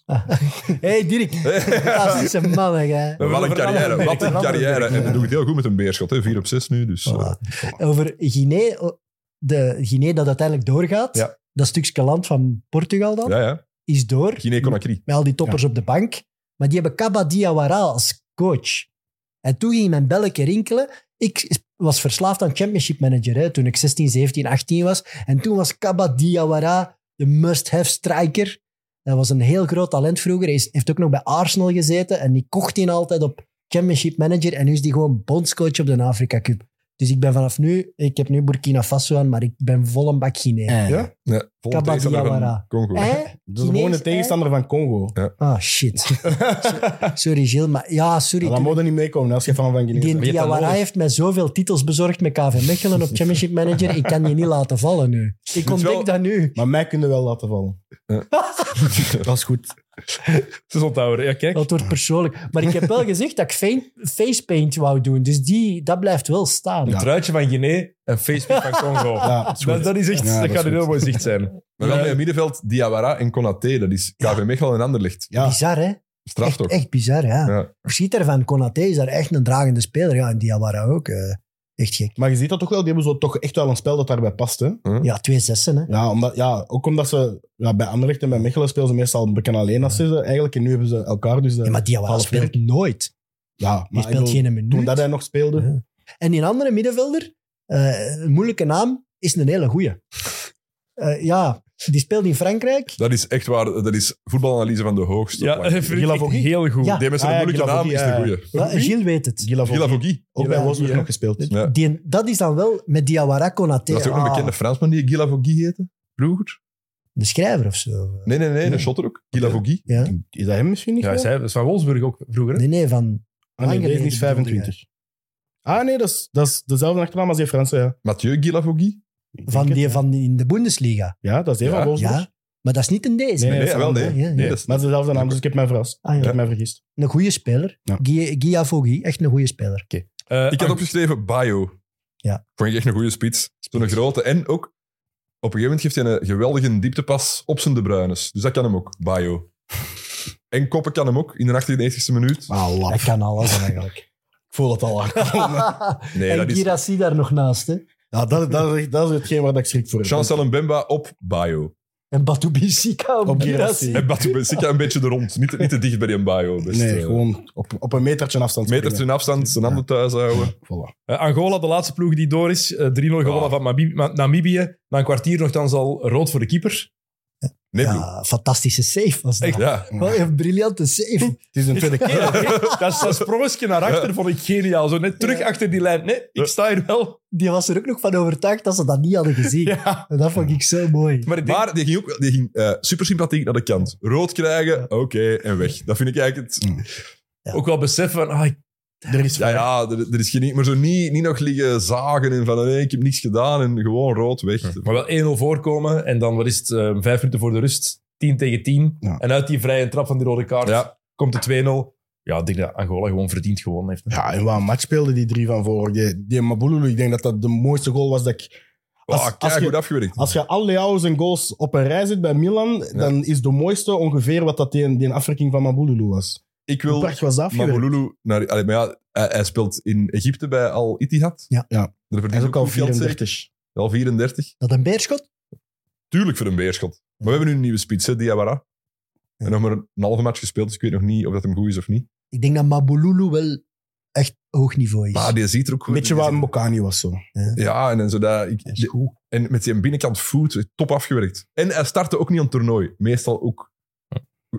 hey, Dirk. Dat is een man, hè. willen Wat een veranderen, carrière, Dirk. wat We een willen carrière. veranderen, En dan doe ik het heel goed met een beerschot, hè. 4 op 6 nu. Dus, eh, Voilà. Over Guinea, o- de Guinea dat uiteindelijk doorgaat, Ja. dat stukje land van Portugal dan, ja, ja. is door Guinea-Conakry. met al die toppers op de bank. Maar die hebben Kaba Diawara als coach. En toen ging mijn belletje rinkelen. Ik was verslaafd aan Championship Manager hè, toen ik 16, 17, 18 was. En toen was Kaba Diawara de must-have striker. Dat was een heel groot talent vroeger. Hij is- heeft ook nog bij Arsenal gezeten. En die kocht hij altijd op Championship Manager. En nu is die gewoon bondscoach op de Afrika Cup. Dus ik ben vanaf nu... Ik heb nu Burkina Faso aan, maar ik ben vol een bak Guinea. Eh. Ja? ja. Volgende Kabadiawara. tegenstander van Congo. Eh? Dat is gewoon Guinea's, een tegenstander van Congo. Ah, shit. sorry, Gilles, maar ja, sorry. Dat toen- moet er niet meekomen als je van van Guinea Die bent. Diawara heeft mij zoveel titels bezorgd met KV Mechelen op Championship Manager. Ik kan je niet laten vallen nu. Ik ontdek wel- dat nu. Maar mij kunnen wel laten vallen. Dat is goed. Ze is onthouder. Ja, kijk. Dat wordt persoonlijk. Maar ik heb wel gezegd dat ik fein- facepaint wou doen. Dus die, dat blijft wel staan. Een truitje van Guinea en Facebook van Congo. Ja, dat is goed. dat, dat is echt... Ja, dat dat is gaat een goed. heel mooi zicht zijn. Maar wel bij het middenveld Diawara en Konaté. Dat is KV Mechelen en Anderlicht. Ja, Bizar, hè? Straf echt, toch? echt bizar, ja. Ja. Verschiet ervan, Konaté is daar echt een dragende speler. Ja, en Diawara ook. eh, echt gek. maar je ziet dat toch wel. Die hebben zo toch echt wel een spel dat daarbij past. Hè? Ja, twee zessen, hè. Ja, omdat, ja, ook omdat ze ja, bij Anderlecht en bij Mechelen spelen ze meestal bekend alleen als ze ze eigenlijk. En nu hebben ze elkaar. Dus, eh, Ja, maar Diawara half speelt werk. nooit. Ja, maar Die ik speelt bedoel, geen minuut. Toen dat hij nog speelde. Ja. En die andere middenvelder, eh, een moeilijke naam, is een hele goeie. Eh, ja, Die speelde in Frankrijk. Dat is echt waar. Dat is voetbalanalyse van de hoogste Ja, eh, plank. dat vind ik Gilaf echt ook niet. heel goed. Ja. Die mensen Ah, een ja, moeilijke naam is de Gilavogi, goeie. Ja, Gilles weet het. Gilavogi. Gilavogi. Ook bij Ja. Wolfsburg Ja. nog gespeeld. Ja. Die, dat is dan wel met Diawara Konaté. Dat is ook een Ah, bekende Fransman die Gilavogi heette. Vroeger? De schrijver of zo. Nee, nee, nee. Een shotter ook. Gilavogi. Ja? Is dat hem misschien niet? Ja, wel? zij, dat is van Wolfsburg ook vroeger. Hè? Nee, nee, van... Ah, nee, Lang deze is geleden 25. Ah nee, dat is, dat is dezelfde achternaam als die Franse, ja. Mathieu Gilavogi. Ik denk Van, het. die, van die in de Bundesliga. Ja, dat is die Ja. van Wolfsburg. Ja, maar dat is niet in deze. Nee, Nee, dat is wel nee. Ja, ja. Nee, dat is- Maar het is dezelfde naam, dus ik heb mij verrast. Ah, ja. Ik heb mij vergist. Een goede speler. Ja. Gia Giafogui, echt een goede speler. Eh, Ik had opgeschreven Bio. Ja. Vond ik echt een goede spits. Zo'n grote. En ook, op een gegeven moment geeft hij een geweldige dieptepas op zijn De Bruynes. Dus dat kan hem ook, Bio. En koppen kan hem ook, in de 98e minuut. Ah, Hij kan alles eigenlijk. Ik voel het al aan. Nee, en dat is Girassi daar nog naast. Hè? ja, dat, dat, is, echt- dat is hetgeen waar ik schrik voor heb. Chancel en Bemba op Bio. En Batoubi Sika op, Op Girassi. Girassi. En Batu Benzica een beetje er rond. Niet, niet te dicht bij die Bio. Best, Nee, eh, gewoon op, op een metertje afstand. Meter springen. ten afstand, zijn handen thuis houden. Voilà. Eh, Angola, de laatste ploeg die door is. eh, 3-0 gewonnen Ah. van Mabi- Ma- Namibië. Na een kwartier nogthans al rood voor de keeper. Nee, ja. Ja, fantastische save was dat. Echt? ja. Wel een briljante save. Het is een tweede keer. dat is dat sprongetje naar achter, vond ik geniaal. Zo net terug achter die lijn. Nee, ik sta hier wel. Die was er ook nog van overtuigd dat ze dat niet hadden gezien. Ja. En dat vond ik zo mooi. Maar ik denk- Maar die ging, ook, die ging super sympathiek naar de kant. Rood krijgen, oké, en weg. Dat vind ik eigenlijk het... Ja. ook wel beseffen van, ah, ik- Er is Ja, ja, er, er is geen... Maar zo niet, niet nog liggen zagen en van nee, ik heb niks gedaan en gewoon rood weg. maar wel 1-0 voorkomen. En dan, wat is het, eh, vijf minuten voor de rust. 10 tegen 10. Ja. En uit die vrije trap van die rode kaart Ja. komt de 2-0. Ja, ik denk dat Angola gewoon verdiend gewonnen heeft. Ja, en wat een match speelden die drie van voren. Die, die Mabululu, ik denk dat dat de mooiste goal was dat ik... Als- Als, als je- goed afgewerkt. Als je al Leao's en goals op een rij zit bij Milan, dan is de mooiste ongeveer wat dat die, die afrekking van Mabululu was. ik Hoe wil prachtig was dat afgewerkt? Mamoulou naar... allee, maar ja, hij, hij speelt in Egypte bij Al Ittihad. Ja. Ja. Daar Hij verdient is ook al goed geld, zeker? 34. Al 34. Dat een beerschot? Tuurlijk voor een beerschot. Maar we hebben nu een nieuwe spits, hè, Diawara. En nog maar een halve match gespeeld, dus ik weet nog niet of dat hem goed is of niet. Ik denk dat Mabululu wel echt hoog niveau is. Maar die ziet er ook goed Een beetje die wat ziet- Mokani was zo. Ja, en, en zo dat... Ik, Dat is goed. En met zijn binnenkant voet, top afgewerkt. En hij startte ook niet aan het toernooi. Meestal ook.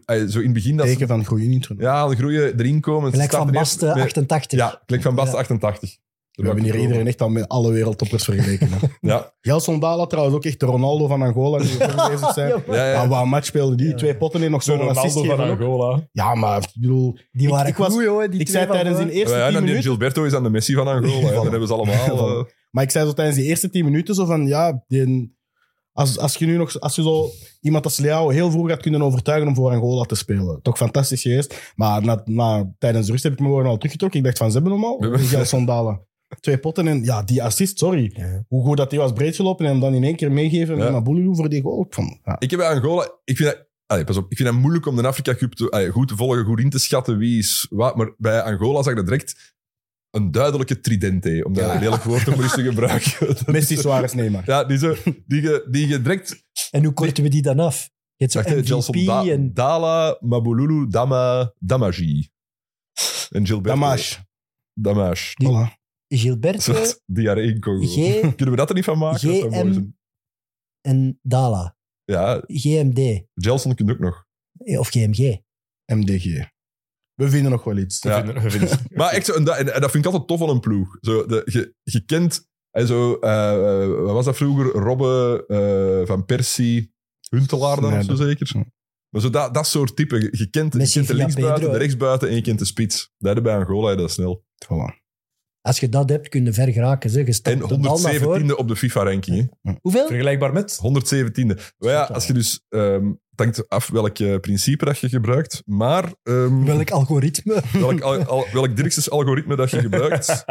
eh, Zo in het begin dat ze- Teken van groei niet. We ja, de groeien erin komen. Gelijk van starten eerst Basten, met- 88. Ja, klik van Basten, Ja. 88. hebben hier iedereen echt al met alle wereldtoppers vergeleken. hè. Ja, Gelson Dala trouwens ook echt de Ronaldo van Angola. Die we voor bezig zijn. Ja, ja, ja. Maar wat een match speelde die. Twee potten in, nog Zo zo'n assist Ronaldo van geven ook. Angola. Ja, maar ik bedoel... Die waren ik was- goed, hoor. Die Ik twee zei van tijdens die voor. eerste Ja, en tien dan die minuten... Gilberto is aan de Messi van Angola. hè. Voilà. Dan hebben ze allemaal... Voilà. eh, Maar ik zei zo tijdens die eerste tien minuten zo van... Ja, die, als, als je nu nog... Als je zo iemand als Leao heel vroeg had kunnen overtuigen om voor Angola te spelen. Toch fantastisch geweest. Maar na, na, tijdens de rust heb ik me gewoon al teruggetrokken. Ik dacht van, ze hebben hem al. hebben- Gelson Dala. Twee potten en ja, die assist, sorry. Ja. Hoe goed dat die was breedgelopen en hem dan in één keer meegeven Ja. met Mabululu voor die goal. Ik vond, ja. Ik heb bij Angola... Ik vind dat... Allee, pas op. Ik vind het moeilijk om de Afrika Cup te- allee, goed te volgen, goed in te schatten wie is wat. Maar bij Angola zag ik dat direct een duidelijke tridente. Om dat Ja. lelijk woord te moesten gebruiken. Messi, Suarez, Neymar. Ja, die, zo, die, je- die je direct... En hoe korten we die dan af? Je hebt Zegt hij, zo'n Gelson MVP Da- en... Dala, Mabululu, Dama, Damagi. En Gilberto. Damas. Damage. Die- Voilà. Zo, Gilberto, Diarree in Congo. eh, G Kunnen we dat er niet van maken? Dat zou mooi GM. zijn. en Dala. Ja, GMD. Gelson kunt ook nog. eh, Of GMG. MDG. We vinden nog wel iets. Ja. Maar echt zo, en dat, en- en dat vind ik altijd tof van een ploeg. Zo, de, je, je kent, en zo, eh, eh, wat was dat vroeger? Robben, eh, Van Persie, Huntelaar dan of zo Sneijder. zeker? Maar zo dat, dat soort typen. Je- Je kent, je Messi kent de via linksbuiten, Pedro, de hè? rechtsbuiten en je kent de spits. Dat hebben bij Angola dat snel. Voilà. Als je dat hebt, kun je ver geraken. Zeg. Je stapt En de bal naar voren. 117e op de FIFA-ranking. hè. Hoeveel? Vergelijkbaar met? 117e. Maar ja, als je dus... ehm het hangt af welk eh, principe dat je gebruikt, maar... ehm, Welk algoritme? welk, al, al- welk Dirkses algoritme dat je gebruikt.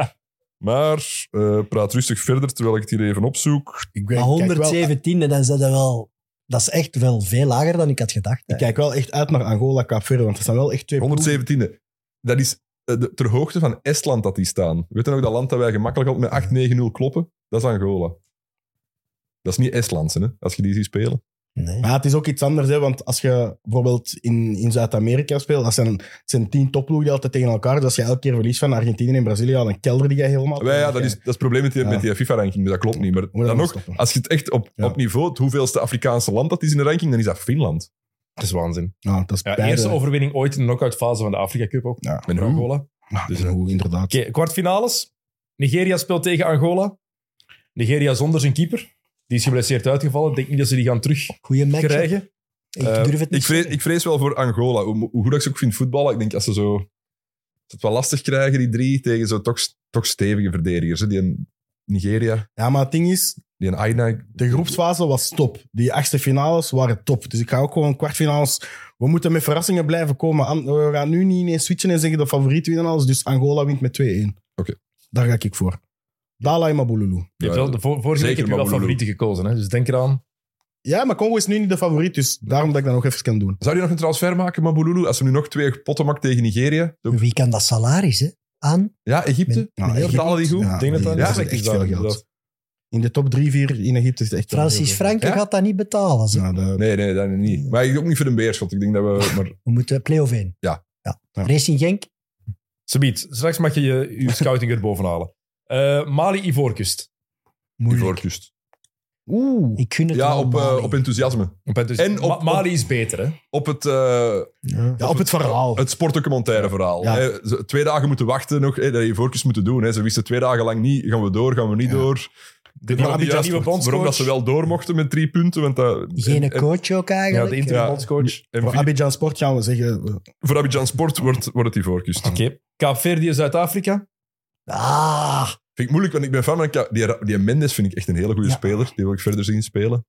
Maar eh, praat rustig verder terwijl ik het hier even opzoek. Ik Maar ben, kijk, wel, 117, en dan is dat wel... Dat is echt wel veel lager dan ik had gedacht. hè. ik kijk wel echt uit naar Angola, Kaapverden, want het zijn wel echt twee ploegen. 117e. Dat is eh, de, ter hoogte van Estland dat die staan. Weet je nog dat land dat wij gemakkelijk altijd met 8-9-0 kloppen? Dat is Angola. Dat is niet Estlandse, hè, als je die ziet spelen. Nee. Maar ja, het is ook iets anders, hè, want als je bijvoorbeeld in, in Zuid-Amerika speelt, dat zijn, het zijn tien topploegen die altijd tegen elkaar. Dus als je elke keer verliest van Argentinië en Brazilië, dan een kelder die jij helemaal. Ja, ja, dat, is, dat is het probleem met die, Ja. met die FIFA-ranking, dus dat klopt niet. Maar Moet dat dan nog, stoppen. als je het echt op, Ja. op niveau, het hoeveelste Afrikaanse land dat is in de ranking, dan is dat Finland. Dat is waanzin. Ja, Nou, dat is Ja, beide- eerste overwinning ooit in de knock-outfase van de Afrika Cup ook. Ja. En hoe? Angola. Oké, Ja, Dus- en hoe, inderdaad. kwartfinales. Nigeria speelt tegen Angola. Nigeria zonder zijn keeper. Die is geblesseerd uitgevallen. Ik denk niet dat ze die gaan terugkrijgen. Goeie match. Ik Eh, durf het niet. ik, vrees, te zeggen. ik vrees wel voor Angola. Hoe, hoe goed ik ze ook vind voetballen, ik denk als ze zo als ze het wel lastig krijgen, die drie, tegen zo toch, toch stevige verdedigers. hè. Die in Nigeria, Ja, maar het ding is, die in Aina. de groepsfase was top. Die achtste finales waren top. Dus ik ga ook gewoon kwartfinales. We moeten met verrassingen blijven komen. An- We gaan nu niet ineens switchen en zeggen de favoriet winnen alles. Dus Angola wint met 2-1. Oké. Daar ga ik voor. Dala en Mabululu. Je hebt wel, de vor- vorige week Zeker, heb je wel maar Boulou. favorieten gekozen. Hè? Dus denk eraan. Ja, maar Congo is nu niet de favoriet, dus daarom dat ik dat nog even kan doen. Zou die nog een transfer maken, Mabululu? Als ze nu nog twee potten maakt tegen Nigeria. Zo- Wie kan dat salaris hè? aan? Ja, Egypte. Ja, Heel Nou, Egypte. betalen die goed. Ja, Ik denk dat dat nee, niet is slecht is echt veel daar, geld. inderdaad. In de top 3-4 in Egypte is het echt... Francis Franken Ja? gaat dat niet betalen. zeg. Ja, nou, dat- Nee, nee, dat niet. Maar ik ook niet voor een beerschot. Ik denk dat we... Maar We moeten play-off 1. Ja. ja. Ja. Racing Genk, Sabiet, straks mag je je, je scouting erboven halen. Eh, Mali Ivoorkust. die moeilijk. voorkust. Oeh. Ik gun het Ja, wel, op, eh, Mali. op enthousiasme. en En op- Mali is beter, hè? Op het, eh, Ja, op het verhaal. het sportdocumentaire verhaal. Ja. Hè, ze- twee dagen moeten wachten nog. Hè, dat je voorkust moeten doen. Hè. Ze wisten twee dagen lang niet. Gaan we door? Gaan we niet Ja. door? De Waarom nieuwe, die de juist- nieuwe bondscoach. Waarom dat ze wel door mochten met drie punten. Want dat, Geen en- en- coach ook Ja, eigenlijk. eh, de interim Ja. bondscoach. en Voor Filip- Abidjan Sport gaan we zeggen... eh, voor Abidjan Sport wordt, wordt het die voorkust. Oké. Kaapverdië, Zuid-Afrika. Ah, Vind ik moeilijk, want ik ben fan van... Ka- Die, Ra- die Mendes vind ik echt een hele goede Ja. speler. Die wil ik verder zien spelen.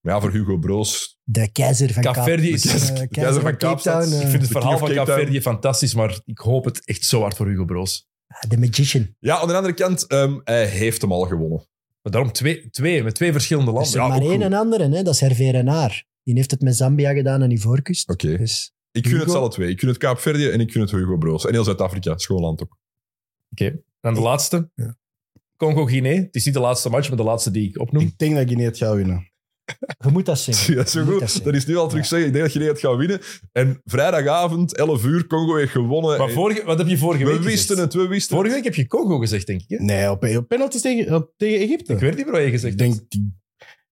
Maar ja, voor Hugo Broos... de keizer van Kaap- Kaapverdië is... De eh, keizer- de keizer van Cape Kaapstad. Town. eh, ik vind het de verhaal King of van Cape Town. Kaapverdië fantastisch, maar ik hoop het echt zo hard voor Hugo Broos. eh. De magician. Ja, aan de andere kant, ehm, hij heeft hem al gewonnen. Maar daarom twee, twee met twee verschillende Er is landen. er Ja, maar ook één goed. en ander, hè? dat is Hervé Renard. Die heeft het met Zambia gedaan aan Ivoorkust. Oké. Dus Ik gun het Hugo? ze alle twee. Ik gun het Kaapverdië en ik gun het Hugo Broos. En heel Zuid-Afrika, schoonland ook. Dan de laatste. Congo-Guinea. Het is niet de laatste match, maar de laatste die ik opnoem. Ik denk dat Guinea het gaat winnen. je moet dat zeggen. Dat is zo Moet dat goed. zijn. Dat is nu al terug zeggen. Ik denk dat je het gaat winnen. En vrijdagavond, 11 uur, Congo heeft gewonnen. Maar En vorige, wat heb je vorige we week gezegd? wisten het, we wisten Vorige week heb je Congo gezegd, denk ik. Hè? Nee, op, op penalties tegen, op- tegen Egypte. Ik weet niet meer wat je gezegd Ik hebt. denk, die-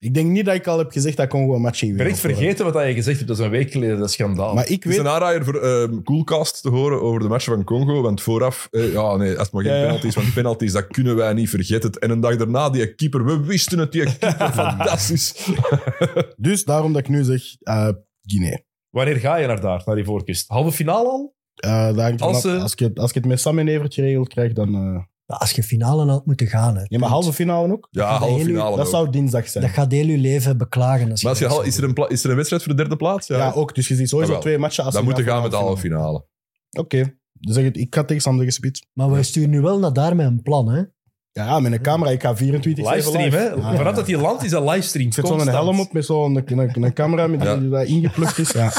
ik denk niet dat ik al heb gezegd dat Congo een match ging Ik ben winnen. eh, echt vergeten wat je gezegd hebt. Dat is een week geleden. Dat is schandaal. Maar ik Het is weet... een aanraaier voor ehm, Coolcast te horen over de matchen van Congo. Want vooraf, eh, ja, nee, als het maar geen Ja, ja. penalties, want penalties, dat kunnen wij niet vergeten. En een dag daarna, die keeper, we wisten het, die keeper, fantastisch. Dus daarom dat ik nu zeg eh, Guinea. Wanneer ga je naar daar, naar die voorkust? Halve finale al? Eh, dat hangt ervan Als af. ze- als, ik het, als ik het met Sam en Evert geregeld krijg, dan... eh Maar Als je finale had moeten gaan. Hè, ja, maar halve finale ook? Ja, halve finale Dat ook. zou dinsdag Dat zijn. gaat heel je leven beklagen. Als Maar als je, dat hal- zou is, er een pla- is er een wedstrijd voor de derde plaats? Ja, Ja, ook. Dus je ziet sowieso Jawel. twee matchen. Als dan je moeten gaat gaan voor met de halve halve finale. finale. Oké. Dan zeg ik, ik ga tegen Sam zeggen, Spits. doen. Maar we sturen nu wel naar daar met een plan. Hè? Ja, ja, met een camera. Ik ga 24 Livestream, hè? Ja, Vanaf ja. dat die land is, dat livestream. Ik zet zo'n helm op met zo'n een, een, een camera met die, Ja. die daar ingeplukt is. Ja.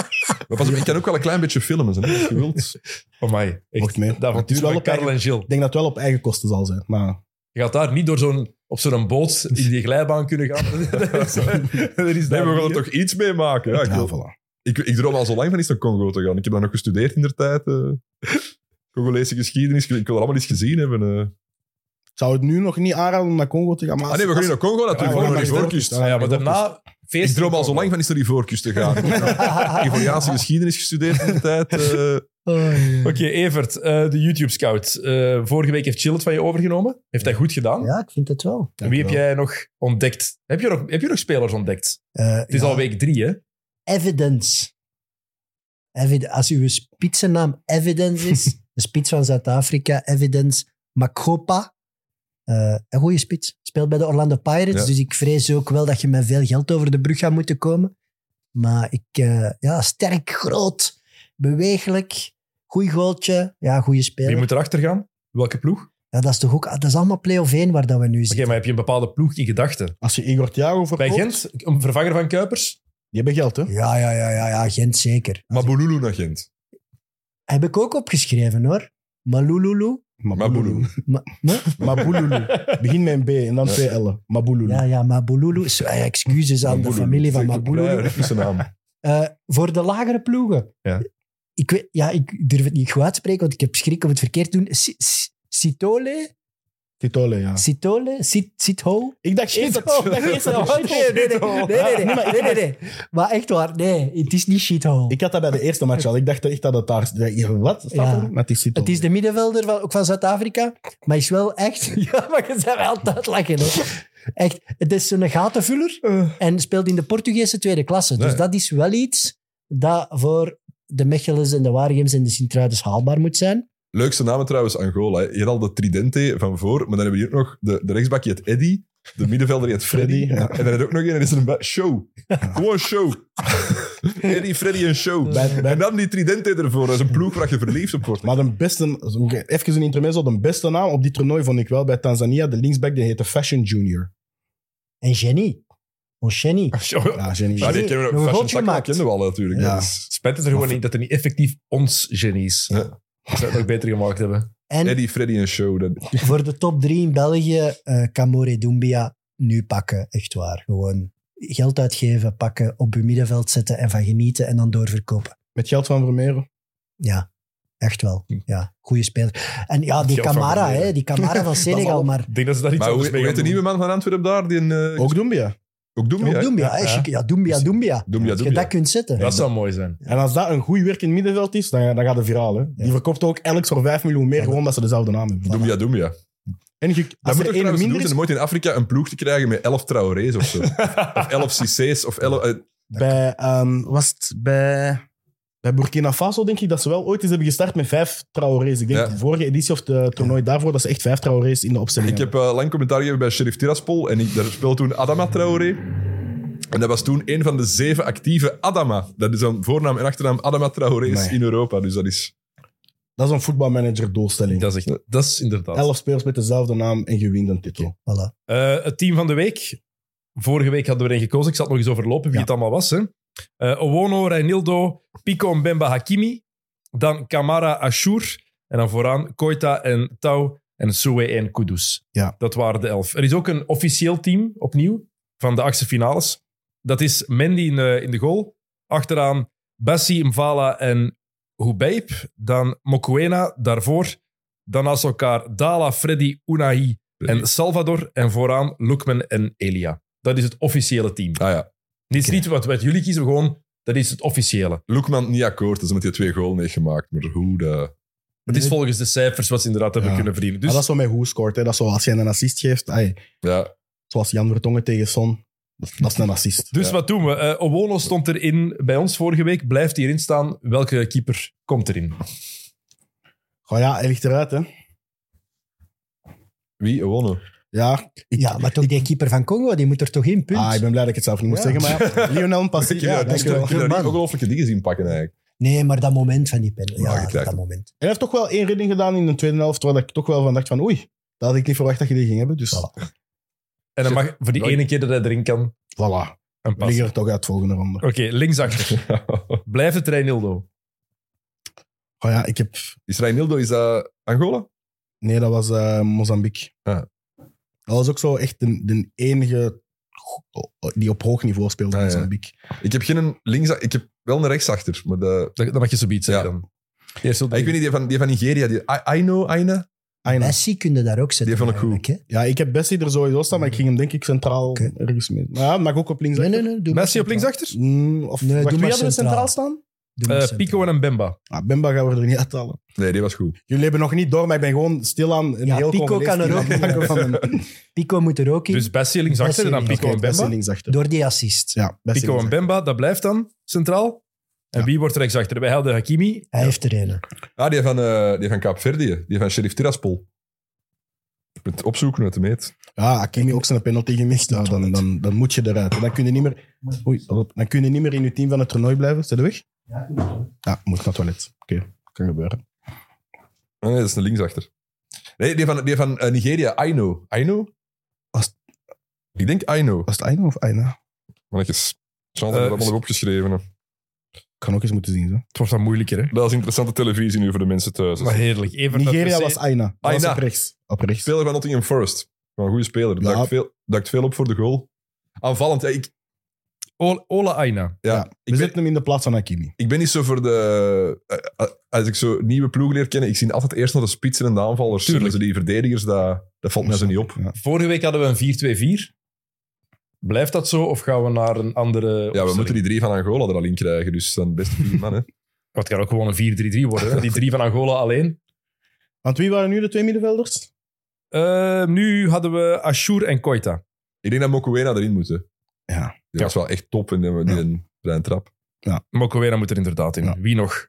Maar pas op, ik kan ook wel een klein beetje filmen, hè, als je wilt. Voor mij. Mocht mee. Dat Het is avontuur wel van op eigen- Karel en Gilles. Ik denk dat het wel op eigen kosten zal zijn. Maar Je gaat daar niet door zo'n, op zo'n boot in die glijbaan kunnen gaan. Dat is- dat is Nee, daar we gaan er niet, hè. toch iets mee maken. Ja, ik, ja, wil- voilà. ik, ik droom al zo lang van eens naar Congo te gaan. Ik heb daar nog gestudeerd in de tijd. eh. Congolese geschiedenis. Ik wil er allemaal eens gezien hebben. eh. Ik zou het nu nog niet aanraden om naar Congo te gaan. Maar Ah nee, we gaan niet naar Congo natuurlijk. Ja, we gaan naar maar- die voorkust. Ah, ja, maar daarna... Ik Feest droom al zo lang van eens naar die voorkust te gaan. Ivoriaanse geschiedenis gestudeerd in de tijd. eh. Oh, ja. Oké, Evert, eh, de YouTube-scout. Eh, vorige week heeft Chill het van je overgenomen. Heeft hij goed gedaan. Ja, ik vind het wel. En wie heb jij nog ontdekt? Heb je nog, heb je nog spelers ontdekt? Eh, Het is ja. al week drie, hè? Evidence. Evid als uw spitsennaam Evidence is, de spits van Zuid-Afrika, Evidence Makopa. Eh, een goede spits. Speelt bij de Orlando Pirates, Ja. dus ik vrees ook wel dat je met veel geld over de brug gaat moeten komen. Maar ik, eh, ja, sterk, groot, bewegelijk, goed goaltje, ja, goede speler. Wie moet erachter gaan? Welke ploeg? Oké, Ja, dat is toch ook, dat is allemaal play-off 1 waar dat we nu zitten. maar heb je een bepaalde ploeg in gedachten? Als je Igor Thiago Bij verkoopt, Gent, een vervanger van Kuipers? die hebben geld, hè? Ja, ja, ja, ja, ja, Gent zeker. Mabululu naar Gent. Heb ik ook opgeschreven hoor. Malululu, Mabulu. Maar, maar- Mabululu. Begin met een B en dan twee L'en. Mabululu. ja, ja, Mabululu. Zo, eh, Excuses aan de familie van Mabululu. Russische naam. Eh, voor de lagere ploegen. Ja. Ik, weet, ja, ik durf het niet goed uitspreken, want ik heb schrik om het verkeerd te doen. Si- si- Sitole? Titole, ja. Sitole? Sit- Sitho? Ik dacht eerst dat... Shithole. Nee, nee, nee. Nee, nee, nee. Nee, nee, nee. Maar echt waar, nee. Het is niet shithole. Ik had dat bij de eerste match al. Ik dacht echt dat het daar... Wat? Staat Ja. er? Maar het is Titole. Het is de middenvelder van, ook van Zuid-Afrika, maar is wel echt... Ja, maar je bent wel altijd lachen, hoor. Echt, het is een gatenvuller en speelt in de Portugese tweede klasse. Dus Nee. dat is wel iets dat voor de Mechelens en de Waregems en de Sint-Truidens haalbaar moet zijn. Leukste namen trouwens, Angola. hè. Je had al de Tridente van voor, maar dan hebben we hier ook nog de, de rechtsbak, die heet Eddy. De middenvelder, die heet Freddy. Freddy, ja. En dan heb je ook nog een, en is er een ba- show. Gewoon show. Eddy, Freddy en show. Bij- bij- En dan die Tridente ervoor. Dat is een ploeg waar je verliefd op wordt. Maar de beste, even een intermezzo, de beste naam op die toernooi vond ik wel bij Tanzania. De linksback die heette Fashion Junior. En Oh, Jenny. Ons Jenny. Oh, Ja, genie. Ja, die kennen Nog een we ook. Fashion goaltje Takla gemaakt. kennen we al natuurlijk. Ja. Dat is- Spijt het er gewoon niet dat er niet effectief ons genies. Ja. Zou het nog beter gemaakt hebben. En Eddy, Freddy en show. Dat, voor de top drie in België, eh Camore Dumbia nu pakken. Echt waar. Gewoon geld uitgeven, pakken, op uw middenveld zetten en van genieten en dan doorverkopen. Met geld van Vermeer. Ja, echt wel. Ja, goede speler. En ja, Geld Hm. die van eh, Camara, Vermeeren. hè, die Camara van Senegal, maar Ik denk dat ze daar iets maar hoe, anders mee hoe heet de gaan nieuwe doen. man van Antwerpen daar? Die een, eh, Ook Dumbia. ook Doumbia, ook hè? Dumbia. hè, Ja, chic. Ja, Dumbia, Dumbia. Doumbia, Als je dat Doumbia. kunt zetten. Dat zou mooi zijn. En als dat een goed werk in het middenveld is, dan, dan gaat het viraal. Hè. Die verkoopt ook elk voor 5 miljoen meer, gewoon omdat ze dezelfde naam hebben. Doumbia, Doumbia. En je, Dat als moet ook er één trouwens minder doen, is, om ooit in Afrika een ploeg te krijgen met 11 Traoré's of zo. of 11 Cissés of 11... eh, bij, ehm, was het bij, bij Burkina Faso denk ik dat ze wel ooit eens hebben gestart met vijf Traoré's. Ik denk Ja. de vorige editie of de toernooi daarvoor, dat ze echt vijf Traoré's in de opstelling Ik heb eh, lang commentaar gegeven bij Sheriff Tiraspol en ik, daar speelde toen Adama Traoré. En dat was toen een van de zeven actieve Adama. Dat is dan voornaam en achternaam Adama Traoré's Nee. in Europa. Dus dat is... Dat is een voetbalmanager doelstelling. Dat is, echt, dat is inderdaad. Elf spelers met dezelfde naam en je wint een titel. Voilà. Eh, het team van de week. Vorige week hadden we er een gekozen. Ik zal het nog eens overlopen wie Ja. het allemaal was. Hè. Eh, Owono, Reinildo, Pico Mbemba Hakimi. Dan Kamara Ashur. En dan vooraan Koita en Tau en Sue en Kudus. Ja. Dat waren de elf. Er is ook een officieel team, opnieuw, van de achtste finales. Dat is Mendy in, eh, in de goal. Achteraan Bassi, Mvala en Hubeib. Dan Mokuena daarvoor. Dan naast elkaar Dala, Freddy, Unahi en Salvador. En vooraan Lukman en Elia. Dat is het officiële team. Ah ja, Dit is niet wat, wat jullie kiezen, gewoon dat is het officiële. Loekman niet akkoord. Dus met die twee goals heeft gemaakt. Maar hoe de... Het is volgens de cijfers wat ze inderdaad hebben Ja. kunnen verdienen. Maar Dus dat is wel met hoe scoort. Hè. Dat is zo als jij een assist geeft. ai, Ja, zoals Jan Vertongen tegen Son. Dat, dat is een assist. Dus wat doen we? Eh, Owono stond erin bij ons vorige week. Blijft hij erin staan? Welke keeper komt erin? Goh, ja, hij ligt eruit. Hè. wie gewonnen? Ja, Ja, maar toch die keeper van Congo, die moet er toch in, punt. ah, ik ben blij dat ik het zelf niet moest Ja. zeggen. Maar ja, Lionel Passy. Ik heb daar- Ja, ik heb dankjewel. daar- ik heb daar Man. niet ongelooflijke dingen zien pakken eigenlijk. Nee, maar dat moment van die pen. Maar je Ja, krijgt dat moment. Hij heeft toch wel één redding gedaan in de tweede helft, waar ik toch wel van dacht van oei, dat had ik niet verwacht dat je die ging hebben. Dus voilà, En dan mag voor die Welke? ene keer dat hij erin kan, een we pas. liggen Oké, er toch uit volgende ronde. linksachter. Blijft het Reinildo? Goh, ja, ik heb... is Reinildo, is dat Angola? Nee, dat was eh, Mozambique. Ah. Dat was ook zo echt de, de enige oh, die op hoog niveau speelde in Ah, ja. Mozambique. Ik heb geen links... Ik heb wel een rechtsachter, maar de... Dat, dat mag je zo bieden Ja. dan. Eerst Ik weet niet, die van, die van Nigeria, die A- Aino, Aina? Aina. Messi kun je daar ook zetten. Die vond ik goed. eigenlijk, Ah, Ja, ik heb Bessie er sowieso staan, maar ik ging hem denk ik centraal Oké. ergens mee. Maar ja, mag ook op links. hè. Nee, nee, nee. doe maar Messi op centraal. linksachter? Mm, of Nee, nee, wacht, doe maar wie hadden we centraal. centraal staan? Doe maar Eh centraal. Pico en een Bemba. Ah, Bemba gaan we er niet uithalen. Nee, die was goed. Jullie hebben nog niet door, maar ik ben gewoon stilaan een Ja, heel Pico Congolees kan er team ook aan niet het maken van een Pico moet er ook in, Dus Bessie linksachter en dan Bessie Pico en Bessie Bemba. linksachter. door die assist. Ja, Bessie Pico en linksachter. Bemba, dat blijft dan centraal. En Ja. wie wordt rechtsachter? Wij hadden Hakimi. Hij heeft er een. Ah, die van, eh die van Kaapverdië. Die van Sheriff Tiraspol. Ik moet het opzoeken wat hem heet. Ja, Hakimi ook zijn penalty gemist. Ja, dan, dan, dan moet je eruit. Dan kun je niet meer, oei, dan kun je niet meer in je team van het toernooi blijven. Zet je weg? Ja, moet naar het toilet. Oké, kan gebeuren. Ah, nee, dat is een linksachter. Nee, die van, die van eh, Nigeria, Aino. Aino? Als- Ik denk Aino. Was het Aina of Aina? Maar ik is... Chance Eh, dat ik dat allemaal heb opgeschreven. hè. Ik kan ook eens moeten zien. Zo. Het wordt dan moeilijker, hè? Dat is interessante televisie nu voor de mensen thuis. Maar heerlijk. Evert naar Nigeria RC. was Aina. Dat was Aina. op rechts. Op rechts. Speler van Nottingham Forest. Wel Een goede speler. Ja. Dakt, veel, dakt veel op voor de goal. Aanvallend. Ja, ik, Ola, Ola Aina. ja, Ja. ik, We ben, zitten hem in de plaats van Hakimi. ik ben niet zo voor de... eh, eh, Als ik zo nieuwe ploegen leer kennen, ik zie altijd eerst naar de spitsen en de aanvallers. Tuurlijk. Dus die verdedigers, dat, dat valt mij zo niet op. Ja. Vorige week hadden we een 4-2-4. Blijft dat zo of gaan we naar een andere Ja, we opstelling? moeten die drie van Angola er al in krijgen. Dus dan best vier man, hè. Maar het kan ook gewoon een 4-3-3 worden. hè? Die drie van Angola alleen. Want wie waren nu de twee middenvelders? Eh, nu hadden we Ashur en Koita. Ik denk dat Mokuena erin moet. hè. Ja. Die was wel echt top in de, Ja. die een trap. Mokowena moet er inderdaad in. Ja. Wie nog?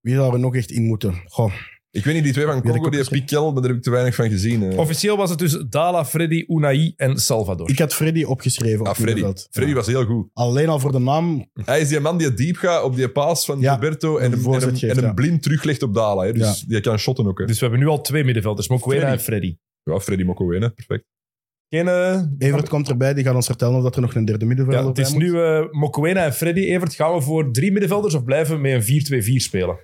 Wie zou er nog echt in moeten? Goh, Ik weet niet, die twee van Wie de Congo, die kopjes, hè? Piquel, maar daar heb ik te weinig van gezien. hè. Officieel was het dus Dala, Freddy, Unai en Salvador. ik had Freddy opgeschreven. Ah, op Freddy. middenveld. Freddy Ja. Hm. was heel goed. Alleen al voor de naam. Hij is die man die diep gaat op die paas van Ja, Roberto de en hem, en, voorzet hem- geeft, en hem ja. blind teruglegt op Dala. Hè. Dus die kan shotten ook. Hè. Dus we hebben nu al twee middenvelders, Mokwena Freddy. en Freddy. Ja, Freddy Mokoena, perfect. Geen, eh, Evert komt erbij, die gaat ons vertellen of dat er nog een derde middenvelder ja, het is bij moet. nu eh Mokwena en Freddy. Evert, gaan we voor drie middenvelders of blijven we met een 4-2-4 spelen?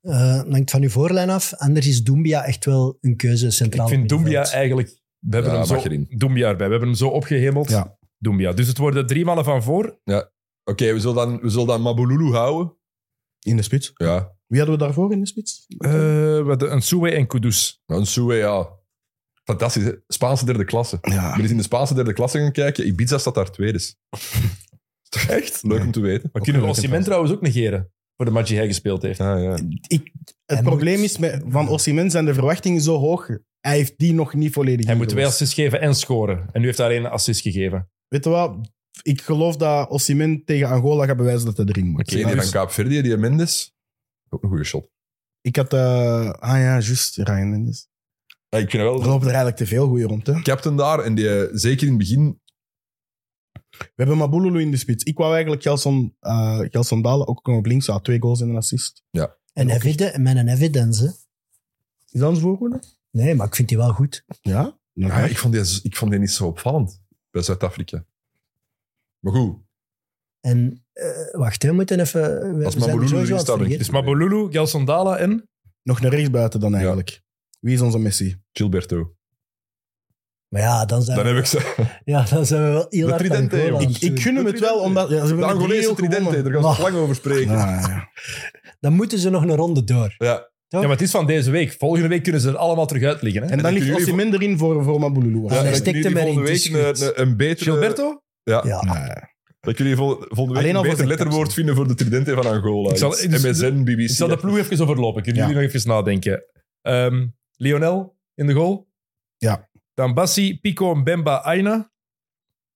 Eh, hangt van uw voorlijn af. Anders is Doumbia echt wel een keuze centraal. Ik vind Doumbia middenveld. eigenlijk... We hebben Ja, hem mag zo, erin. Doumbia erbij. We hebben hem zo opgehemeld. Ja. Doumbia. Dus het worden drie mannen van voor. Oké, we zullen dan, we zullen dan Mabululu houden. In de spits. Ja, Wie hadden we daarvoor in de spits? Eh, we hadden Nsue en Kudus. nou, een Soe, ja. Fantastisch, hè. Spaanse derde klasse. Ik Ja. ben eens in de Spaanse derde klasse gaan kijken. Ibiza staat daar tweede. Is toch echt? Leuk om te weten. We kunnen we een leuke Osimhen trouwens ook negeren. Voor de match die hij gespeeld heeft. Ja, Ah, ja. Het Hij probleem moet- is, met, van Osimhen zijn de verwachtingen zo hoog. Hij heeft die nog niet volledig Hij moet twee ingelost. assists geven en scoren. En nu heeft hij alleen een assist gegeven. Weet je wat? Ik geloof dat Osimhen tegen Angola gaat bewijzen dat hij erin moet. dus Oké, die Ja, van Kaapverdië, die Mendes. Ook een goede shot. Ik had... eh, ah ja, juist. Ryan Mendes. Ja, ik vind wel Er dat lopen er eigenlijk te veel goeie rond, hè. We captain daar. En die, eh, zeker in het begin, hebben Mabululu in de spits. Ik wou eigenlijk Gelson, eh Gelson Dalen ook op links. Hij had twee goals en een assist. En evidence, met een evidence. hè. Is dat een voorgoede? Nee, maar ik vind die wel goed. Ja. Ja, Ah, ik, vond die, z- ik vond die niet zo opvallend bij Zuid-Afrika. Maar goed, En eh, wacht, hè, we moeten even... We, Als we zijn Mabululu sowieso aan erin het staat, ben ik- Dus vergeten. Mabolulu, Gelsandala en... Nog naar rechtsbuiten dan eigenlijk. Wie is onze Messi? Gilberto. Maar ja, dan zijn, Dan we, heb ik ze. ja, dan zijn we wel heel De hard aan Tridente, Angola jongens. aan Ik, het ik doen. gun hem het wel, omdat... Ja, ze De hebben met Angolese 3-0 tridente, daar gewonnen. gaan ze Maar- nog lang over spreken. Ja. Ah, ja. Dan moeten ze nog een ronde door. Ja, maar het is van deze week. Volgende week kunnen ze er allemaal terug uit liggen. Hè? En dan dan kunnen ligt jullie Osimhen erin voor, voor Mabululu. Ja, dan hij kunnen stikte jullie mij volgende in, week het is een, goed. een, een betere... Gilberto? Ja, Ja. dat jullie vol- volgende Alleen week al een voor beter zijn letterwoord vinden voor de tridente van Angola. Ik zal- Iets dus- MSN, BBC. Ik zal de ploeg even overlopen. Kunnen Ja. jullie nog even nadenken? Ehm, Lionel in de goal. Ja. Dan Bassi, Pico, Mbemba, Aina.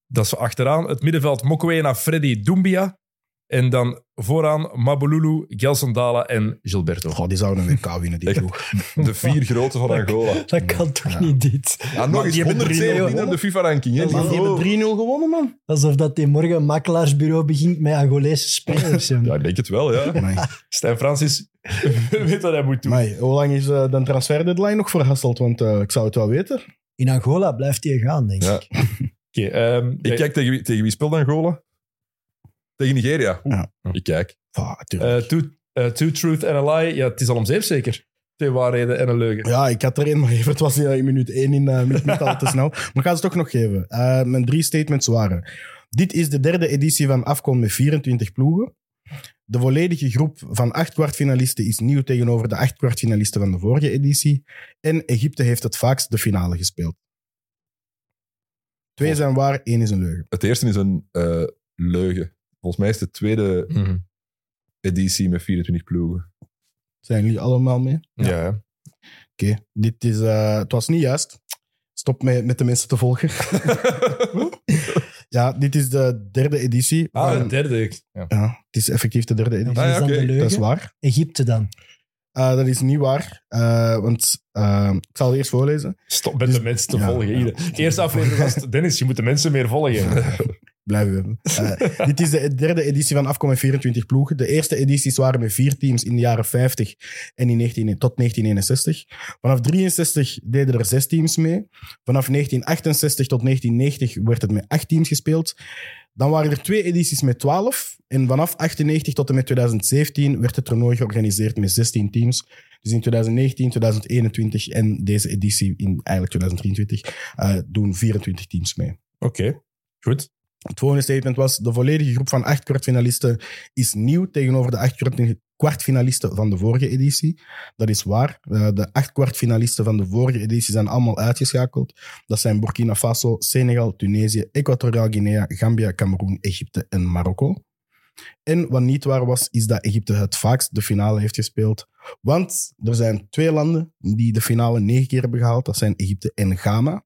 Dat is achteraan. Het middenveld Mokwena, Freddy, Doumbia. En dan vooraan Mabululu, Gelsandala en Gilberto. Goh, die zouden een WK winnen, die Echt. ploeg. De vier grote van Angola. Dat kan toch niet dit? Ja, nog die eens hebben 117 3-0 op de FIFA-ranking. hè. Die Die hebben 3-0 niveau- gewonnen, man. Alsof dat die morgen een makelaarsbureau begint met Angolese spelers. hè. Ja, ik denk het wel, ja. Nee. Stijn Francis weet wat hij moet doen. Maar hoe lang is eh, de transfer deadline nog verhasseld? Want eh, ik zou het wel weten. In Angola blijft hij gaan, denk ik. Ja. Ah, Oké, ehm, Ik kijk tegen wie, tegen wie speelt Angola? Tegen Nigeria. Oeh, Ja. Ik kijk. Ah, tuurlijk. eh, two, eh, two Truth and a Lie. Ja, het is al om zeep zeker. Twee waarheden en een leugen. ja, ik had er één, maar het was eh, in minuut één in eh minuut niet al te snel. Maar ik ga ze toch nog geven. Eh, mijn drie statements waren... Dit is de derde editie van AFCON met 24 ploegen. De volledige groep van acht kwartfinalisten is nieuw tegenover de acht kwartfinalisten van de vorige editie. En Egypte heeft het vaakst de finale gespeeld. Twee zijn waar, één is een leugen. Het eerste is een eh, leugen. Volgens mij is de tweede Mhm. editie met 24 ploegen. Zijn jullie allemaal mee? Ja. Oké, dit is... eh, het was niet juist. Stop met, met de mensen te volgen. ja, dit is de derde editie. Ah, van- de derde. Ja. ja, het is effectief de derde En editie. wat Ah, Dus is ja, dan oké, de leugen? Dat is waar. Egypte dan. Eh, dat is niet waar, eh, want eh, ik zal het eerst voorlezen. Stop met Dus- de mensen te ja, volgen. ja. Ieder. Eerste aflevering was het, Dennis, je moet de mensen meer volgen. Blijf u hebben. Eh, dit is de derde editie van Afkom met 24 ploegen. De eerste edities waren met vier teams in de jaren 50 en in 19, tot 1961. Vanaf 63 deden er zes teams mee. Vanaf 1968 tot 1990 werd het met acht teams gespeeld. Dan waren er twee edities met 12. En vanaf 98 tot en met 2017 werd het toernooi georganiseerd met 16 teams. Dus in 2019, 2021 en deze editie in eigenlijk 2023 eh, doen 24 teams mee. Oké, goed. Het volgende statement was: de volledige groep van acht kwartfinalisten is nieuw tegenover de acht kwart- kwartfinalisten van de vorige editie. Dat is waar. Eh, De acht kwartfinalisten van de vorige editie zijn allemaal uitgeschakeld. Dat zijn Burkina Faso, Senegal, Tunesië, Equatoriaal Guinea, Gambia, Cameroen, Egypte en Marokko. En wat niet waar was, is dat Egypte het vaakst de finale heeft gespeeld. Want er zijn twee landen die de finale negen keer hebben gehaald. Dat zijn Egypte en Ghana.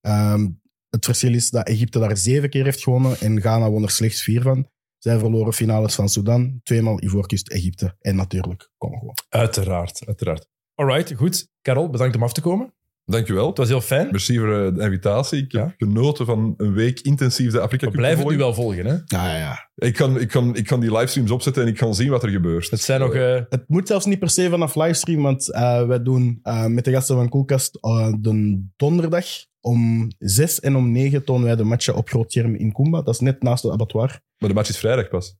Ehm, het verschil is dat Egypte daar zeven keer heeft gewonnen en Ghana won er slechts vier van. Zij verloren finales van Sudan, tweemaal Ivoorkust, Egypte en natuurlijk Congo. Uiteraard, uiteraard. Alright, goed. Karel, bedankt om af te komen. Dankjewel. Het was heel fijn. We Merci voor eh, de invitatie. Ik heb Ja. genoten van een week intensief de Afrika Cup. blijven het nu gevolgd. wel volgen, hè? Ja, ja, ja. Ik kan, ik, kan, ik kan die livestreams opzetten en ik kan zien wat er gebeurt. Het zijn nog... eh, Het moet zelfs niet per se vanaf livestream, want eh, wij doen eh, met de gasten van Koelkast eh, de donderdag om zes en om negen tonen wij de matchen op groot scherm in Kumba. Dat is net naast het abattoir. Maar de match is vrijdag pas.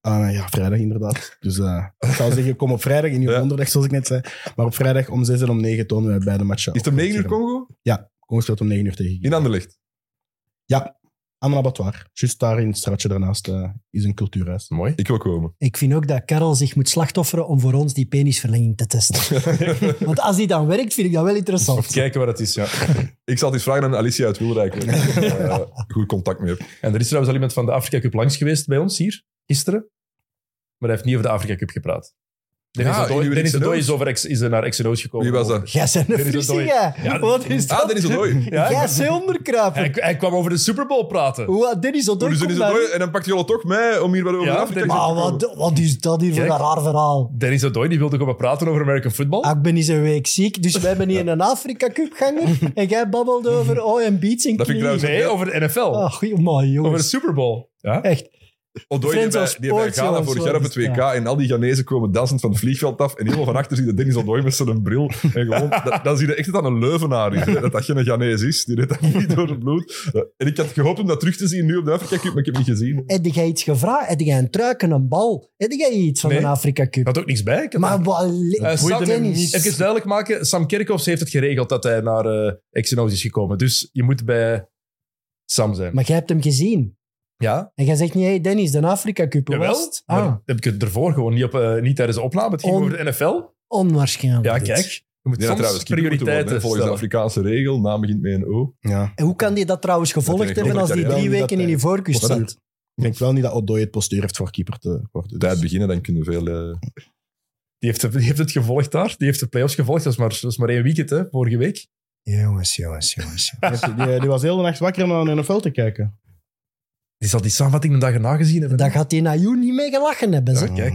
Ah, ja, vrijdag inderdaad. Dus eh, ik zou zeggen, kom op vrijdag in uw Ja. donderdag, zoals ik net zei. Maar op vrijdag om zes en om negen tonen wij beide matchen. Is Oh, het om 9 uur Congo? Congo? Congo speelt om negen uur tegen Guinea. In Anderlecht. Ja, aan een abattoir. Juist daar in het straatje daarnaast eh, is een cultuurhuis. Mooi. Ik wil komen. Ik vind ook dat Karel zich moet slachtofferen om voor ons die penisverlenging te testen. Want als die dan werkt, vind ik dat wel interessant. Kijken wat het is, ja. Ik zal het eens vragen aan Alicia uit Wilrijk. waar ik, eh, goed contact mee heb. En er is trouwens al iemand van de Afrika Cup langs geweest bij ons hier, gisteren. Maar hij heeft niet over de Afrika Cup gepraat. Dennis Ja, de Dooi- in uw Dennis de X&O's? Dooi is, over X- is er naar XNO's gekomen. Wie was dat? Jij bent een Dit is frissie, een jij. Ja, Wat is dat? Ah, Dennis Odoi. Ja, Jij zei onderkruipen. Hij, hij kwam over de Super Bowl praten. Wat, Dennis Odoi Dus komt Dennis daar Odoi, niet. en dan pakt jullie toch mij om hier wat over Ja, de Afrika Cup Dennis- te Maar komen. wat, wat is dat hier voor Kijk. een raar verhaal? Dennis de Dooi die wilde komen praten over American football. Ah, ik ben eens een week ziek, dus wij zijn hier een Afrika Cupganger en jij babbelt over oh en beats en Dat vind ik knieën. nee, over de NFL. Ah, goeie man, over de jongens. Super Bowl. Ja? Echt. Odoi die Friends bij, of die bij sports, Ghana jongens, vorig wat jaar op is het WK en al die Ghanese komen dansend van het vliegveld af en helemaal van achter zie je Dennis Odoi met zijn bril. En gewoon, dat, dan zie je echt dat dat een Leuvenaar is. hè. Dat dat geen Ghanese is. Die reed dat niet door het bloed. Eh, En ik had gehoopt om dat terug te zien nu op de Afrika Cup, maar ik heb het niet gezien. Heb jij iets gevraagd? Heb jij een truik en een bal? Heb jij iets van Nee. een Afrika Ik Cup? had ook niks bij. Ik had Maar wat... Eh, Sam, Dennis. even duidelijk maken. Sam Kerkhoffs heeft het geregeld dat hij naar eh Xenos is gekomen. Dus je moet bij Sam zijn. Maar jij hebt hem gezien. ja, En jij zegt niet, hey Dennis, de Afrika Cup, hoe was jawel. het? Maar Ah, heb ik het ervoor gewoon niet, op, eh, niet tijdens de opname. Het ging Om- over de NFL. onwaarschijnlijk. Ja, Oh, dit. kijk. Je moet Die had soms trouwens keeper moeten worden, prioriteiten hè, volgens de stellen. Afrikaanse regel. Naam begint met een O. Ja. En hoe kan die dat trouwens Dat gevolgd ik hebben denk als dat die hij drie wel weken dat in hij- die voorkust Postuur. zat? Ik denk wel niet dat Odoi het postuur heeft voor keeper te worden. Tijd Dus. beginnen, dan kunnen we veel... eh, Die heeft, die heeft het gevolgd daar. Die heeft de playoffs gevolgd. Dat is maar, dat is maar één weekend, hè, vorige week. Jongens, jongens, jongens. Die, die was heel de nacht wakker om naar een NFL te kijken. Die zal die samenvatting de dag erna gezien hebben. Dan gaat die Nayoun niet mee gelachen hebben, Ja, zeg. kijk.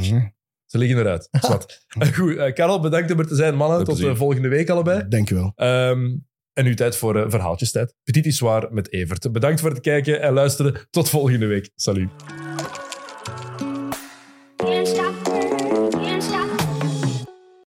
Ze liggen eruit. Zwat. Eh, Goed, eh, Karel, bedankt om er te zijn. Mannen, Met tot plezier. eh, volgende week allebei. Dank je wel. Ehm, en nu tijd voor eh, verhaaltjestijd. Petit is waar met Evert. Bedankt voor het kijken en luisteren. Tot volgende week. Salut.